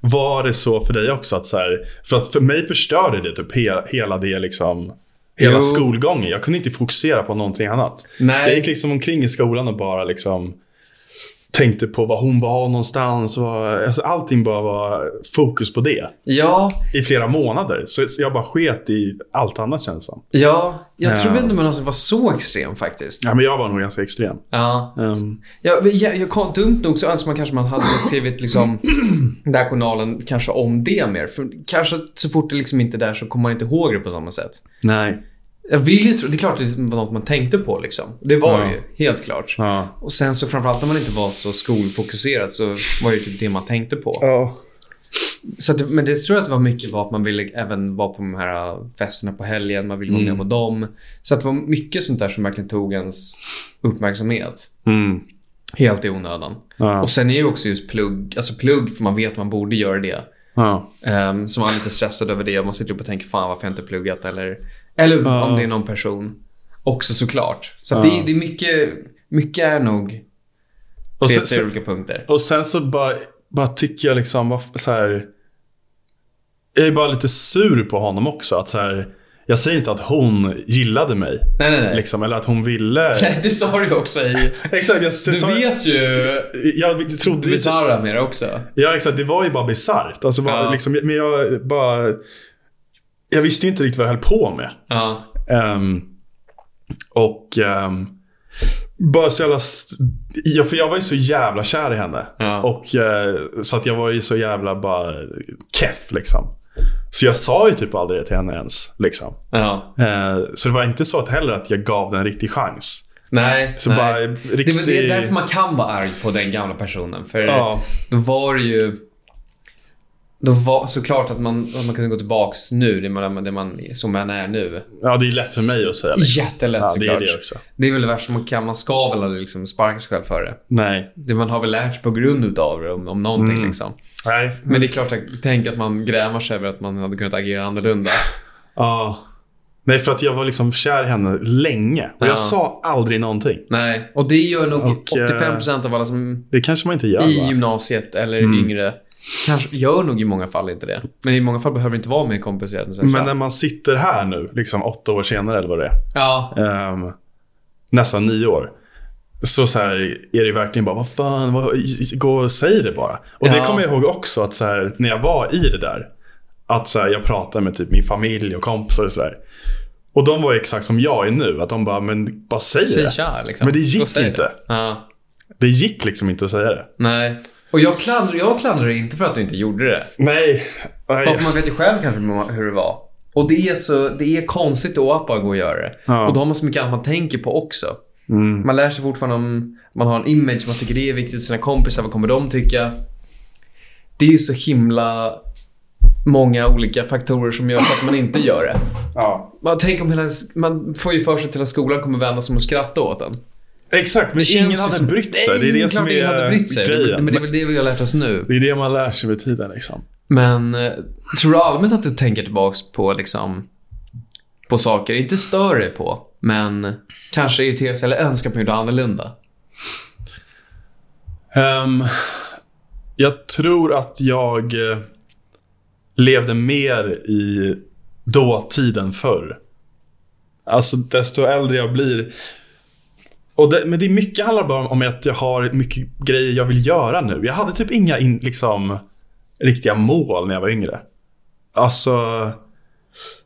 Speaker 1: Var det så för dig också? Att så här, för, att för mig förstörde det typ hela, hela det liksom Hela
Speaker 2: Jo.
Speaker 1: skolgången. Jag kunde inte fokusera på någonting annat.
Speaker 2: Nej.
Speaker 1: Jag gick liksom omkring i skolan och bara liksom tänkte på vad hon var någonstans. Vad, alltså allting bara var fokus på det
Speaker 2: ja,
Speaker 1: i flera månader. Så jag bara sket i allt annat känns det som.
Speaker 2: ja, jag tror
Speaker 1: Ja.
Speaker 2: inte man någonsin var så extrem faktiskt.
Speaker 1: Ja, men jag var nog ganska extrem.
Speaker 2: Ja.
Speaker 1: Ehm,
Speaker 2: Ja, men jag, jag, kom- dumt nog så önskar man kanske man hade skrivit liksom, *clears throat* den här journalen kanske om det mer. För kanske så fort det liksom inte är där så kommer man inte ihåg det på samma sätt.
Speaker 1: nej.
Speaker 2: Jag vill ju tro, det är klart det var något man tänkte på liksom. Det var
Speaker 1: Ja.
Speaker 2: det ju, helt klart.
Speaker 1: Ja.
Speaker 2: Och sen så framförallt när man inte var så skolfokuserad så var det ju typ det man tänkte på.
Speaker 1: Ja.
Speaker 2: Så att, det- men det tror jag att det var mycket var att man ville även vara på de här äh, festerna på helgen, man ville vara
Speaker 1: Mm.
Speaker 2: med på dem. Så att det var mycket sånt där som verkligen tog ens uppmärksamhet.
Speaker 1: Mm.
Speaker 2: Helt i onödan.
Speaker 1: Ja.
Speaker 2: Och sen är ju också just plugg, alltså plugg för man vet att man borde göra det.
Speaker 1: Ja.
Speaker 2: Ehm, så man är lite stressad över det och man sitter upp och tänker fan varför jag inte pluggat eller, eller
Speaker 1: Ja.
Speaker 2: om det är någon person också såklart. Så att det,
Speaker 1: Ja.
Speaker 2: är- det är mycket, mycket är nog
Speaker 1: Och
Speaker 2: tre,
Speaker 1: sen-
Speaker 2: tre
Speaker 1: sen-
Speaker 2: olika punkter.
Speaker 1: Och sen så bara, bara tycker jag liksom vad f- så här. Jag är bara lite sur på honom också. Att så här, jag säger inte att hon gillade mig.
Speaker 2: Nej, nej, nej.
Speaker 1: Liksom, eller att hon ville.
Speaker 2: *laughs*
Speaker 1: *laughs*
Speaker 2: nej det sa du ju också i...
Speaker 1: Exakt, jag,
Speaker 2: Du
Speaker 1: sa-
Speaker 2: vet ju
Speaker 1: jag, jag
Speaker 2: det
Speaker 1: trodde ju
Speaker 2: bisarra med det också.
Speaker 1: Ja, exakt. Det var ju bara bisarrt. Alltså, bara,
Speaker 2: Ja.
Speaker 1: liksom, men jag bara... Jag visste ju inte riktigt vad jag höll på med.
Speaker 2: Ja.
Speaker 1: Ehm, och... ehm, bara så jävla... st- Ja, för jag var ju så jävla kär i henne.
Speaker 2: Ja.
Speaker 1: Och, eh, så att jag var ju så jävla bara keff liksom. Så jag sa ju typ aldrig det till henne ens. Liksom.
Speaker 2: ja.
Speaker 1: Eh, så det var inte så att heller att jag gav den en riktig chans.
Speaker 2: Nej,
Speaker 1: Så
Speaker 2: nej.
Speaker 1: bara
Speaker 2: Det är
Speaker 1: riktig...
Speaker 2: väl- Det är därför man kan vara arg på den gamla personen. För
Speaker 1: Ja.
Speaker 2: då var det ju... Då var såklart att man, att man kunde gå tillbaks nu, det man, det man, som man är nu.
Speaker 1: ja, det är lätt för mig att säga. Liksom.
Speaker 2: Jättelätt
Speaker 1: Ja, det är
Speaker 2: såklart.
Speaker 1: det också.
Speaker 2: Det är väl det värsta man kan. Man ska väl aldrig liksom sparka sig själv för det.
Speaker 1: Nej.
Speaker 2: det. Man har väl lärt sig på grund utav det om, om någonting.
Speaker 1: Mm.
Speaker 2: Liksom.
Speaker 1: Nej.
Speaker 2: Men det är klart, att- tänk att man grämer sig över att man hade kunnat agera annorlunda.
Speaker 1: Ja. Nej, för att jag var liksom kär i henne länge. Och
Speaker 2: Ja.
Speaker 1: jag sa aldrig någonting.
Speaker 2: Nej, och det gör nog
Speaker 1: Och, eh,
Speaker 2: 85% av alla som
Speaker 1: Det kanske man inte gör
Speaker 2: i
Speaker 1: va?
Speaker 2: gymnasiet eller yngre kanske gör nog i många fall inte det. Men i många fall behöver det inte vara mer komplicerat än så. här.
Speaker 1: Men när man sitter här nu, liksom åtta år senare eller vad det är.
Speaker 2: Ja,
Speaker 1: ehm, nästan nio år. Så, så här är det verkligen bara, vad fan, vad, gå och säg det bara. Och det
Speaker 2: Ja.
Speaker 1: kommer jag ihåg också, att så här, när jag var i det där. Att så här, jag pratade med typ min familj och kompisar och sådär. Och de var ju exakt som jag är nu. Att de bara, men bara säg
Speaker 2: säg
Speaker 1: det.
Speaker 2: tja liksom.
Speaker 1: Men det
Speaker 2: Gå och
Speaker 1: gick
Speaker 2: säg
Speaker 1: inte.
Speaker 2: Ja,
Speaker 1: Det gick liksom inte att säga det.
Speaker 2: nej. Och jag klandrar, jag klandrar dig inte för att du inte gjorde det.
Speaker 1: Nej. nej.
Speaker 2: Bara för man vet ju själv kanske hur det var. Och det är, så, det är konstigt då att bara gå och göra det.
Speaker 1: Ja.
Speaker 2: Och då har man så mycket annat man tänker på också.
Speaker 1: Mm.
Speaker 2: Man lär sig fortfarande om, man har en image, man tycker det är viktigt, sina kompisar, vad kommer de tycka? Det är ju så himla många olika faktorer som gör att man inte gör det.
Speaker 1: Ja.
Speaker 2: Man, tänk om hela, ens- man får ju för sig att hela skolan kommer vända sig om och skratta åt en.
Speaker 1: Exakt, men
Speaker 2: Det
Speaker 1: ingen
Speaker 2: känns ju
Speaker 1: hade
Speaker 2: som-
Speaker 1: brytt sig.
Speaker 2: Nej,
Speaker 1: det är det som
Speaker 2: klart ingen hade
Speaker 1: är
Speaker 2: brytt sig.
Speaker 1: grejen.
Speaker 2: Men det är väl det vi har lärt oss nu.
Speaker 1: det är det man lär sig med tiden. Liksom.
Speaker 2: Men eh, tror du allmänt att du tänker tillbaks på liksom på saker, inte stör dig på, men kanske irriterar sig eller önskar att man gjorde annorlunda?
Speaker 1: Ehm, jag tror att jag eh, levde mer i dåtiden förr. Alltså desto äldre jag blir. Och det, men det är mycket handlar bara om att jag har mycket grejer jag vill göra nu. Jag hade typ inga in, liksom, riktiga mål när jag var yngre. Alltså,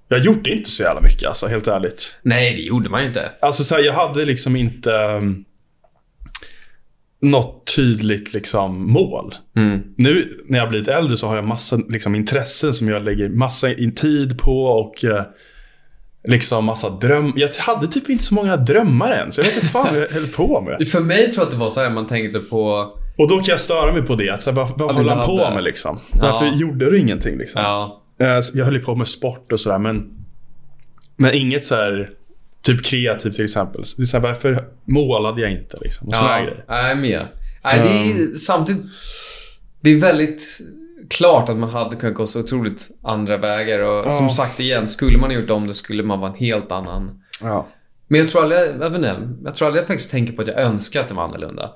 Speaker 1: jag gjorde inte så jävla mycket alltså, helt ärligt.
Speaker 2: Nej, det gjorde man ju inte.
Speaker 1: Alltså så här, jag hade liksom inte um, något tydligt liksom mål.
Speaker 2: Mm.
Speaker 1: Nu när jag har blivit äldre så har jag massa liksom, intressen som jag lägger massa in tid på och eh, liksom massa dröm. Jag hade typ inte så många drömmar ens. Jag vet inte fan vad jag höll på med.
Speaker 2: För mig tror jag att det var så här man tänkte på,
Speaker 1: Och då kan jag störa mig på det. Att, så här, vad vad
Speaker 2: du
Speaker 1: höll
Speaker 2: inte
Speaker 1: han på
Speaker 2: hade.
Speaker 1: med liksom? Varför gjorde du ingenting liksom?
Speaker 2: ja,
Speaker 1: Eh, så Jag höll ju på med sport och sådär men Men inget så här Typ kreativt till exempel. Så Det är så här, varför målade jag inte liksom? Och såna
Speaker 2: ja,
Speaker 1: grejer.
Speaker 2: jag är med. Nej, det är samtidigt, det är väldigt klart att man hade kunnat gå så otroligt andra vägar och som sagt igen, skulle man ha gjort om det skulle man vara en helt annan
Speaker 1: Ja.
Speaker 2: Men jag tror aldrig, jag, vet inte, jag tror aldrig jag faktiskt tänker på att jag önskar att det var annorlunda.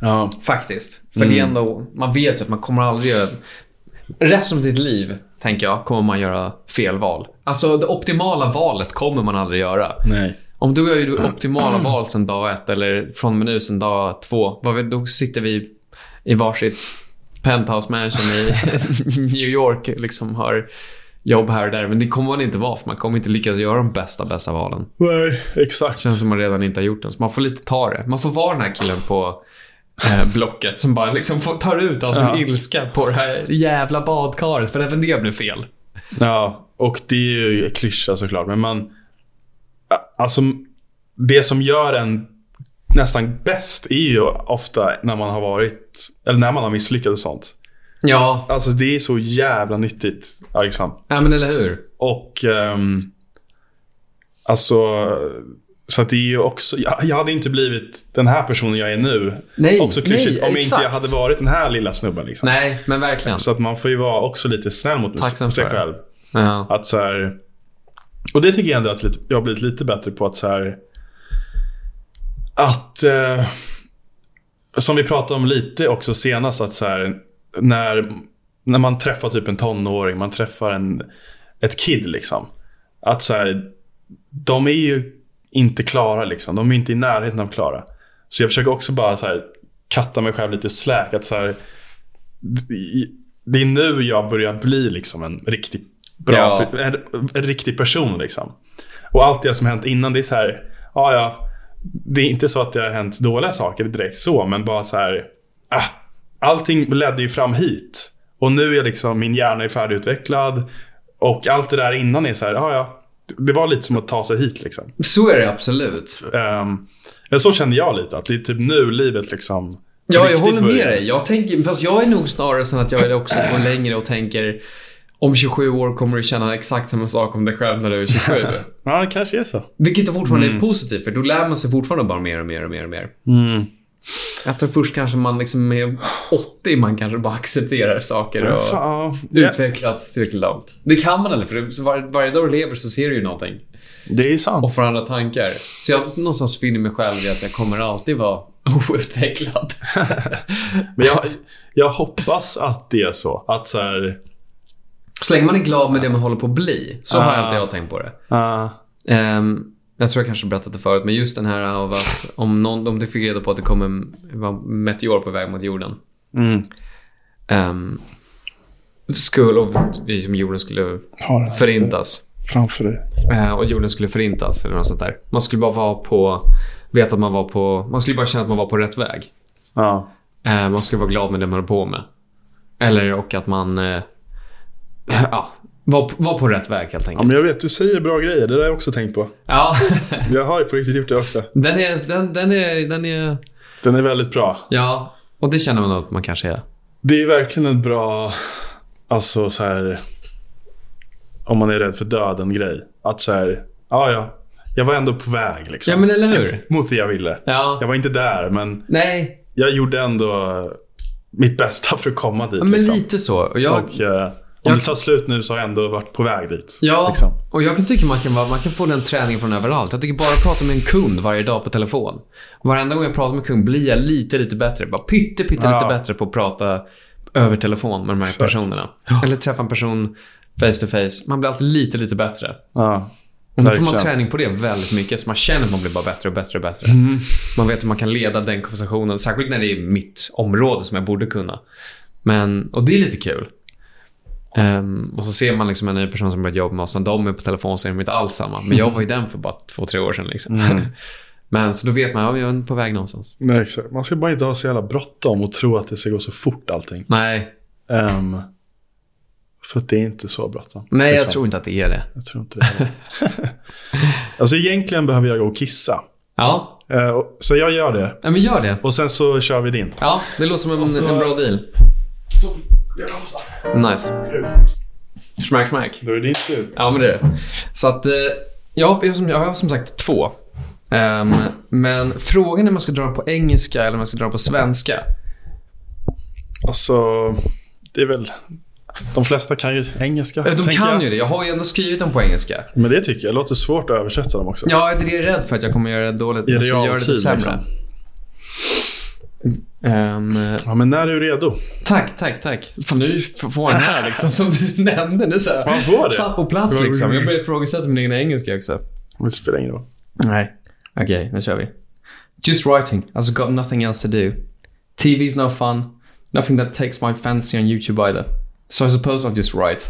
Speaker 1: Ja.
Speaker 2: Faktiskt. För det är ändå, man vet ju att man kommer aldrig göra... Resten av ditt liv, tänker jag, kommer man göra fel val. Alltså det optimala valet kommer man aldrig göra.
Speaker 1: Nej.
Speaker 2: Om du gör ju det optimala val sen dag ett eller från och med nu sen dag två, vad vet, då sitter vi i varsitt penthouse mansion i *laughs* New York liksom har jobb här och där. Men det kommer man inte vara för man kommer inte lyckas göra de bästa, bästa valen.
Speaker 1: Nej, exakt.
Speaker 2: Känns som man redan inte har gjort den. Så man får lite ta det. Man får vara den här killen på eh, Blocket som bara liksom får, tar ut all sin
Speaker 1: Ja.
Speaker 2: ilska på det här jävla badkaret. För även det blev fel.
Speaker 1: Ja. och det är ju en klyscha såklart, men man... Alltså, det som gör en nästan bäst är ju ofta när man har varit, eller när man har misslyckats och sånt.
Speaker 2: Ja,
Speaker 1: Alltså det är så jävla nyttigt, liksom. Alexander.
Speaker 2: ja men eller hur?
Speaker 1: Och ehm, alltså, så att det är ju också, jag, jag hade inte blivit den här personen jag är nu.
Speaker 2: Nej,
Speaker 1: också klyschigt,
Speaker 2: nej,
Speaker 1: om inte jag
Speaker 2: exakt.
Speaker 1: hade varit den här lilla snubben. Liksom.
Speaker 2: Nej, men verkligen.
Speaker 1: Så att man får ju vara också lite snäll mot
Speaker 2: Tacksam
Speaker 1: sig
Speaker 2: för det.
Speaker 1: själv.
Speaker 2: Ja.
Speaker 1: Att så här, och det tycker jag ändå att lite, jag har blivit lite bättre på att så här, att eh, som vi pratade om lite också senast att så här, när, när man träffar typ en tonåring, man träffar en, ett kid liksom. Att så här, de är ju inte klara liksom. De är inte i närheten av klara. Så jag försöker också bara så här, katta mig själv lite släk. Att så här, det- det är nu jag börjar bli liksom en riktigt bra,
Speaker 2: Ja.
Speaker 1: pe- en, en riktig person liksom. Och allt det som hänt innan det är så här, ja ja. Det är inte så att det har hänt dåliga saker direkt så, men bara så här. Ah, allting ledde ju fram hit. Och nu är jag liksom, min hjärna är färdigutvecklad. Och allt det där innan är så här, ja ja. Det var lite som att ta sig hit liksom.
Speaker 2: Så är det absolut.
Speaker 1: Ehm, ja, så känner jag lite, att det är typ nu livet liksom
Speaker 2: Ja, jag
Speaker 1: riktigt
Speaker 2: håller med
Speaker 1: börjar.
Speaker 2: dig. Jag tänker, fast jag är nog snarare sen att jag är det också går längre och tänker om 27 år kommer du känna exakt samma sak om dig själv när du är 27.
Speaker 1: Ja, det kanske är så.
Speaker 2: Vilket fortfarande
Speaker 1: Mm.
Speaker 2: är positivt, för då lär man sig fortfarande bara mer och mer och mer och mer.
Speaker 1: Mm.
Speaker 2: Jag tror först kanske man liksom är 80, man kanske bara accepterar saker
Speaker 1: Ja,
Speaker 2: och
Speaker 1: fan, ja.
Speaker 2: utvecklats tillräckligt långt. Det kan man aldrig, för det- så var, varje dag du lever så ser du ju någonting
Speaker 1: Det är sant.
Speaker 2: och får andra tankar. Så jag någonstans finner mig själv i att jag kommer alltid vara outvecklad.
Speaker 1: *laughs* *laughs* Men jag, jag hoppas att det är så. Att så här,
Speaker 2: Så länge man är glad med det man håller på att bli. Så har
Speaker 1: Ah.
Speaker 2: jag alltid jag tänkt på det.
Speaker 1: ah,
Speaker 2: Ehm, jag tror jag kanske berättat det förut, men just den här av att om, någon, om du fick reda på att det kom en var en meteor på väg mot jorden.
Speaker 1: mm.
Speaker 2: ehm, skulle, och vi som jorden skulle
Speaker 1: Har allt
Speaker 2: förintas.
Speaker 1: det framför dig.
Speaker 2: Eh, och jorden skulle förintas eller något sånt där. Man skulle bara vara på, veta att man var på, man skulle bara känna att man var på rätt väg.
Speaker 1: Ja.
Speaker 2: Eh, man skulle vara glad med det man höll på med. Eller och att man, eh, ja, var, var på rätt väg helt
Speaker 1: ja,
Speaker 2: enkelt.
Speaker 1: men jag vet. Du säger bra grejer. Det där har jag också tänkt på.
Speaker 2: Ja, *laughs*
Speaker 1: Jag har ju på riktigt gjort det också.
Speaker 2: den är, den, den är, den är,
Speaker 1: Den är väldigt bra.
Speaker 2: ja. Och det känner man att man kanske är.
Speaker 1: Det är verkligen en bra, alltså så här, om man är rädd för döden-grej. Att så här, ja ja. Jag var ändå på väg liksom.
Speaker 2: Ja, men eller hur?
Speaker 1: Mot det jag ville.
Speaker 2: Ja,
Speaker 1: Jag var inte där, men
Speaker 2: nej,
Speaker 1: jag gjorde ändå mitt bästa för att komma dit.
Speaker 2: ja, men
Speaker 1: liksom.
Speaker 2: lite så. Och jag,
Speaker 1: Och, eh, om
Speaker 2: Jag-
Speaker 1: det tar slut nu så har jag ändå varit på väg dit.
Speaker 2: Ja,
Speaker 1: Liksom.
Speaker 2: och jag kan tycka man kan, vara, man kan få den träningen från överallt. Jag tycker bara att prata med en kund varje dag på telefon. Varenda gång jag pratar med en kund blir jag lite, lite bättre. Bara pytte, pytte
Speaker 1: Ja.
Speaker 2: lite bättre på att prata över telefon med de här personerna. Eller träffa en person face to face. Man blir alltid lite, lite bättre.
Speaker 1: Ja.
Speaker 2: Och nu får man
Speaker 1: Verkligen.
Speaker 2: träning på det väldigt mycket, så man känner att man blir bara bättre och bättre och bättre. Man vet hur man kan leda den konversationen, särskilt när det är mitt område som jag borde kunna. Men, och det är lite kul. Ehm, och så ser man liksom en ny person som börjat jobba med oss. När de är på telefon så är de inte alls samma. Men jag var ju den för bara två, tre år sedan. Liksom. *laughs* Men så då vet man, ja, jag är på väg någonstans.
Speaker 1: Nej, exakt. Man ska bara inte ha så jävla bråttom och tro att det ska gå så fort allting.
Speaker 2: Nej,
Speaker 1: Ehm, för att det är inte så bråttom.
Speaker 2: nej jag
Speaker 1: Liksom.
Speaker 2: tror inte att det är det.
Speaker 1: jag tror inte det. *laughs* heller. alltså egentligen behöver jag gå och kissa.
Speaker 2: Ja,
Speaker 1: Eh, och- så jag gör det.
Speaker 2: ja, men gör det.
Speaker 1: Och sen så kör vi din.
Speaker 2: Ja, det låter som en,
Speaker 1: så-
Speaker 2: en bra deal. Nice. Smack, smack.
Speaker 1: Då är det din tur.
Speaker 2: Ja, men det är det. Så att, eh, ja, jag har som, jag har som sagt två. Ehm, men frågan är om man ska dra den på engelska eller om man ska dra den på svenska.
Speaker 1: Alltså, det är väl... De flesta kan ju engelska.
Speaker 2: Eh, De
Speaker 1: tänker
Speaker 2: kan
Speaker 1: jag.
Speaker 2: ju det. Jag har ju ändå skrivit dem på engelska.
Speaker 1: Men det tycker jag. Det låter svårt att översätta dem också.
Speaker 2: Ja, det är det jag är rädd för att jag kommer göra det dåligt.
Speaker 1: I
Speaker 2: men så gör det
Speaker 1: realtid,
Speaker 2: sämre.
Speaker 1: liksom.
Speaker 2: Ehm,
Speaker 1: Ja, men när är du redo?
Speaker 2: tack, tack, tack. Fan, nu får jag den här liksom som du *laughs* nämnde. Nu så här.
Speaker 1: Man får det.
Speaker 2: Satt på plats liksom. Jag började ifrågasätta min egen engelska också.
Speaker 1: Men Det spelar ingen roll.
Speaker 2: Nej. Okej, nu kör vi. Just writing. I've got nothing else to do. TV's no fun. Nothing that takes my fancy on YouTube either. So I suppose I'll just write.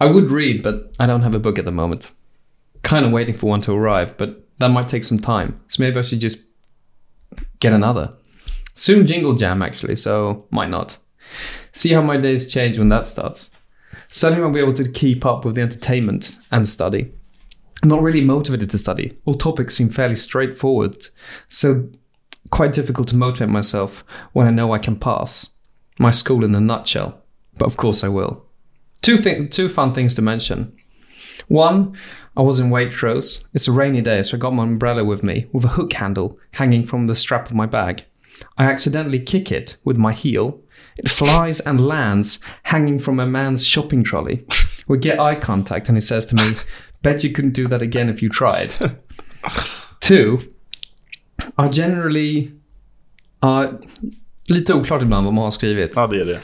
Speaker 2: I would read, but I don't have a book at the moment. Kind of waiting for one to arrive, but that might take some time. So maybe I should just get another. Soon Jingle Jam, actually, so might not. See how my days change when that starts. Suddenly won't be able to keep up with the entertainment and study. Not really motivated to study. All topics seem fairly straightforward, so quite difficult to motivate myself when I know I can pass. My school in a nutshell, but of course I will. Two, thi- two fun things to mention. One, I was in Waitrose. It's a rainy day, so I got my umbrella with me, with a hook handle hanging from the strap of my bag. I accidentally kick it with my heel. It flies and lands hanging from a man's shopping trolley. *laughs* We get eye contact, and he says to me, Bet you couldn't do that again if you tried. Two, I generally... Uh, lite oklart ibland vad man har skrivit.
Speaker 1: Ja, det är det.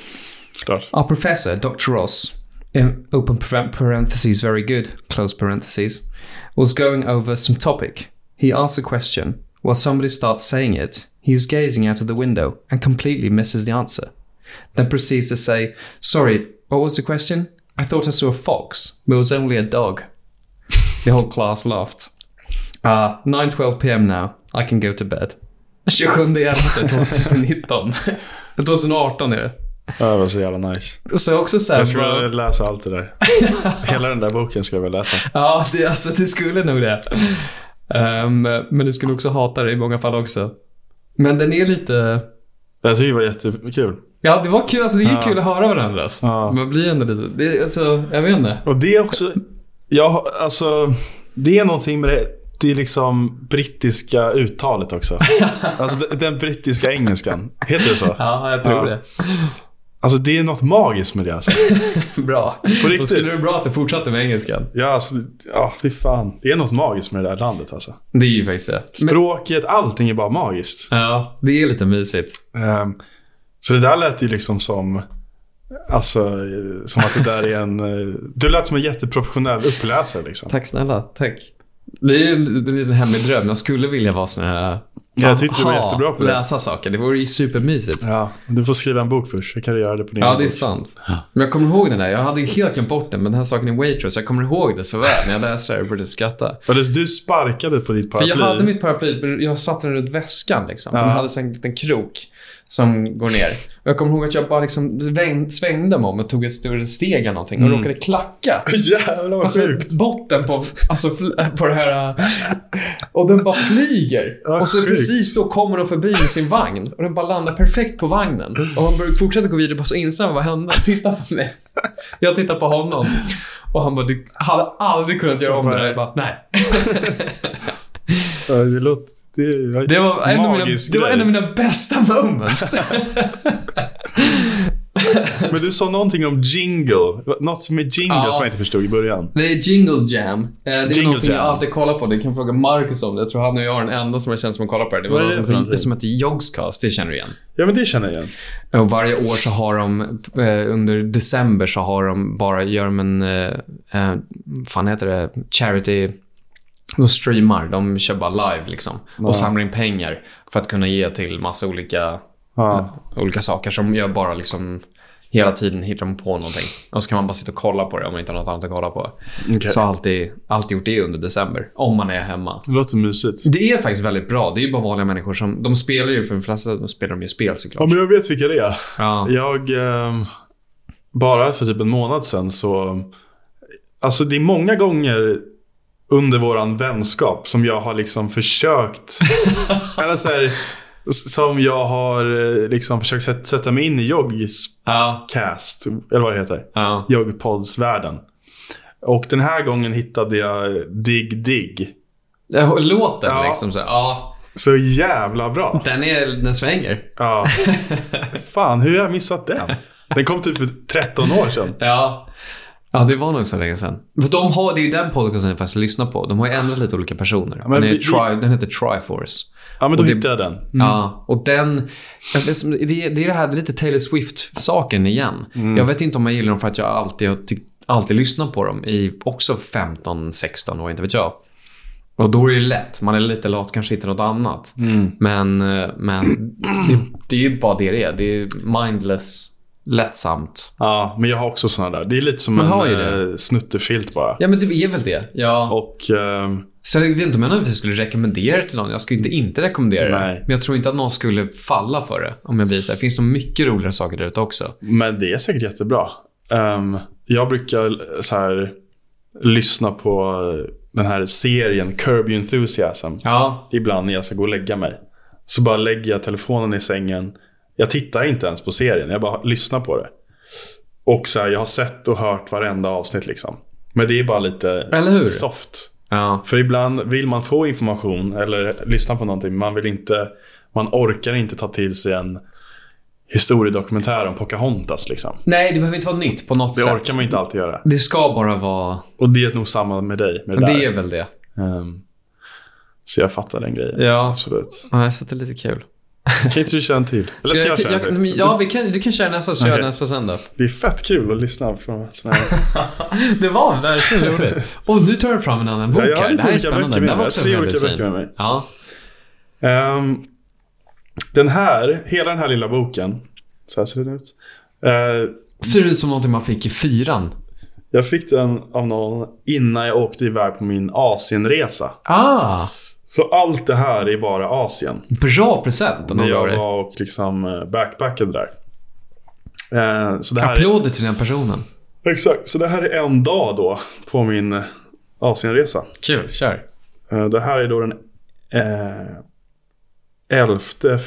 Speaker 1: Klart.
Speaker 2: Our professor, Dr. Ross, in open par- parentheses, very good, close parentheses, was going over some topic. He asks a question. While somebody starts saying it, he is gazing out of the window and completely misses the answer. Then proceeds to say, Sorry, what was the question? I thought I saw a fox, but it was only a dog. *laughs* The whole class laughed. Ah, 9.12 pm now. I can go to bed. *laughs* 27.11.2019. 2018 är det.
Speaker 1: Ja, det var så jävla nice.
Speaker 2: Så också så här,
Speaker 1: Jag
Speaker 2: bra-
Speaker 1: ska läsa allt det
Speaker 2: *laughs*
Speaker 1: där. Hela den där boken ska jag väl läsa.
Speaker 2: Ja, det, alltså, det skulle nog det. Ehm, men du skulle också hata det i många fall också. Men den är lite...
Speaker 1: Jag tycker det var jättekul.
Speaker 2: Ja, det var kul. Alltså, det är ju
Speaker 1: Ja.
Speaker 2: kul att höra varandras.
Speaker 1: Ja.
Speaker 2: Man blir ändå lite... Det, alltså, jag vet inte.
Speaker 1: Och det är också... Jag, har- alltså, det är någonting med det, det är liksom brittiska uttalet *laughs* också. Alltså de- den brittiska engelskan. Heter det så?
Speaker 2: Ja, jag tror
Speaker 1: Ja. Alltså det är något magiskt med det alltså.
Speaker 2: det. Bra.
Speaker 1: På
Speaker 2: Då
Speaker 1: riktigt.
Speaker 2: skulle det vara bra att du fortsatte med engelskan.
Speaker 1: Ja, alltså, ja, fy fan. Det är något magiskt med det där landet alltså.
Speaker 2: Det är ju faktiskt det. Men,
Speaker 1: Språket, allting är bara magiskt.
Speaker 2: ja, det är lite mysigt.
Speaker 1: Ehm, så det där lät ju liksom som... Alltså, eh, som att det där är en... eh, Du lät som en jätteprofessionell uppläsare liksom.
Speaker 2: Tack snälla. Tack. Det är ju en det är en hemlig dröm. Jag skulle vilja vara sån här...
Speaker 1: Jag tyckte du var
Speaker 2: Aha,
Speaker 1: jättebra på det.
Speaker 2: Läsa saker. Det vore ju supermysigt.
Speaker 1: Ja, men du får skriva en bok först. Så kan du göra det på din
Speaker 2: Ja,
Speaker 1: egen
Speaker 2: det är
Speaker 1: bok.
Speaker 2: sant. Men jag kommer ihåg den där. Jag hade ju helt glömt bort den, men den här saken i Waitrose, jag kommer ihåg det så väl. När jag läste det, jag började skratta.
Speaker 1: Eller du sparkade på ditt
Speaker 2: För
Speaker 1: paraply.
Speaker 2: jag hade mitt paraply, jag satte den runt väskan liksom. För
Speaker 1: Ja.
Speaker 2: Den hade sen en liten krok som går ner. Och jag kommer ihåg att jag bara liksom vänd, svängde mig om och tog ett större steg eller någonting och
Speaker 1: Mm.
Speaker 2: råkade klacka.
Speaker 1: *laughs* Jävlar vad
Speaker 2: Alltså
Speaker 1: sjukt.
Speaker 2: botten på, alltså, fl- på det här... äh, Och den bara flyger.
Speaker 1: Ja,
Speaker 2: och så
Speaker 1: Ah, sjukt.
Speaker 2: precis då kommer de förbi med sin vagn. Och den bara landar perfekt på vagnen. Och han börjar fortsätta gå vidare bara så inser han vad hände. Han tittar på mig. Jag tittar på honom. Och han bara, du hade aldrig kunnat göra om det där. Jag bara, nej. *laughs*
Speaker 1: Ja, Det låter... Det,
Speaker 2: Det var en, av mina,
Speaker 1: Magisk
Speaker 2: det var en
Speaker 1: grej.
Speaker 2: av mina bästa
Speaker 1: *laughs*
Speaker 2: moments.
Speaker 1: Men du sa någonting om jingle. Något som är jingle
Speaker 2: Ja.
Speaker 1: som jag inte förstod i början.
Speaker 2: Det är Jingle Jam. Eh, Det är
Speaker 1: Jingle
Speaker 2: någonting jag
Speaker 1: Jam.
Speaker 2: alltid kollar på. Du kan fråga Marcus om det. Jag tror han och jag är den enda som jag känner som att kollar på det. Det var
Speaker 1: Vad är
Speaker 2: någon
Speaker 1: det för
Speaker 2: som,
Speaker 1: någonting?
Speaker 2: som hette Jogscast. Det känner du igen.
Speaker 1: Ja, men det känner jag igen.
Speaker 2: Och varje år så har de, eh, under december så har de bara, gör de en, eh, eh, fan heter det, charity, de streamar, de kör bara live liksom. Och samlar in pengar för att kunna ge till massa olika,
Speaker 1: Ja.
Speaker 2: olika saker som jag bara liksom Hela tiden hittar de på någonting. Och så kan man bara sitta och kolla på det om man inte har något annat att kolla på.
Speaker 1: Okej.
Speaker 2: Så alltid, alltid gjort det under december. Om man är hemma.
Speaker 1: Det låter mysigt.
Speaker 2: Det är faktiskt väldigt bra. Det är ju bara vanliga människor som... De spelar ju, för de flesta de spelar de ju spel
Speaker 1: Ja,
Speaker 2: såklart.
Speaker 1: men jag vet vilka det är.
Speaker 2: Ja.
Speaker 1: Jag... ehm, bara för typ en månad sedan så... Alltså det är många gånger under våran vänskap som jag har liksom
Speaker 2: *laughs*
Speaker 1: försökt... eller så här, s- Som jag har eh, liksom försökt sätt- sätta mig in i joggcast,
Speaker 2: Ja.
Speaker 1: eller vad det heter.
Speaker 2: ja.
Speaker 1: joggpoddsvärlden. Och den här gången hittade jag Dig Dig.
Speaker 2: Ja, Låten
Speaker 1: Ja.
Speaker 2: liksom så här, ja.
Speaker 1: Så jävla bra.
Speaker 2: Den, är, den svänger. *laughs*
Speaker 1: Ja. Fan, hur har jag missat den? Den kom typ för 13 år sedan.
Speaker 2: Ja. Ja, det var nog så länge sedan. För de har, det är ju den podcasten jag faktiskt lyssnar på. De har ju ändrat lite olika personer.
Speaker 1: men
Speaker 2: den, är
Speaker 1: vi-
Speaker 2: tri, den heter Triforce.
Speaker 1: Ja, men då
Speaker 2: Och det-
Speaker 1: hittade jag den.
Speaker 2: Ja, och den... jag vet som- Det är det, är det här det är lite Taylor Swift-saken igen. Jag vet inte om jag gillar dem för att jag alltid har tyckt- alltid lyssnat på dem i också 15, 16 år, inte vet jag. Och då är det lätt. Man är lite lat, kanske hittar något annat. Men, eh, men det, det är ju bara det det är. Det är mindless, lättsamt.
Speaker 1: Ja, men jag har också såna där. Det är lite som
Speaker 2: Man har ju
Speaker 1: en eh, snuttefilt bara.
Speaker 2: Ja, men det är väl det. Ja.
Speaker 1: Och ehm,
Speaker 2: Så jag vet inte om jag någonsin skulle rekommendera det till någon. Jag skulle inte inte rekommendera det.
Speaker 1: Nej.
Speaker 2: Men jag tror inte att någon skulle falla för det. Om jag blir så här. Finns det mycket roligare saker där ute också?
Speaker 1: Men det är säkert jättebra. Ehm, Jag brukar så här, lyssna på den här serien Curb Your Enthusiasm.
Speaker 2: Ja.
Speaker 1: Ibland när jag ska gå och lägga mig. Så bara lägger jag telefonen i sängen. Jag tittar inte ens på serien, jag bara lyssnar på det. Och så här, jag har sett och hört varenda avsnitt liksom. Men det är bara lite
Speaker 2: Eller hur?
Speaker 1: soft.
Speaker 2: Ja.
Speaker 1: För ibland vill man få information eller lyssna på någonting. men Man vill inte, man orkar inte ta till sig en historiedokumentär om Pocahontas liksom.
Speaker 2: Nej, det behöver inte vara nytt på något
Speaker 1: Det
Speaker 2: sätt.
Speaker 1: orkar man inte alltid göra.
Speaker 2: Det ska bara vara...
Speaker 1: Och det är nog samma med dig. Med det
Speaker 2: Det
Speaker 1: där.
Speaker 2: är väl det.
Speaker 1: Ehm, så jag fattar den grejen.
Speaker 2: Ja.
Speaker 1: Absolut.
Speaker 2: Ja, så det är lite kul.
Speaker 1: Kan inte du köra en till? Eller ska jag, köra en
Speaker 2: jag,
Speaker 1: till?
Speaker 2: Ja, vi kan, du kan köra nästa så kör jag
Speaker 1: Okej.
Speaker 2: nästa sen då.
Speaker 1: Det är fett kul att lyssna på såna här.
Speaker 2: det var
Speaker 1: *laughs*
Speaker 2: verkligen roligt. Och nu tar du fram en annan bok
Speaker 1: jag har
Speaker 2: här. Det
Speaker 1: lite
Speaker 2: här är
Speaker 1: olika böcker
Speaker 2: spännande. Det
Speaker 1: med
Speaker 2: här var
Speaker 1: mig.
Speaker 2: också
Speaker 1: Tre olika
Speaker 2: väldigt
Speaker 1: böcker
Speaker 2: fin.
Speaker 1: med mig.
Speaker 2: Ja.
Speaker 1: Ehm, den här, hela den här lilla boken. Så här ser den ut. Eh,
Speaker 2: Ser ut som någonting man fick i fyran.
Speaker 1: jag fick den av någon innan jag åkte iväg på min Asienresa.
Speaker 2: Ah,
Speaker 1: Så allt det här är bara Asien.
Speaker 2: bra present.
Speaker 1: När jag
Speaker 2: Var...
Speaker 1: var och liksom eh, backpackade där. Eh, så det här är
Speaker 2: Applåder till den personen.
Speaker 1: Exakt, så det här är en dag då på min eh, Asienresa.
Speaker 2: Kul, kör.
Speaker 1: Eh, Det här är då den eh, 11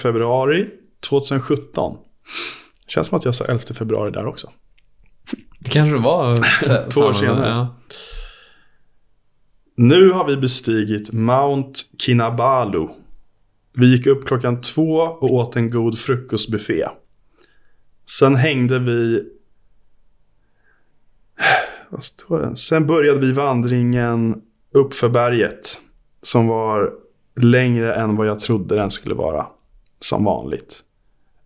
Speaker 1: februari 2017. Känns som att jag sa 11 februari där också.
Speaker 2: Det kanske var...
Speaker 1: *laughs* Två år senare.
Speaker 2: *laughs* Ja.
Speaker 1: Nu har vi bestigit Mount Kinabalu. Vi gick upp klockan två och åt en god frukostbuffé. Sen hängde vi... *sighs* Vad står det? Sen började vi vandringen uppför berget. Som var längre än vad jag trodde den skulle vara. Som vanligt.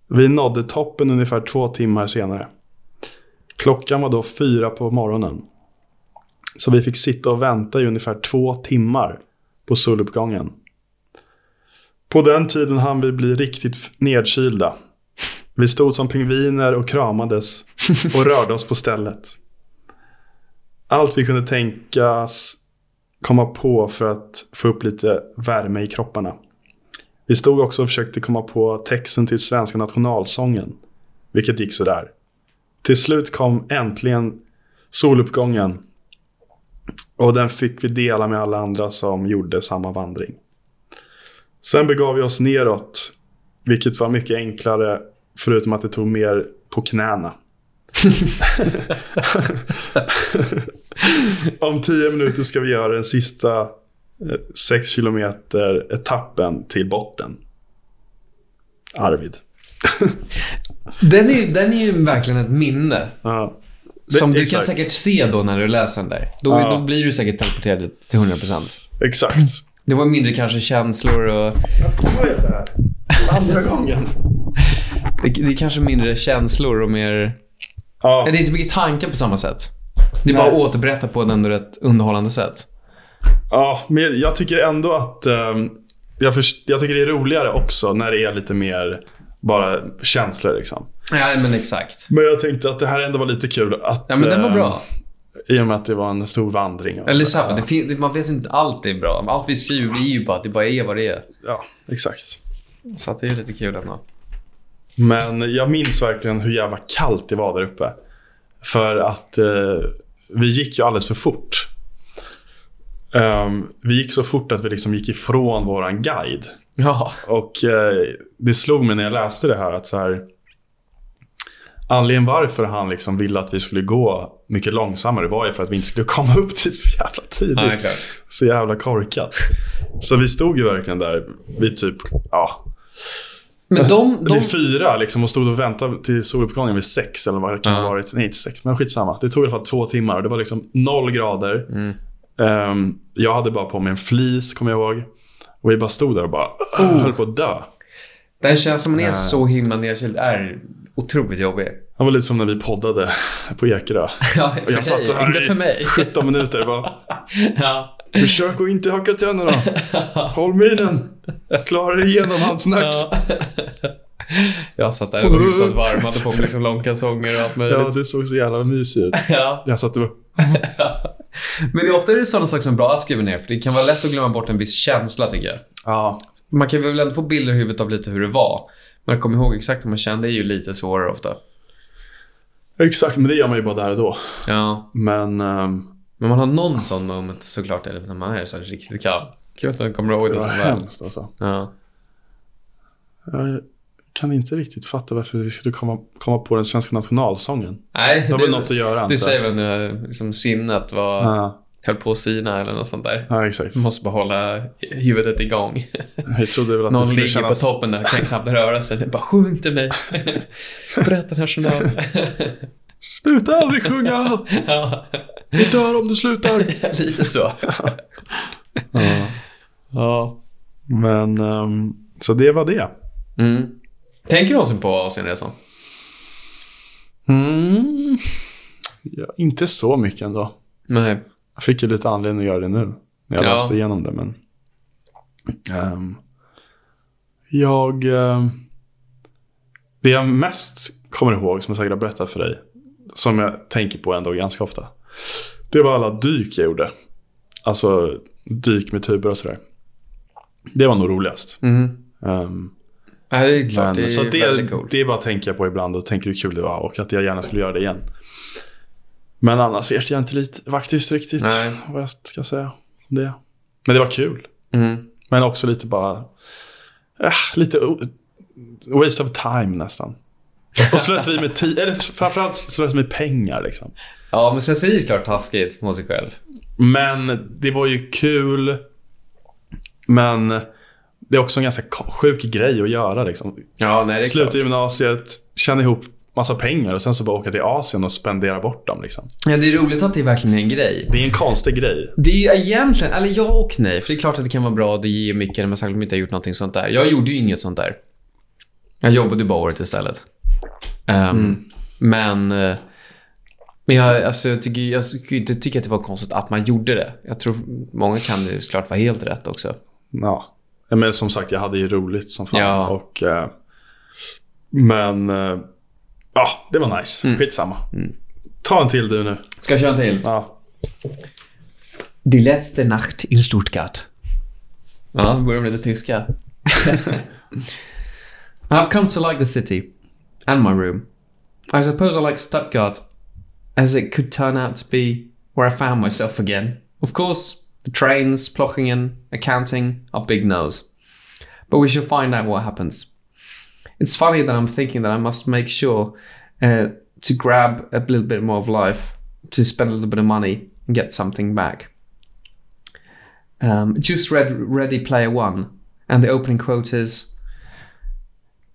Speaker 1: Vi nådde toppen ungefär två timmar senare. Klockan var då fyra på morgonen. Så vi fick sitta och vänta i ungefär två timmar på soluppgången. På den tiden hann vi bli riktigt f- nedkylda. Vi stod som pingviner och kramades och rörde oss på stället. Allt vi kunde tänkas komma på för att få upp lite värme i kropparna. Vi stod också och försökte komma på texten till svenska nationalsången, vilket gick sådär. Till slut kom äntligen soluppgången och den fick vi dela med alla andra som gjorde samma vandring. Sen begav vi oss neråt, vilket var mycket enklare, förutom att det tog mer på knäna.
Speaker 2: *laughs*
Speaker 1: Om tio minuter ska vi göra den sista eh, sex kilometer etappen till botten. Arvid.
Speaker 2: Den är, den är ju verkligen ett minne.
Speaker 1: Ja. Det-
Speaker 2: Som du kan
Speaker 1: exakt.
Speaker 2: säkert se då när du läser den där. Då,
Speaker 1: Ja.
Speaker 2: då blir du säkert teleporterad till 100%. *laughs*
Speaker 1: Exakt.
Speaker 2: Det var mindre kanske känslor och...
Speaker 1: Varför gör jag så här? Andra gången.
Speaker 2: Det, det är kanske mindre känslor och mer...
Speaker 1: Ja.
Speaker 2: Nej, Det är inte mycket tankar på samma sätt. Det är bara
Speaker 1: Nej.
Speaker 2: att återberätta på ett ändå rätt underhållande sätt.
Speaker 1: Ja, men jag tycker ändå att ehm, jag, förs- jag tycker det är roligare också när det är lite mer bara känslor. Liksom.
Speaker 2: Ja, men exakt.
Speaker 1: Men jag tänkte att det här ändå var lite kul. Att,
Speaker 2: Ja, men den var
Speaker 1: ehm,
Speaker 2: bra.
Speaker 1: I och med att det var en stor vandring. och
Speaker 2: Eller
Speaker 1: så.
Speaker 2: så här, det fin- det, man vet inte allt är bra. Allt vi skriver är ju bara att det bara är vad det är.
Speaker 1: Ja, exakt.
Speaker 2: Så att det är lite kul ändå.
Speaker 1: Men jag minns verkligen hur jävla kallt det var där uppe. För att eh, vi gick ju alldeles för fort. Ehm, vi gick så fort att vi liksom gick ifrån våran guide.
Speaker 2: Ja.
Speaker 1: Och eh, det slog mig när jag läste det här att så här Anledningen varför han liksom ville att vi skulle gå mycket långsammare var ju för att vi inte skulle *laughs* komma upp dit så jävla
Speaker 2: Ja, det är
Speaker 1: tidigt.
Speaker 2: klart.
Speaker 1: så jävla korkat. Så vi stod ju verkligen där vid typ, ja,
Speaker 2: Men *laughs* de... de
Speaker 1: vid fyra liksom och stod och väntade till soluppgången vid sex eller vad det kan ha
Speaker 2: Ja.
Speaker 1: varit. Nej, inte sex, men skitsamma. Det tog i alla fall två timmar och det var liksom noll grader.
Speaker 2: Mm.
Speaker 1: Ehm, jag hade bara på mig en fleece, kommer jag ihåg. Och vi bara stod där och bara höll på att dö.
Speaker 2: det här känns som man är så himla nedkyld är otroligt jobbig.
Speaker 1: Han var lite som när vi poddade på Ekerö.
Speaker 2: Ja,
Speaker 1: Och
Speaker 2: för
Speaker 1: jag satt så
Speaker 2: dig.
Speaker 1: här
Speaker 2: Inte för
Speaker 1: i
Speaker 2: mig.
Speaker 1: 17 minuter och bara
Speaker 2: *laughs* Ja.
Speaker 1: Försök att inte hacka tänderna. Håll minen. Klara dig igenom hans nack.
Speaker 2: Ja. *laughs* Jag satt där och var hyfsat varm, hade på mig liksom långkalsonger och allt möjligt.
Speaker 1: Ja, det såg så jävla mysigt ut.
Speaker 2: Ja.
Speaker 1: Jag satt och
Speaker 2: Men det är ofta är det sådana saker som är bra att skriva ner, för det kan vara lätt att glömma bort en viss känsla tycker jag.
Speaker 1: Ja.
Speaker 2: Man kan väl ändå få bilder i huvudet av lite hur det var. Men att komma ihåg exakt hur man kände är ju lite svårare ofta.
Speaker 1: Exakt, men det gör man ju bara där och då.
Speaker 2: Ja.
Speaker 1: Men ehm,
Speaker 2: Men man har någon sån moment såklart eller när man är så här riktigt kall. Kul att du kommer ihåg
Speaker 1: det
Speaker 2: det så
Speaker 1: var
Speaker 2: väl.
Speaker 1: hemskt alltså.
Speaker 2: Ja.
Speaker 1: Jag kan inte riktigt fatta varför vi skulle komma, komma på den svenska nationalsången.
Speaker 2: Nej,
Speaker 1: Det har väl något att göra antar
Speaker 2: du
Speaker 1: jag.
Speaker 2: säger väl nu liksom sinnet var,
Speaker 1: Ja,
Speaker 2: höll på att sina eller något sånt där.
Speaker 1: ja, exakt.
Speaker 2: Man måste bara hålla huvudet igång.
Speaker 1: Jag trodde väl att
Speaker 2: Någon
Speaker 1: det skulle
Speaker 2: ligger
Speaker 1: kännas...
Speaker 2: på toppen där kan knappt röra sig. Det är bara sjung till *laughs* mig. Berätta den här journalen.
Speaker 1: Sluta aldrig sjunga!
Speaker 2: *laughs* ja,
Speaker 1: Vi dör om du slutar!
Speaker 2: lite så.
Speaker 1: Ja.
Speaker 2: Ja.
Speaker 1: Men, ehm, så det var det.
Speaker 2: Mm. Tänker du någonsin på Asienresan?
Speaker 1: Mm. Ja, inte så mycket ändå.
Speaker 2: Nej.
Speaker 1: Jag fick ju lite anledning att göra det nu. När jag
Speaker 2: Ja.
Speaker 1: läste igenom det. Men, Ehm, jag... ehm, det jag mest kommer ihåg, som jag säkert har berättat för dig. Som jag tänker på ändå ganska ofta. Det var alla dyk jag gjorde. Alltså dyk med tuber och sådär. Det var nog roligast.
Speaker 2: Mm.
Speaker 1: Ehm,
Speaker 2: Nej, det är klart.
Speaker 1: men,
Speaker 2: det är
Speaker 1: så det,
Speaker 2: väldigt coolt.
Speaker 1: det bara tänker jag på ibland och tänker hur kul det var och att jag gärna skulle göra det igen. Men annars vet jag inte lite, faktiskt riktigt
Speaker 2: Nej.
Speaker 1: vad jag ska säga om det. Men det var kul.
Speaker 2: Mm.
Speaker 1: Men också lite bara... Äh, lite o- waste of time nästan. Och slöseri med tid, eller framförallt slöseri med pengar liksom.
Speaker 2: Ja, men sen så är det ju klart taskigt mot sig själv.
Speaker 1: Men det var ju kul. Men det är också en ganska ko- sjuk grej att göra liksom.
Speaker 2: Ja, nej det är
Speaker 1: Sluta
Speaker 2: klart.
Speaker 1: gymnasiet, tjäna ihop massa pengar och sen så bara åka till Asien och spendera bort dem. Liksom.
Speaker 2: Ja, det är roligt att det verkligen är en grej.
Speaker 1: Det är en konstig grej.
Speaker 2: Det är ju egentligen, eller ja och nej. För det är klart att det kan vara bra och det ger mycket när man särskilt om man inte har gjort någonting sånt där. Jag gjorde ju inget sånt där. Jag jobbade bara året istället. Ehm, Men, eh, men jag, alltså, jag, tycker, jag skulle inte tycka att det var konstigt att man gjorde det. Jag tror många kan ju såklart vara helt rätt också.
Speaker 1: Ja. Men som sagt, jag hade ju roligt som fan.
Speaker 2: Ja.
Speaker 1: Och, eh, men eh, ja, det var nice.
Speaker 2: Mm.
Speaker 1: Skitsamma. Ta en till du nu.
Speaker 2: Ska jag köra en till?
Speaker 1: Ja.
Speaker 3: Die letzte Nacht in Stuttgart.
Speaker 2: Ja, vi börjar med lite tyska.
Speaker 3: *laughs* I've come to like the city and my room. I suppose I like Stuttgart, as it could turn out to be where I found myself again. Of course, the trains, Plochingen, accounting are big no's. But we shall find out what happens. It's funny that I'm thinking that I must make sure uh, to grab a little bit more of life, to spend a little bit of money and get something back. Um, just read Ready Player One, and the opening quote is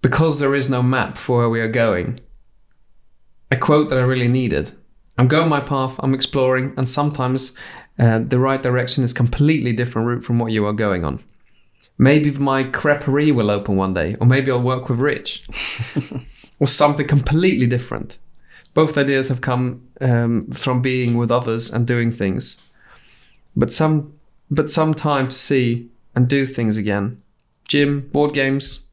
Speaker 3: because there is no map for where we are going. A quote that I really needed. I'm going my path, I'm exploring, and sometimes uh, the right direction is completely different route from what you are going on. Maybe my creperie will open one day, or maybe I'll work with Rich, or something completely different. Both ideas have come um, from being with others and doing things, but some, but some time to see and do things again. Gym, board games,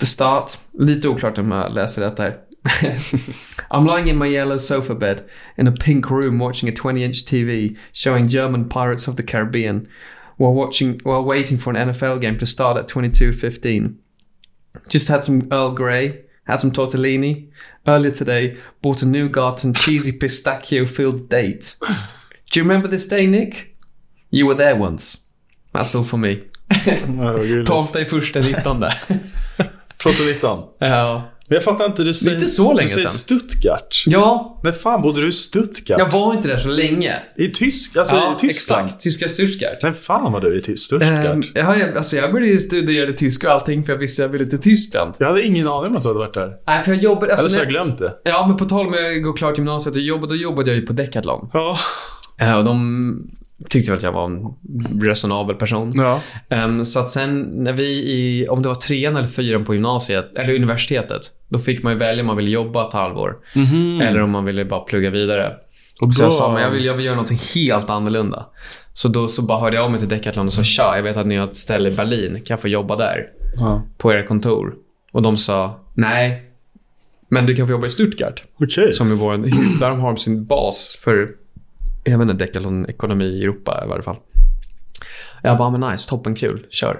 Speaker 3: the start. Lite oklart om jag läser rätt här. I'm lying in my yellow sofa bed in a pink room watching a 20-inch TV showing German Pirates of the Caribbean while watching while waiting for an NFL game to start at 22:15. Just had some Earl Grey, had some tortellini. Earlier today, bought a Newgarten cheesy pistachio filled date. Do you remember this day, Nick? You were there once. That's all for
Speaker 1: *laughs*
Speaker 3: me.
Speaker 1: Ja, vad gulligt.
Speaker 3: 12 första 19
Speaker 1: 2019.
Speaker 2: *laughs* Ja.
Speaker 1: Men jag fattar inte, du säger,
Speaker 2: inte så länge
Speaker 1: du säger
Speaker 2: sedan.
Speaker 1: Stuttgart.
Speaker 3: Ja,
Speaker 1: När fan bodde du i Stuttgart?
Speaker 2: Jag var inte där så länge.
Speaker 1: I Tysk, alltså i Tyskland?
Speaker 2: exakt. Tyska Stuttgart.
Speaker 1: När fan var du i Ty- Stuttgart?
Speaker 2: Ehm, jag, har- alltså jag började ju studera tyska och allting för jag visste jag ville till Tyskland.
Speaker 1: jag hade ingen aning om att du hade varit där. Eller
Speaker 2: Nej, för jag jobbade... Alltså,
Speaker 1: så har
Speaker 2: när-
Speaker 1: jag glömt det.
Speaker 2: ja, men på tal om att gå klart gymnasiet, och jobbade, då jobbade jag ju på Decathlon.
Speaker 1: Ja.
Speaker 2: Eh, och de tyckte väl att jag var en resonabel person.
Speaker 1: ja.
Speaker 2: Ehm, så att sen när vi i, om det var trean eller fyran på gymnasiet, eller universitetet, då fick man ju välja om man ville jobba ett halvår eller om man ville bara plugga vidare.
Speaker 1: Och
Speaker 2: Så jag sa, men jag vill, jag vill göra någonting helt annorlunda. Så då så bara hörde jag av mig till Decathlon och sa, tja, jag vet att ni har ett ställe i Berlin. Kan jag få jobba där?
Speaker 1: Ja.
Speaker 2: På era kontor? Och de sa, nej, men du kan få jobba i Stuttgart.
Speaker 1: Okej.
Speaker 2: Som är vår, *clears throat* där de har sin bas för, jag vet inte, Decathlon ekonomi i Europa i varje fall. Jag bara, men nice, "Ah, toppen kul, kör.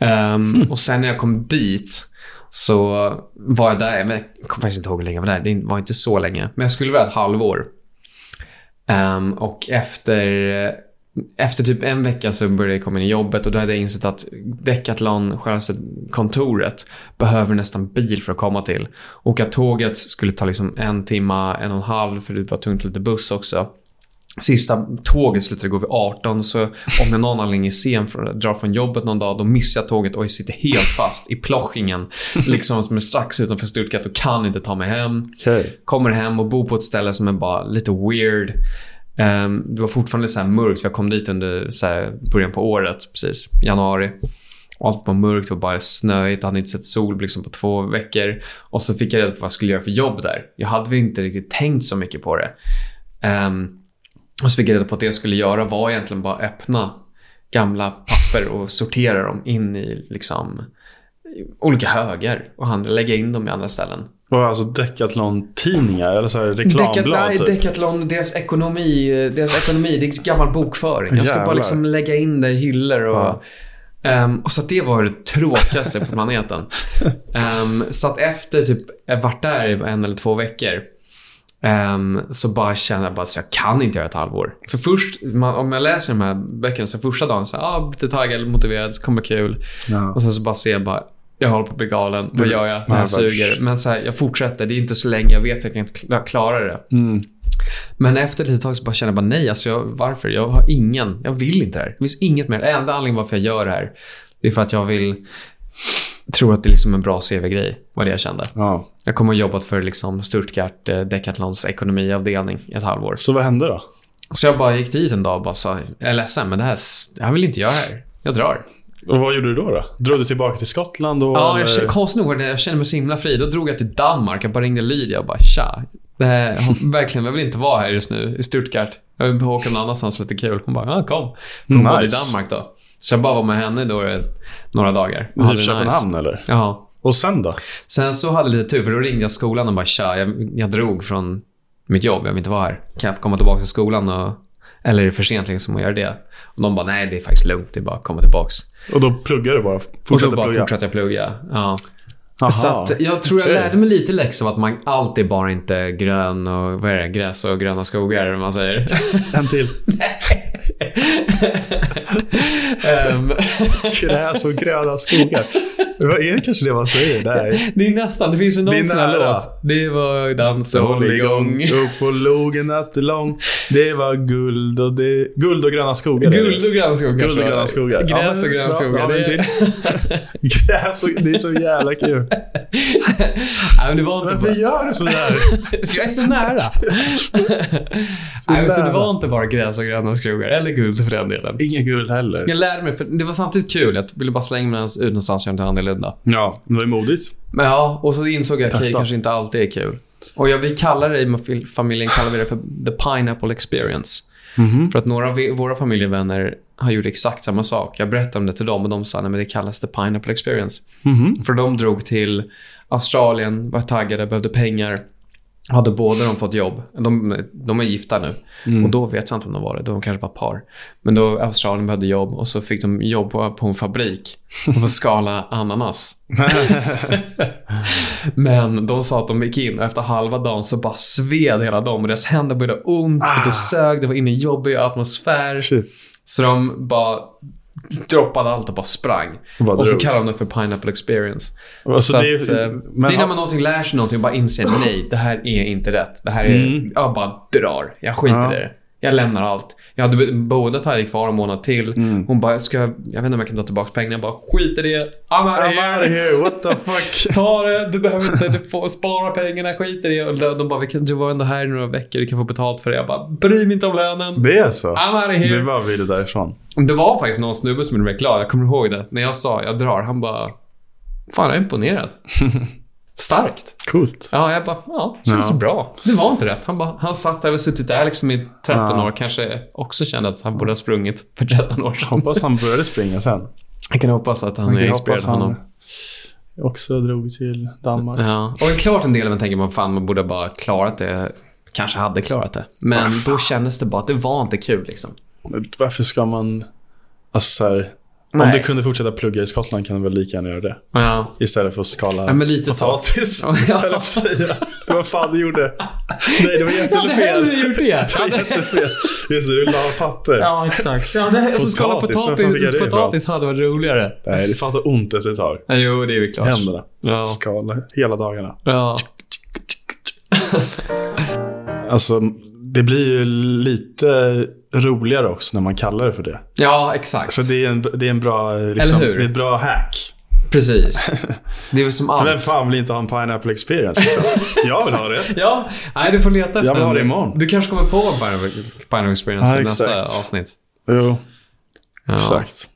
Speaker 2: Ehm, Och sen när jag kom dit så var jag där, men jag kommer faktiskt inte ihåg hur länge jag var där. Det var inte så länge, men jag skulle vara ett halvår. Ehm, och efter, efter typ en vecka så började jag komma in i jobbet och då hade jag insett att Decathlon, självaste kontoret, behöver nästan bil för att komma till. Åka tåget skulle ta liksom en timma, en och en halv, för det var tungt lite buss också. Sista tåget slutade gå vid 18, så om jag någon anledning är sen, för, drar från jobbet någon dag, då missar jag tåget och jag sitter helt fast i plockingen. Liksom som är strax utanför Stuttgart och kan inte ta mig hem.
Speaker 1: Okej.
Speaker 2: Kommer hem och bor på ett ställe som är bara lite weird. Ehm, det var fortfarande så här mörkt, för jag kom dit under så här början på året, precis, januari. Och allt var mörkt och bara snöigt. Jag hade inte sett sol liksom på två veckor. Och så fick jag reda på vad jag skulle göra för jobb där. Jag hade väl inte riktigt tänkt så mycket på det. Ehm, och så fick jag reda på att det jag skulle göra var egentligen bara öppna gamla papper och sortera dem in i liksom i olika högar och hand- lägga in dem i andra ställen.
Speaker 1: Var det alltså Decathlon-tidningar? Eller så här reklamblad
Speaker 2: Deca- Nej,
Speaker 1: typ?
Speaker 2: Decathlon, deras ekonomi, deras ekonomi, det är gammal bokföring. Jag ska bara
Speaker 1: Jävlar.
Speaker 2: liksom lägga in det i hyllor och...
Speaker 1: Ja.
Speaker 2: Ehm, och så att det var det tråkigaste på
Speaker 1: *laughs*
Speaker 2: planeten. Ehm, så att efter typ, jag vart där i en eller två veckor. ehm, så bara kände jag bara att jag kan inte göra ett halvår. För först, man, om jag läser de här böckerna, så första dagen så här, ah, lite taggad, motiverad, det kommer kul.
Speaker 1: Ja.
Speaker 2: Och sen så bara ser jag bara, jag håller på att bli galen. Vad gör jag? Det här
Speaker 1: Mm. bara-
Speaker 2: suger. Men så här, jag fortsätter. Det är inte så länge. Jag vet att jag kan kla- klara det.
Speaker 1: Mm.
Speaker 2: Men efter ett litet tag så bara känner jag bara nej. Alltså jag, varför? Jag har ingen. Jag vill inte det här. Det finns inget mer. Enda anledningen varför jag gör det här. Det är för att jag vill tro att det är liksom en bra CV-grej. Var det jag kände.
Speaker 1: ja.
Speaker 2: Jag kommer att ha jobbat för liksom Stuttgart eh, Decathlons ekonomiavdelning i ett halvår.
Speaker 1: Så vad hände då?
Speaker 2: Så jag bara gick dit en dag och bara sa, jag är ledsen men det här, det här vill inte jag här. Jag drar.
Speaker 1: Och vad gjorde du då? då? Drog du tillbaka till Skottland? Och,
Speaker 2: Ja,
Speaker 1: eller- typ
Speaker 2: jag känner, konstigt nog var det, jag kände mig så himla fri. Då drog jag till Danmark. Jag bara ringde Lydia och bara tja. Det här,
Speaker 1: *laughs*
Speaker 2: hon, verkligen, jag vill inte vara här just nu i Stuttgart. Jag vill åka någon annanstans lite kul. Hon bara, ja kom. För hon bodde i
Speaker 1: Nice.
Speaker 2: Danmark då. Så jag bara var med henne då i några dagar.
Speaker 1: Typ
Speaker 2: Hade det
Speaker 1: Köpenhamn eller?
Speaker 2: Ja.
Speaker 1: Och sen då?
Speaker 2: Sen så hade jag lite tur, för då ringde jag skolan och bara tja, jag, jag drog från mitt jobb, jag vill inte vara här. Kan jag få komma tillbaka till skolan? Och, eller är det för sent liksom att göra det? Och de bara, nej det är faktiskt lugnt, det är bara att komma tillbaka.
Speaker 1: Och då pluggade du bara?
Speaker 2: Och
Speaker 1: Fortsatte
Speaker 2: då bara
Speaker 1: plugga?
Speaker 2: fortsatte jag plugga. Ja.
Speaker 1: Aha.
Speaker 2: Så att jag tror jag
Speaker 1: okej.
Speaker 2: lärde mig lite läxa av att man alltid bara inte grön och vad är det, gräs och gröna skogar eller vad man säger.
Speaker 1: *laughs* En till.
Speaker 2: *laughs* Ehm,
Speaker 1: Gräs och gröna skogar. Vad är det kanske det man säger? Nej.
Speaker 2: det är nästan, det finns ju
Speaker 1: Det är
Speaker 2: någon sån här
Speaker 1: nära.
Speaker 2: låt. Det var dans och hålligång.
Speaker 1: upp på logen nattelång. Det var guld och det... Guld och gröna skogar. är det.
Speaker 2: Guld och gröna skogar.
Speaker 1: Guld och gröna skogar. Ja,
Speaker 2: Gräs
Speaker 1: men-
Speaker 2: och gröna
Speaker 1: ja,
Speaker 2: skogar.
Speaker 1: ja, men typ.
Speaker 2: det,
Speaker 1: till. *laughs* Gräs och... Det är så jävla kul.
Speaker 2: nej, men det var inte
Speaker 1: Varför
Speaker 2: bara... *laughs*
Speaker 1: gör du sådär?
Speaker 2: Jag är
Speaker 1: *laughs*
Speaker 2: så nära.
Speaker 1: Så
Speaker 2: nej, men så det
Speaker 1: nära.
Speaker 2: var inte bara gräs och gröna skogar. Eller guld för den delen.
Speaker 1: Inget guld heller.
Speaker 2: Jag lärde mig, för det var samtidigt kul. Jag ville bara slänga mig ut någonstans och göra något annorlunda.
Speaker 1: Ja, det var ju modigt.
Speaker 2: Men ja, och så insåg jag att det
Speaker 1: Testa.
Speaker 2: kanske inte alltid är kul. Och jag, vi kallar det i min fil- familjen kallar vi det för the pineapple experience. För att några av vi- våra familjevänner har gjort exakt samma sak. Jag berättade om det till dem och de sa "Nej, men det kallas the pineapple experience. För de drog till Australien, var taggade, behövde pengar. Hade båda de fått jobb. De, de är gifta nu.
Speaker 1: Mm.
Speaker 2: Och då vet jag inte om de var det. De kanske var par. Men då Australien behövde jobb och så fick de jobb på på en fabrik. Och få skala
Speaker 1: *laughs*
Speaker 2: ananas. Men de sa att de gick in och efter halva dagen så bara sved hela dem och deras händer började ont och det sög, det var inne i en jobbig atmosfär.
Speaker 1: Ah. Shit.
Speaker 2: Så de bara droppade allt och bara sprang.
Speaker 1: Och bara
Speaker 2: Och så
Speaker 1: drog.
Speaker 2: kallar de det för pineapple experience.
Speaker 1: Alltså,
Speaker 2: så
Speaker 1: det,
Speaker 2: att, eh,
Speaker 1: är- men,
Speaker 2: det är när man någonting lär sig någonting och bara inser nej, det här är inte rätt. Det här är,
Speaker 1: Mm.
Speaker 2: jag bara drar. Jag skiter
Speaker 1: Ja.
Speaker 2: i det. Jag lämnar allt. Jag hade be- boendet hade jag kvar en månad till.
Speaker 1: Mm.
Speaker 2: Hon bara, ska jag, jag vet inte om jag kan ta tillbaka pengarna. Jag bara, skit i det. I'm out of
Speaker 1: I'm out
Speaker 2: here.
Speaker 1: of here, what the fuck?
Speaker 2: Ta det, du behöver inte du får spara pengarna, skit i det. Och de bara, vi kan, du var ändå här i några veckor, du kan få betalt för det. Jag bara, bry mig inte om lönen.
Speaker 1: Det är så?
Speaker 2: I'm out of
Speaker 1: Du
Speaker 2: here.
Speaker 1: bara ville därifrån.
Speaker 2: Det var faktiskt någon snubbe som gjorde mig glad, jag kommer ihåg det. När jag sa, jag drar, han bara, fan jag är
Speaker 1: *laughs*
Speaker 2: imponerad. Starkt.
Speaker 1: Coolt.
Speaker 2: Ja, jag bara, ja, känns
Speaker 1: Ja.
Speaker 2: det bra. Det var inte rätt. Han bara, han satt där och suttit där liksom i 13
Speaker 1: Ja.
Speaker 2: år, kanske också kände att han borde ha sprungit för 13 år sedan.
Speaker 1: Hoppas han började springa sen.
Speaker 2: *laughs* Jag kan hoppas att han
Speaker 1: Jag
Speaker 2: inspirerade
Speaker 1: hoppas han
Speaker 2: honom.
Speaker 1: också drog till Danmark.
Speaker 2: Ja, och klart en del av en tänker man fan man borde ha bara klarat det. Kanske hade klarat det. Men *laughs* då kändes det bara att det var inte kul liksom.
Speaker 1: Men Varför ska man... Alltså så här, Om
Speaker 3: Nej.
Speaker 1: du kunde fortsätta plugga i Skottland kan du väl lika gärna göra det.
Speaker 2: Ja.
Speaker 1: Istället för att skala
Speaker 2: Ja, men lite så.
Speaker 1: potatis.
Speaker 2: Ja.
Speaker 1: höll jag på att säga. Det var fan du gjorde. Nej, det var
Speaker 2: Jag hade hellre
Speaker 1: jättefel.
Speaker 2: gjort *laughs* det.
Speaker 1: Det var jättefel. Just det, du la papper.
Speaker 2: Ja, exakt. Ja, det här, och så skala
Speaker 1: Potatis, varför fick jag
Speaker 2: potatis,
Speaker 1: det ifrån?
Speaker 2: potatis hade varit roligare.
Speaker 1: Nej, det fanns ont efter ett tag.
Speaker 2: Ja, Jo, det är väl klart.
Speaker 1: Händerna.
Speaker 2: Ja.
Speaker 1: Skala hela dagarna.
Speaker 2: ja.
Speaker 1: Alltså, det blir ju lite roligare också när man kallar det för det.
Speaker 2: ja, exakt.
Speaker 1: Så det är en, det är en bra, liksom,
Speaker 2: Eller hur?
Speaker 1: det är ett bra hack.
Speaker 2: Precis. Det är *laughs* väl som
Speaker 1: För vem
Speaker 2: allt.
Speaker 1: fan vill inte ha en pineapple experience? Liksom? *laughs* Jag vill ha det.
Speaker 2: Ja, nej, du får leta efter
Speaker 1: Jag vill ha
Speaker 2: den.
Speaker 1: det imorgon.
Speaker 2: Du kanske kommer på Binary- Binary Experience
Speaker 1: Ja,
Speaker 2: i nästa
Speaker 1: exakt.
Speaker 2: avsnitt.
Speaker 1: Jo,
Speaker 2: Ja.
Speaker 1: exakt.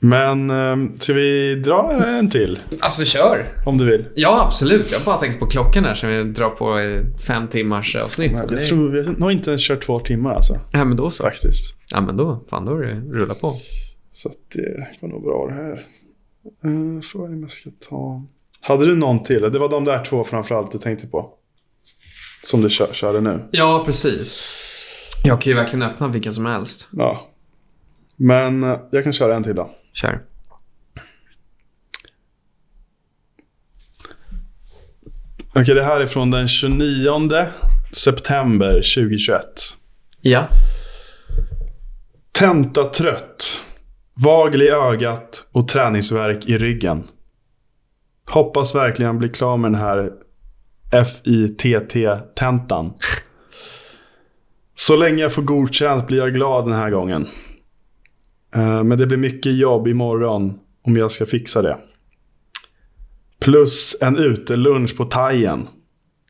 Speaker 1: Men ehm, ska vi dra en till?
Speaker 2: Alltså, kör.
Speaker 1: Om du vill.
Speaker 2: Ja, absolut. Jag bara tänker på klockan här som vi drar på i fem timmars avsnitt. Men
Speaker 1: Jag
Speaker 2: det-
Speaker 1: tror vi har nog inte ens kört två timmar alltså.
Speaker 2: Ja, men då så.
Speaker 1: Faktiskt.
Speaker 2: Ja, men då. Fan, då är det rulla på.
Speaker 1: Så att det går nog bra det här. Eh, Frågan är om jag ska ta... Hade du någon till? Det var de där två framförallt du tänkte på. Som du kör, körde nu.
Speaker 2: Ja, precis. Jag kan ju verkligen öppna vilken som helst.
Speaker 1: Ja. Men eh, jag kan köra en till då.
Speaker 2: Kör.
Speaker 1: Okej, det här är från den 29 september 2021.
Speaker 2: Ja.
Speaker 1: Tentatrött. Vagel i ögat och träningsvärk i ryggen. Hoppas verkligen bli klar med den här FITT-tentan. Så länge jag får godkänt blir jag glad den här gången. Eh, Men det blir mycket jobb imorgon om jag ska fixa det. Plus en utelunch på thaien.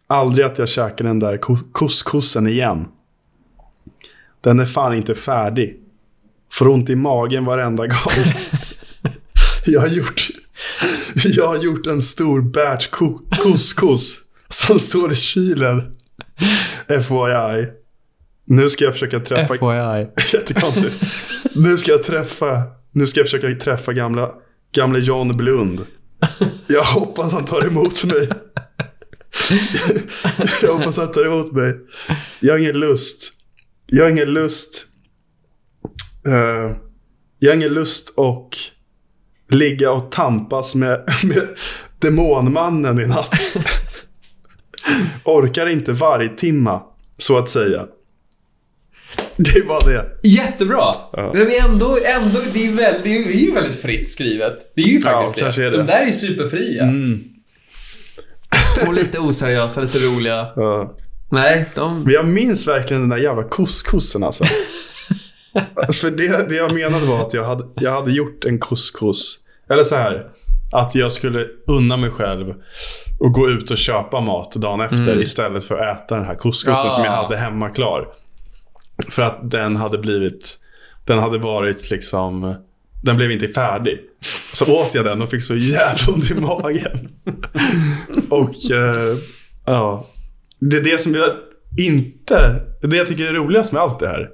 Speaker 1: Aldrig att jag käkar den där ko- couscousen igen. Den är fan inte färdig. Får ont i magen varenda gång. *laughs* Jag har gjort, jag har gjort en stor batch ko- couscous som står i kylen. FYI. Nu ska jag försöka träffa...
Speaker 2: FYI.
Speaker 1: *laughs* Jättekonstigt. Nu ska jag träffa, nu ska jag försöka träffa gamla, gamla John Blund. Jag hoppas han tar emot mig. *laughs* Jag hoppas han tar emot mig. Jag har ingen lust. Jag har ingen lust. eh, jag har ingen lust och ligga och tampas med, *laughs* med demonmannen i natt. Orkar inte varje timma, så att säga. Det är bara det.
Speaker 2: Jättebra!
Speaker 1: Ja.
Speaker 2: Men det är ändå, ändå det, är väl, det, är, det är ju väldigt fritt skrivet. Det är ju faktiskt
Speaker 1: kanske
Speaker 2: det.
Speaker 1: är det. Mm.
Speaker 2: De där är ju superfria. Och lite oseriösa, lite roliga.
Speaker 1: Ja.
Speaker 2: Nej, de...
Speaker 1: Men jag minns verkligen den där jävla couscousen alltså. För det, det jag menade var att jag hade, jag hade gjort en couscous. Eller så här. Att jag skulle unna mig själv och gå ut och köpa mat dagen efter istället för att äta den här couscousen
Speaker 2: Ah.
Speaker 1: som jag hade hemma klar. För att den hade blivit, den hade varit liksom, den blev inte färdig. Så åt jag den och fick så jävla ont i magen. och eh, ja, det är det som jag inte, det jag tycker är roligast med allt det här.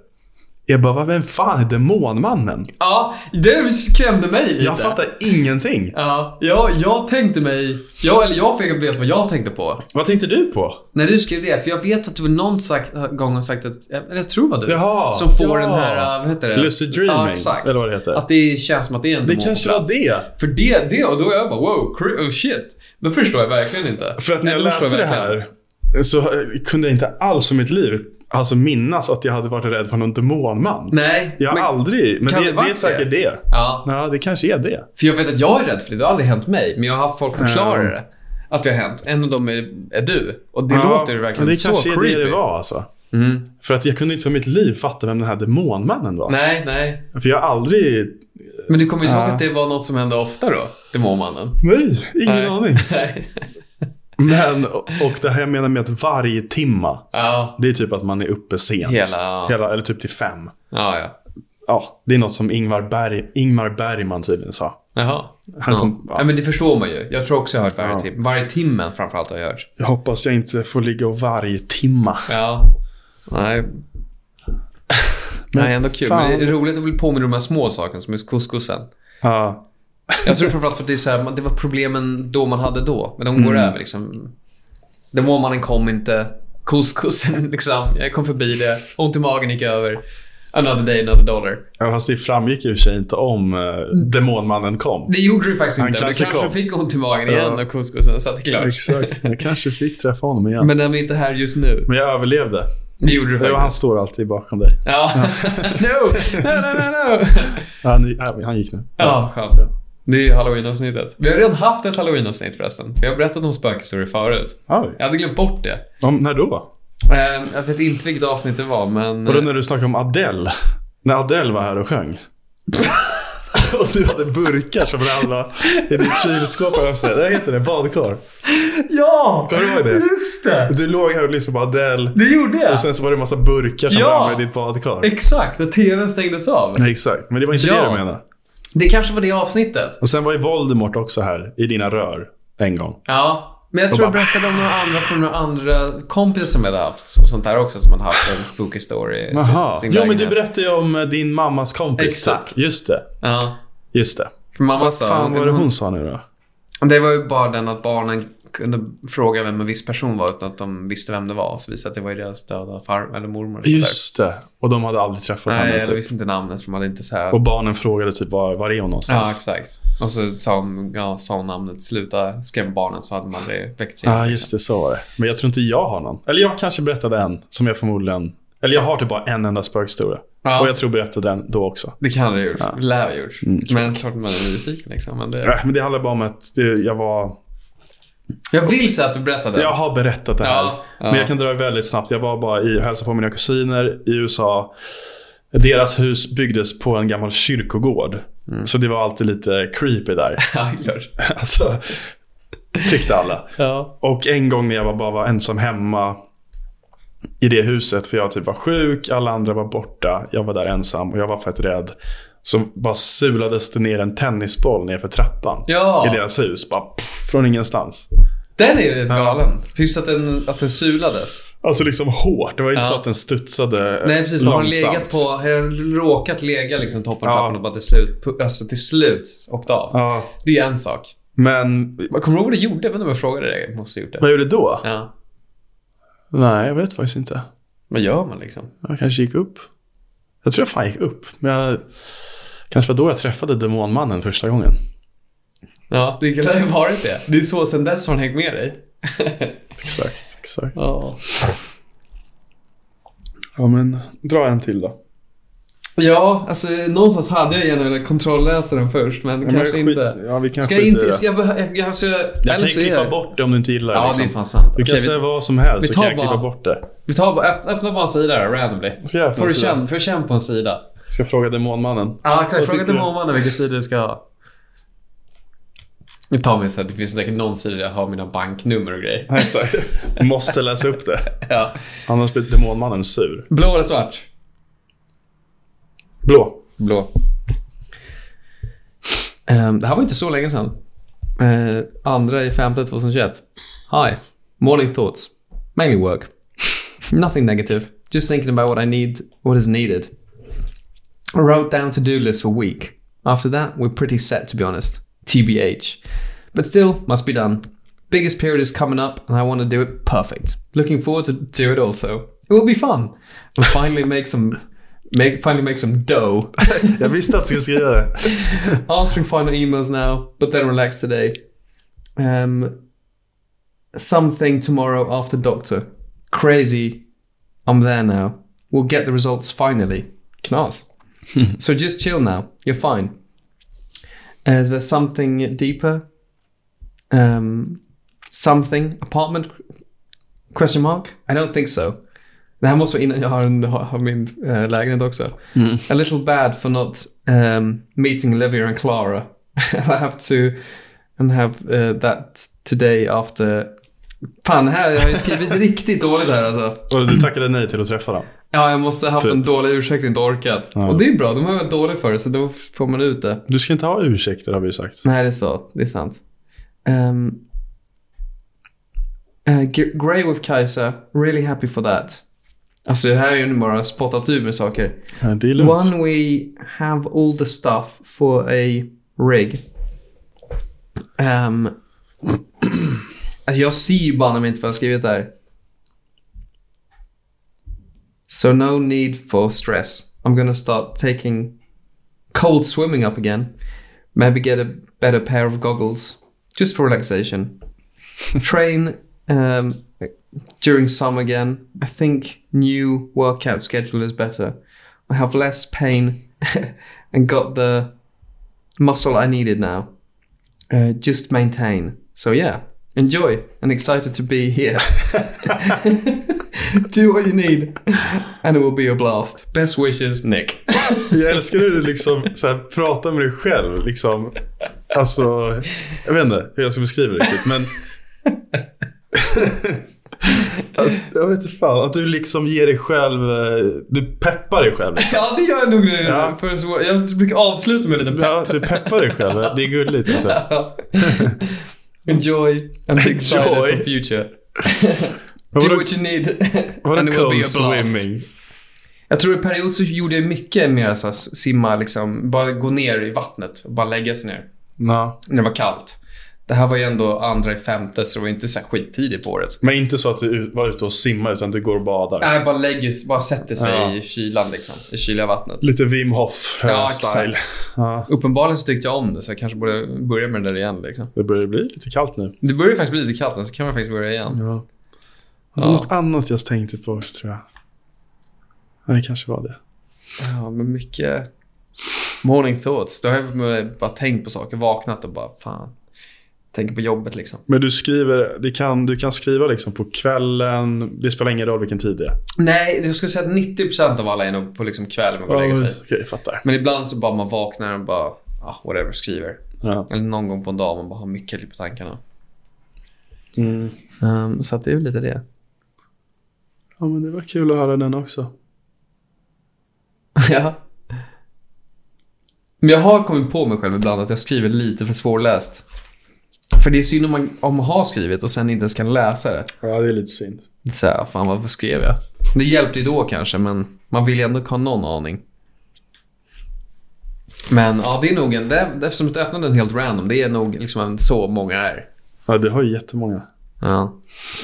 Speaker 1: Är bara, "Vad- vem fan är Demonmannen?
Speaker 2: Ja, det skrämde mig lite.
Speaker 1: Jag fattar ingenting.
Speaker 2: Ja, jag, jag tänkte mig... Jag, eller jag fick veta vad jag tänkte på.
Speaker 1: Vad tänkte du på?
Speaker 2: När du skrev det, för jag vet att du någon sagt, gång har sagt att... Eller jag tror det var du.
Speaker 1: Jaha,
Speaker 2: som får
Speaker 1: ja.
Speaker 2: den här... Vad heter det?
Speaker 1: Lucid dreaming,
Speaker 2: Ja, exakt.
Speaker 1: eller vad det heter.
Speaker 2: Att det känns som att det är en
Speaker 1: Det
Speaker 2: demon på
Speaker 1: kanske var
Speaker 2: plats.
Speaker 1: det.
Speaker 2: För det, det och då är jag bara wow, cre- oh shit. Då förstår jag verkligen inte.
Speaker 1: För att när
Speaker 2: Nej,
Speaker 1: jag
Speaker 2: då förstår
Speaker 1: läste det
Speaker 2: verkligen
Speaker 1: här så eh, kunde jag inte alls för mitt liv alltså minnas att jag hade varit rädd för någon demonman.
Speaker 2: Nej,
Speaker 1: jag har
Speaker 2: men,
Speaker 1: aldrig, men
Speaker 2: kan
Speaker 1: det,
Speaker 2: det
Speaker 1: det,
Speaker 2: varit
Speaker 1: är säkert det.
Speaker 2: ja,
Speaker 1: Ja, det kanske är det.
Speaker 2: för jag vet att jag är rädd för det. Det har aldrig hänt mig, men jag har haft folk förklara det. Att det har hänt. En av dem är, är du. Och det
Speaker 1: ja,
Speaker 2: låter ju verkligen
Speaker 1: men det
Speaker 2: så
Speaker 1: kanske är
Speaker 2: creepy.
Speaker 1: det det var alltså.
Speaker 2: Mm.
Speaker 1: För att jag kunde inte för mitt liv fatta vem den här demonmannen var.
Speaker 2: Nej, nej.
Speaker 1: För jag har aldrig...
Speaker 2: Men du kommer inte
Speaker 1: Ja.
Speaker 2: ihåg att det var något som hände ofta då?
Speaker 1: *laughs*
Speaker 2: Demonmannen.
Speaker 1: Nej, ingen
Speaker 2: Nej.
Speaker 1: aning.
Speaker 2: Nej.
Speaker 1: Men, och och det här jag menar med att varje timma,
Speaker 2: ja,
Speaker 1: det är typ att man är uppe sent.
Speaker 2: Hela, ja.
Speaker 1: Hela eller typ till fem.
Speaker 2: ja, ja.
Speaker 1: Ja, det är något som Ingmar, Berg, Ingmar Bergman tydligen sa.
Speaker 2: Jaha.
Speaker 1: Han
Speaker 2: ja.
Speaker 1: kom- ja.
Speaker 2: ja, men det förstår man ju. Jag tror också jag har hört varje
Speaker 1: Ja.
Speaker 2: timme. Varje timme framförallt har jag hört.
Speaker 1: Jag hoppas jag inte får ligga och varje timma.
Speaker 2: Ja.
Speaker 1: *laughs*
Speaker 2: Nej. Nej, ändå kul.
Speaker 1: fan.
Speaker 2: Men det är roligt att bli påminn om de här små sakerna som just couscousen.
Speaker 1: Ja.
Speaker 2: Jag tror framförallt för att det, är så här, man- det var problemen då man hade då. Men de går
Speaker 1: Mm.
Speaker 2: över liksom. *laughs* Demonmannen kom inte. Couscousen liksom. Jag kom förbi det. Ont i magen gick över. Another day, another dollar.
Speaker 1: Ja, fast det framgick ju i och för sig inte om eh, demonmannen kom.
Speaker 2: Det gjorde du faktiskt
Speaker 1: Han
Speaker 2: inte. Du
Speaker 1: kanske
Speaker 2: kanske
Speaker 1: kom.
Speaker 2: fick ont i magen
Speaker 1: Ja.
Speaker 2: igen och couscousen satt klart.
Speaker 1: Exakt. Jag kanske fick träffa honom igen. Men,
Speaker 2: *laughs* Men den är inte här just nu.
Speaker 1: jag överlevde.
Speaker 2: Det gjorde du
Speaker 1: Det
Speaker 2: faktiskt.
Speaker 1: var, han står alltid bakom dig.
Speaker 2: Ja. *laughs* no! No, no,
Speaker 1: *laughs*
Speaker 2: no, no!
Speaker 1: Han, äh, han gick nu.
Speaker 2: Ja, skönt. Det är halloween-avsnittet. Vi har redan haft ett halloween-avsnitt förresten. Vi har berättat om spökhistorier förut.
Speaker 1: Oj.
Speaker 2: Jag hade glömt bort det.
Speaker 1: Om, när då?
Speaker 2: Eh, Jag vet inte vilket avsnitt det var, men...
Speaker 1: Var det när du snackade om Adele? När Adele var här och sjöng? *laughs* och du hade burkar som ramlade i ditt kylskåp. eller vad säger jag? Det heter det, badkar.
Speaker 2: eh, Ja!
Speaker 1: Kommer du ihåg det? Alltså-
Speaker 2: Just det!
Speaker 1: Du låg här och lyssnade på Adele.
Speaker 2: Det gjorde jag!
Speaker 1: Och sen så var det en massa burkar som
Speaker 2: Ja.
Speaker 1: ramlade i ditt badkar.
Speaker 2: Exakt, när tvn stängdes av.
Speaker 1: Exakt, men det var inte
Speaker 2: Ja.
Speaker 1: det du menade.
Speaker 2: Det kanske var det avsnittet.
Speaker 1: Och sen var ju Voldemort också här i dina rör en gång.
Speaker 2: Ja, men jag tror
Speaker 1: Och bara-
Speaker 2: jag berättade om några andra från några andra kompisar som jag hade haft och sånt där också som hade haft en spooky story. i sin- sin
Speaker 1: Jo, men du
Speaker 2: lägenhet.
Speaker 1: berättade ju om eh, din mammas kompis. typ.
Speaker 2: Exakt.
Speaker 1: Just det.
Speaker 2: Ja.
Speaker 1: Just det.
Speaker 2: För mamma
Speaker 1: Vad
Speaker 2: sa...
Speaker 1: fan var det hon sa nu då?
Speaker 2: Det var ju bara den att barnen kunde fråga vem en viss person var utan att de visste vem det var. Så visade att det var ju deras döda farmor eller mormor. och sånt
Speaker 1: Just det. Och de hade aldrig träffat
Speaker 2: där.
Speaker 1: henne.
Speaker 2: Nej, de
Speaker 1: Typ.
Speaker 2: visste inte namnet för de hade inte så här...
Speaker 1: Och barnen frågade typ var, var är hon
Speaker 2: Ja,
Speaker 1: någonstans?
Speaker 2: exakt. Och så sa hon, ja, sa hon namnet, sluta skrämma barnen så hade man aldrig väckt sig.
Speaker 1: Ja, just det. Så var det. Men jag tror inte jag har någon. Eller jag kanske berättade en som jag förmodligen... Eller jag har typ bara en enda spökhistoria.
Speaker 2: Ja.
Speaker 1: Och jag tror jag berättade den då också.
Speaker 2: Det kan det ha gjort. Det lär ha gjort.
Speaker 1: Mm, tror
Speaker 2: men klart man är nyfiken liksom. Men det...
Speaker 1: Äh, Men det handlar bara om att det, jag var...
Speaker 2: Jag vill säga att du berättade.
Speaker 1: Jag har berättat det här.
Speaker 2: Ja, ja.
Speaker 1: Men jag kan dra det väldigt snabbt. Jag var bara i och hälsade på mina kusiner i USA. Deras hus byggdes på en gammal kyrkogård.
Speaker 2: Mm.
Speaker 1: Så det var alltid lite creepy där. *laughs*
Speaker 2: Ja, klart.
Speaker 1: alltså, tyckte alla.
Speaker 2: Ja.
Speaker 1: Och en gång när jag var- bara var ensam hemma i det huset, för jag typ var sjuk, alla andra var borta. Jag var där ensam och jag var fett rädd. Så bara sulades det ner en tennisboll nerför trappan
Speaker 2: Ja.
Speaker 1: i deras hus. Bara pff, från ingenstans.
Speaker 2: Den är ju helt galen. Just att den, att den sulades.
Speaker 1: Alltså liksom hårt. Det var inte
Speaker 2: Ja.
Speaker 1: så att den studsade
Speaker 2: Nej, precis. Man har
Speaker 1: långsamt.
Speaker 2: legat på, har den råkat lägga liksom toppen av
Speaker 1: Ja.
Speaker 2: trappan och bara till slut, pu- alltså till slut åkt av.
Speaker 1: Ja,
Speaker 2: Det är en sak.
Speaker 1: men
Speaker 2: Men Kommer du ihåg vad du gjorde? Jag vet inte om jag frågade dig. Jag måste ha gjort det.
Speaker 1: vad gjorde du då?
Speaker 2: Ja.
Speaker 1: Nej, jag vet faktiskt inte.
Speaker 2: Vad gör man liksom?
Speaker 1: Jag kanske gick upp. Jag tror jag fan gick upp. Men jag... Kanske var då jag träffade demonmannen första gången.
Speaker 2: Ja, det kan ju ha varit det. Det är så sen dess har han hängt med dig.
Speaker 1: Exakt, exakt.
Speaker 2: *laughs* ja.
Speaker 1: Ja, men dra en till då.
Speaker 2: Ja, alltså någonstans hade jag gärna velat kontrollläsa den först, men
Speaker 1: Ja, men
Speaker 2: kanske
Speaker 1: skit-
Speaker 2: inte.
Speaker 1: Ja, vi kan
Speaker 2: Ska
Speaker 1: skita
Speaker 2: jag
Speaker 1: i
Speaker 2: inte...
Speaker 1: det.
Speaker 2: Ska jag behöva... Jag, alltså, jag,
Speaker 1: Jag
Speaker 2: eller
Speaker 1: kan
Speaker 2: så är
Speaker 1: klippa
Speaker 2: jag-
Speaker 1: bort det om du inte gillar det.
Speaker 2: Ja,
Speaker 1: liksom.
Speaker 2: det är fan sant.
Speaker 1: Du kan
Speaker 2: Okej, vi-
Speaker 1: säga vad som
Speaker 2: vi
Speaker 1: helst så
Speaker 2: tar
Speaker 1: kan jag klippa
Speaker 2: bara-
Speaker 1: bort det.
Speaker 2: Vi tar bara, öppna, öppna bara en sida där, randomly.
Speaker 1: Ska jag,
Speaker 2: Får du
Speaker 1: sida?
Speaker 2: känn, får du känn på en sida.
Speaker 1: Ska jag fråga demonmannen? *laughs*
Speaker 2: Ja, exakt.
Speaker 1: Vad
Speaker 2: Fråga
Speaker 1: tycker
Speaker 2: till
Speaker 1: du?
Speaker 2: mamman vilken sida du ska ha. Jag tar mig så här, det finns säkert någon sida där jag har mina banknummer och grejer.
Speaker 1: Exakt. Måste läsa upp det.
Speaker 2: Ja.
Speaker 1: Annars blir demonmannen sur.
Speaker 2: Blå eller svart?
Speaker 1: Blå.
Speaker 2: Blå. Ehm, det här var inte så länge sedan. Eh, andra i femte 2021. Hi. Morning thoughts. Mainly work. *laughs* Nothing negative. Just thinking about what I need, what is needed. I wrote down to-do list for week. After that, we're pretty set to be honest. TBH. But still, must be done. Biggest period is coming up and I want to do it perfect. Looking forward to do it also. It will be fun. And finally make some make finally make some dough.
Speaker 1: Jag visste att du skulle skriva det.
Speaker 3: *laughs*
Speaker 2: answering final emails now, but then relax today.
Speaker 3: Um, something tomorrow after doctor. Crazy. I'm there now. We'll get the results finally. Knas. so just chill now. You're fine. Uh, is there something deeper? Um, something apartment? Question mark? I don't think so. Det här måste vara innan jag har, en, har har min eh, lägenhet också. A little bad for not um, meeting Olivia and Clara. *laughs* I have to and have eh, that today after... Fan, här har jag skrivit riktigt dåligt här alltså.
Speaker 1: Och du tackade nej till att träffa dem.
Speaker 3: Ja, jag måste ha haft
Speaker 1: Typ.
Speaker 3: en dålig ursäkt och inte orkat. Och det är bra, de har varit dåliga för det, så då får man ut det.
Speaker 1: Du ska inte ha ursäkter har vi ju sagt.
Speaker 3: Nej, det är så. Det är sant. Um, eh, G- Grey with Kaiser, really happy for that. Alltså det här är ju nu bara spottat ur med saker.
Speaker 1: Ja, Det är lugnt.
Speaker 3: One, we have all the stuff for a rig.
Speaker 2: *clears throat*
Speaker 3: Um, alltså jag ser ju banne mig inte vad jag har skrivit där. So no need for stress.
Speaker 2: I'm going to start taking cold swimming up again. Maybe get a better pair of goggles just for relaxation. Train um, during summer again. I think new workout schedule is better. I have less pain *laughs* and got the muscle I needed now. Uh, just maintain. So yeah, enjoy and excited to
Speaker 1: *laughs*
Speaker 2: be here. Do what you need, and it will be a blast. Best
Speaker 1: *laughs*
Speaker 2: wishes, Nick.
Speaker 1: Jag älskar hur du liksom så här, pratar med dig själv. Liksom. Alltså, jag vet inte hur jag ska beskriva det riktigt. Men... *laughs* att, jag vet inte fan. Att du liksom ger dig själv... eh, Du peppar dig själv. Liksom.
Speaker 2: ja, det gör jag nog nu.
Speaker 1: Ja.
Speaker 2: För så, jag brukar avsluta med lite
Speaker 1: Ja, du peppar dig själv. Det är gulligt. Alltså. *laughs*
Speaker 2: Enjoy and be excited
Speaker 1: Enjoy.
Speaker 2: for future.
Speaker 1: Men
Speaker 2: Do
Speaker 1: vadå-
Speaker 2: what you need
Speaker 1: vadå
Speaker 2: and it will
Speaker 1: cold
Speaker 2: be a blast.
Speaker 1: swimming?
Speaker 2: Jag tror i period så gjorde jag mycket mer så här, simma liksom, bara gå ner i vattnet och bara lägga sig ner
Speaker 1: Ja.
Speaker 2: när det var kallt. Det här var ju ändå andra i femte så det var inte så här skittidigt på året.
Speaker 1: Men inte så att du ut- var ute och simmar utan du går och badar.
Speaker 2: Nej, bara lägger, bara sätter sig
Speaker 1: Ja.
Speaker 2: i kylan liksom, i kyliga vattnet.
Speaker 1: Lite Wim Hof-style.
Speaker 2: Ja, exakt.
Speaker 1: Ja,
Speaker 2: Uppenbarligen så tyckte jag om det så jag kanske borde börja med det där igen liksom.
Speaker 1: det börjar bli lite kallt nu.
Speaker 2: Det börjar ju faktiskt bli lite kallt nu, så kan man faktiskt börja igen.
Speaker 1: Ja. Det var
Speaker 2: Ja.
Speaker 1: något annat jag tänkte på också, tror jag. Ja, det kanske var det.
Speaker 2: Ja, men mycket morning thoughts. Då har jag bara tänkt på saker, vaknat och bara fan. Tänker på jobbet liksom.
Speaker 1: Men du skriver, det kan, du kan skriva liksom på kvällen. Det spelar ingen roll vilken tid det är.
Speaker 2: Nej, jag skulle säga att 90% av alla är nog på liksom kvällen man går och lägger sig.
Speaker 1: Oj, Okej, jag fattar.
Speaker 2: Men ibland så bara man vaknar och bara, ah, whatever, skriver.
Speaker 1: Ja.
Speaker 2: Eller någon gång på en dag man bara har mycket typ på tankarna.
Speaker 1: Mm.
Speaker 2: Ehm, så att det är ju lite det.
Speaker 1: ja, men det var kul att höra den också.
Speaker 2: *laughs* ja. Men jag har kommit på mig själv ibland att jag skriver lite för svårläst. För det är synd om man, om man har skrivit och sen inte ens kan läsa det.
Speaker 1: Ja, det är lite synd.
Speaker 2: Lite så här, fan varför skrev jag? Det hjälpte ju då kanske, men man vill ju ändå ha någon aning. Men ja, det är nog en, det, eftersom att jag öppnade den helt random, det är nog liksom en, så många är.
Speaker 1: Ja, du har ju jättemånga.
Speaker 2: Ja.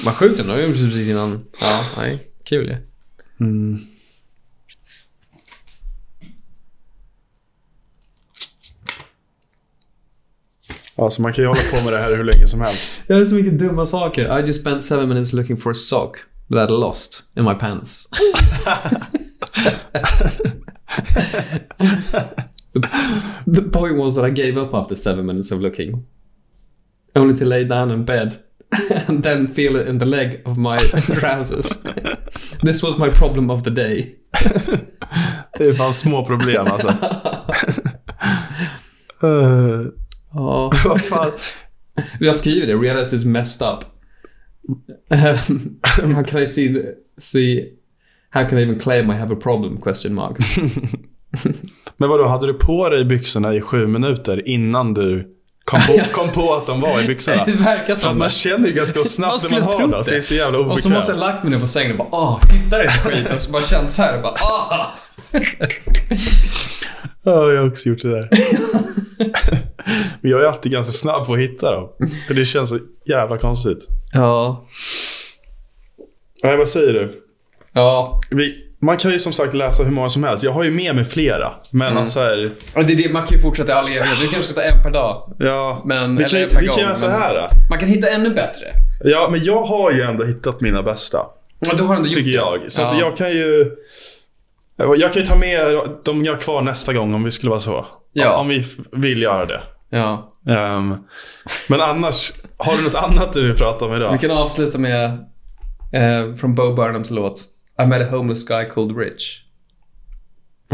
Speaker 2: Vad sjukt ändå, det var ju precis innan. Ja, nej, kul ju.
Speaker 1: Mm. Alltså man kan ju hålla på med det här hur länge som helst.
Speaker 2: Jag har så mycket dumma saker. I just spent seven minutes looking for a sock that I lost in my pants. *laughs* the, the point was that I gave up after seven minutes of looking. Only to lay down in bed *laughs* and then feel it in the leg of my *laughs* trousers. this was my problem of the day.
Speaker 1: Det är fan små problem *laughs* alltså. Eh,
Speaker 2: Oh.
Speaker 1: vad fan?
Speaker 2: Jag skriver det, reality is messed *laughs* up. Um, how can I see, the, see, how can I even claim I have a problem? Question mark.
Speaker 1: Men vadå, hade du på dig byxorna i sju minuter innan du kom
Speaker 2: *laughs*
Speaker 1: på, kom på att de var i byxorna?
Speaker 2: *laughs* Det verkar
Speaker 1: Så att
Speaker 2: som
Speaker 1: man
Speaker 2: det.
Speaker 1: känner ju ganska
Speaker 2: Man
Speaker 1: snabbt när
Speaker 2: skulle
Speaker 1: man har
Speaker 2: trott
Speaker 1: det. att Det är
Speaker 2: det.
Speaker 1: så jävla obekvämt.
Speaker 2: Och så måste jag lagt mig ner på sängen och bara ah, hittar den här skiten. Så bara känt så här och bara ah. *laughs*
Speaker 1: Ja, jag har också gjort det
Speaker 2: *laughs*
Speaker 1: där. Men jag är alltid ganska snabb på att hitta dem. För det känns så jävla konstigt.
Speaker 2: Ja.
Speaker 1: Nej, vad säger du?
Speaker 2: Ja.
Speaker 1: Vi, man kan ju som sagt läsa hur många som helst. Jag har ju med mig flera. Men
Speaker 2: Mm.
Speaker 1: alltså här,
Speaker 2: Och det är det, man kan ju fortsätta i all evighet. Vi kanske ska ta en per dag.
Speaker 1: ja.
Speaker 2: Men-
Speaker 1: vi
Speaker 2: eller
Speaker 1: kan, ju-
Speaker 2: per
Speaker 1: vi kan
Speaker 2: gång,
Speaker 1: göra så
Speaker 2: men-
Speaker 1: här. då.
Speaker 2: Man kan hitta ännu bättre.
Speaker 1: Ja, men jag har ju ändå hittat mina bästa.
Speaker 2: Ja, du har ändå gjort
Speaker 1: Tycker
Speaker 2: det.
Speaker 1: jag. Så att
Speaker 2: Ja.
Speaker 1: jag kan ju... Jag kan ju ta med de jag har kvar nästa gång om vi skulle vara så.
Speaker 2: Ja.
Speaker 1: Om vi f- vill göra det.
Speaker 2: Ja.
Speaker 1: Ehm, men annars, har du något annat du vill prata om idag?
Speaker 2: Vi kan avsluta med eh, från Bo Burnhams låt I met a homeless guy called Rich.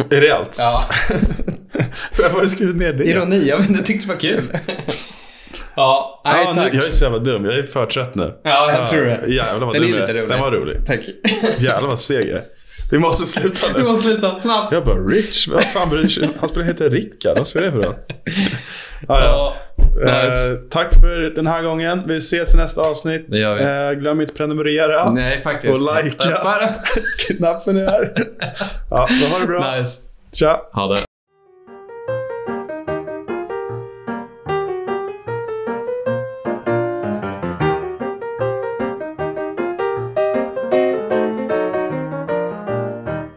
Speaker 1: Är det allt? *laughs*
Speaker 2: Ja. *laughs*
Speaker 1: Varför har du skrivit ner det?
Speaker 2: Ironi, jag vet inte, jag tyckte det var kul. *laughs* ja, nej
Speaker 1: Ja,
Speaker 2: tack.
Speaker 1: nu, jag är så jävla dum. Jag är för trött nu.
Speaker 2: Ja, jag tror det.
Speaker 1: Jävlar vad
Speaker 2: Den är
Speaker 1: dum jag
Speaker 2: lite rolig.
Speaker 1: Den var rolig.
Speaker 2: Tack. *laughs*
Speaker 1: Jävlar vad seg jag är. Vi måste sluta
Speaker 2: Vi
Speaker 1: nu.
Speaker 2: måste sluta, snabbt.
Speaker 1: Jag bara, Rich? Vad fan bryr sig? Han spelar heter Rickard. Vad spelar det för
Speaker 2: *laughs*
Speaker 1: roll? Ja, ja.
Speaker 2: Ja, nice.
Speaker 1: Eh, tack för den här gången. Vi ses i nästa avsnitt.
Speaker 2: Det gör vi.
Speaker 1: Eh, glöm inte att prenumerera. *laughs*
Speaker 2: Nej, faktiskt. *laughs*
Speaker 1: och likea. Knappen är här. ja, då ha det bra.
Speaker 2: Nice.
Speaker 1: Tja.
Speaker 2: Ha det.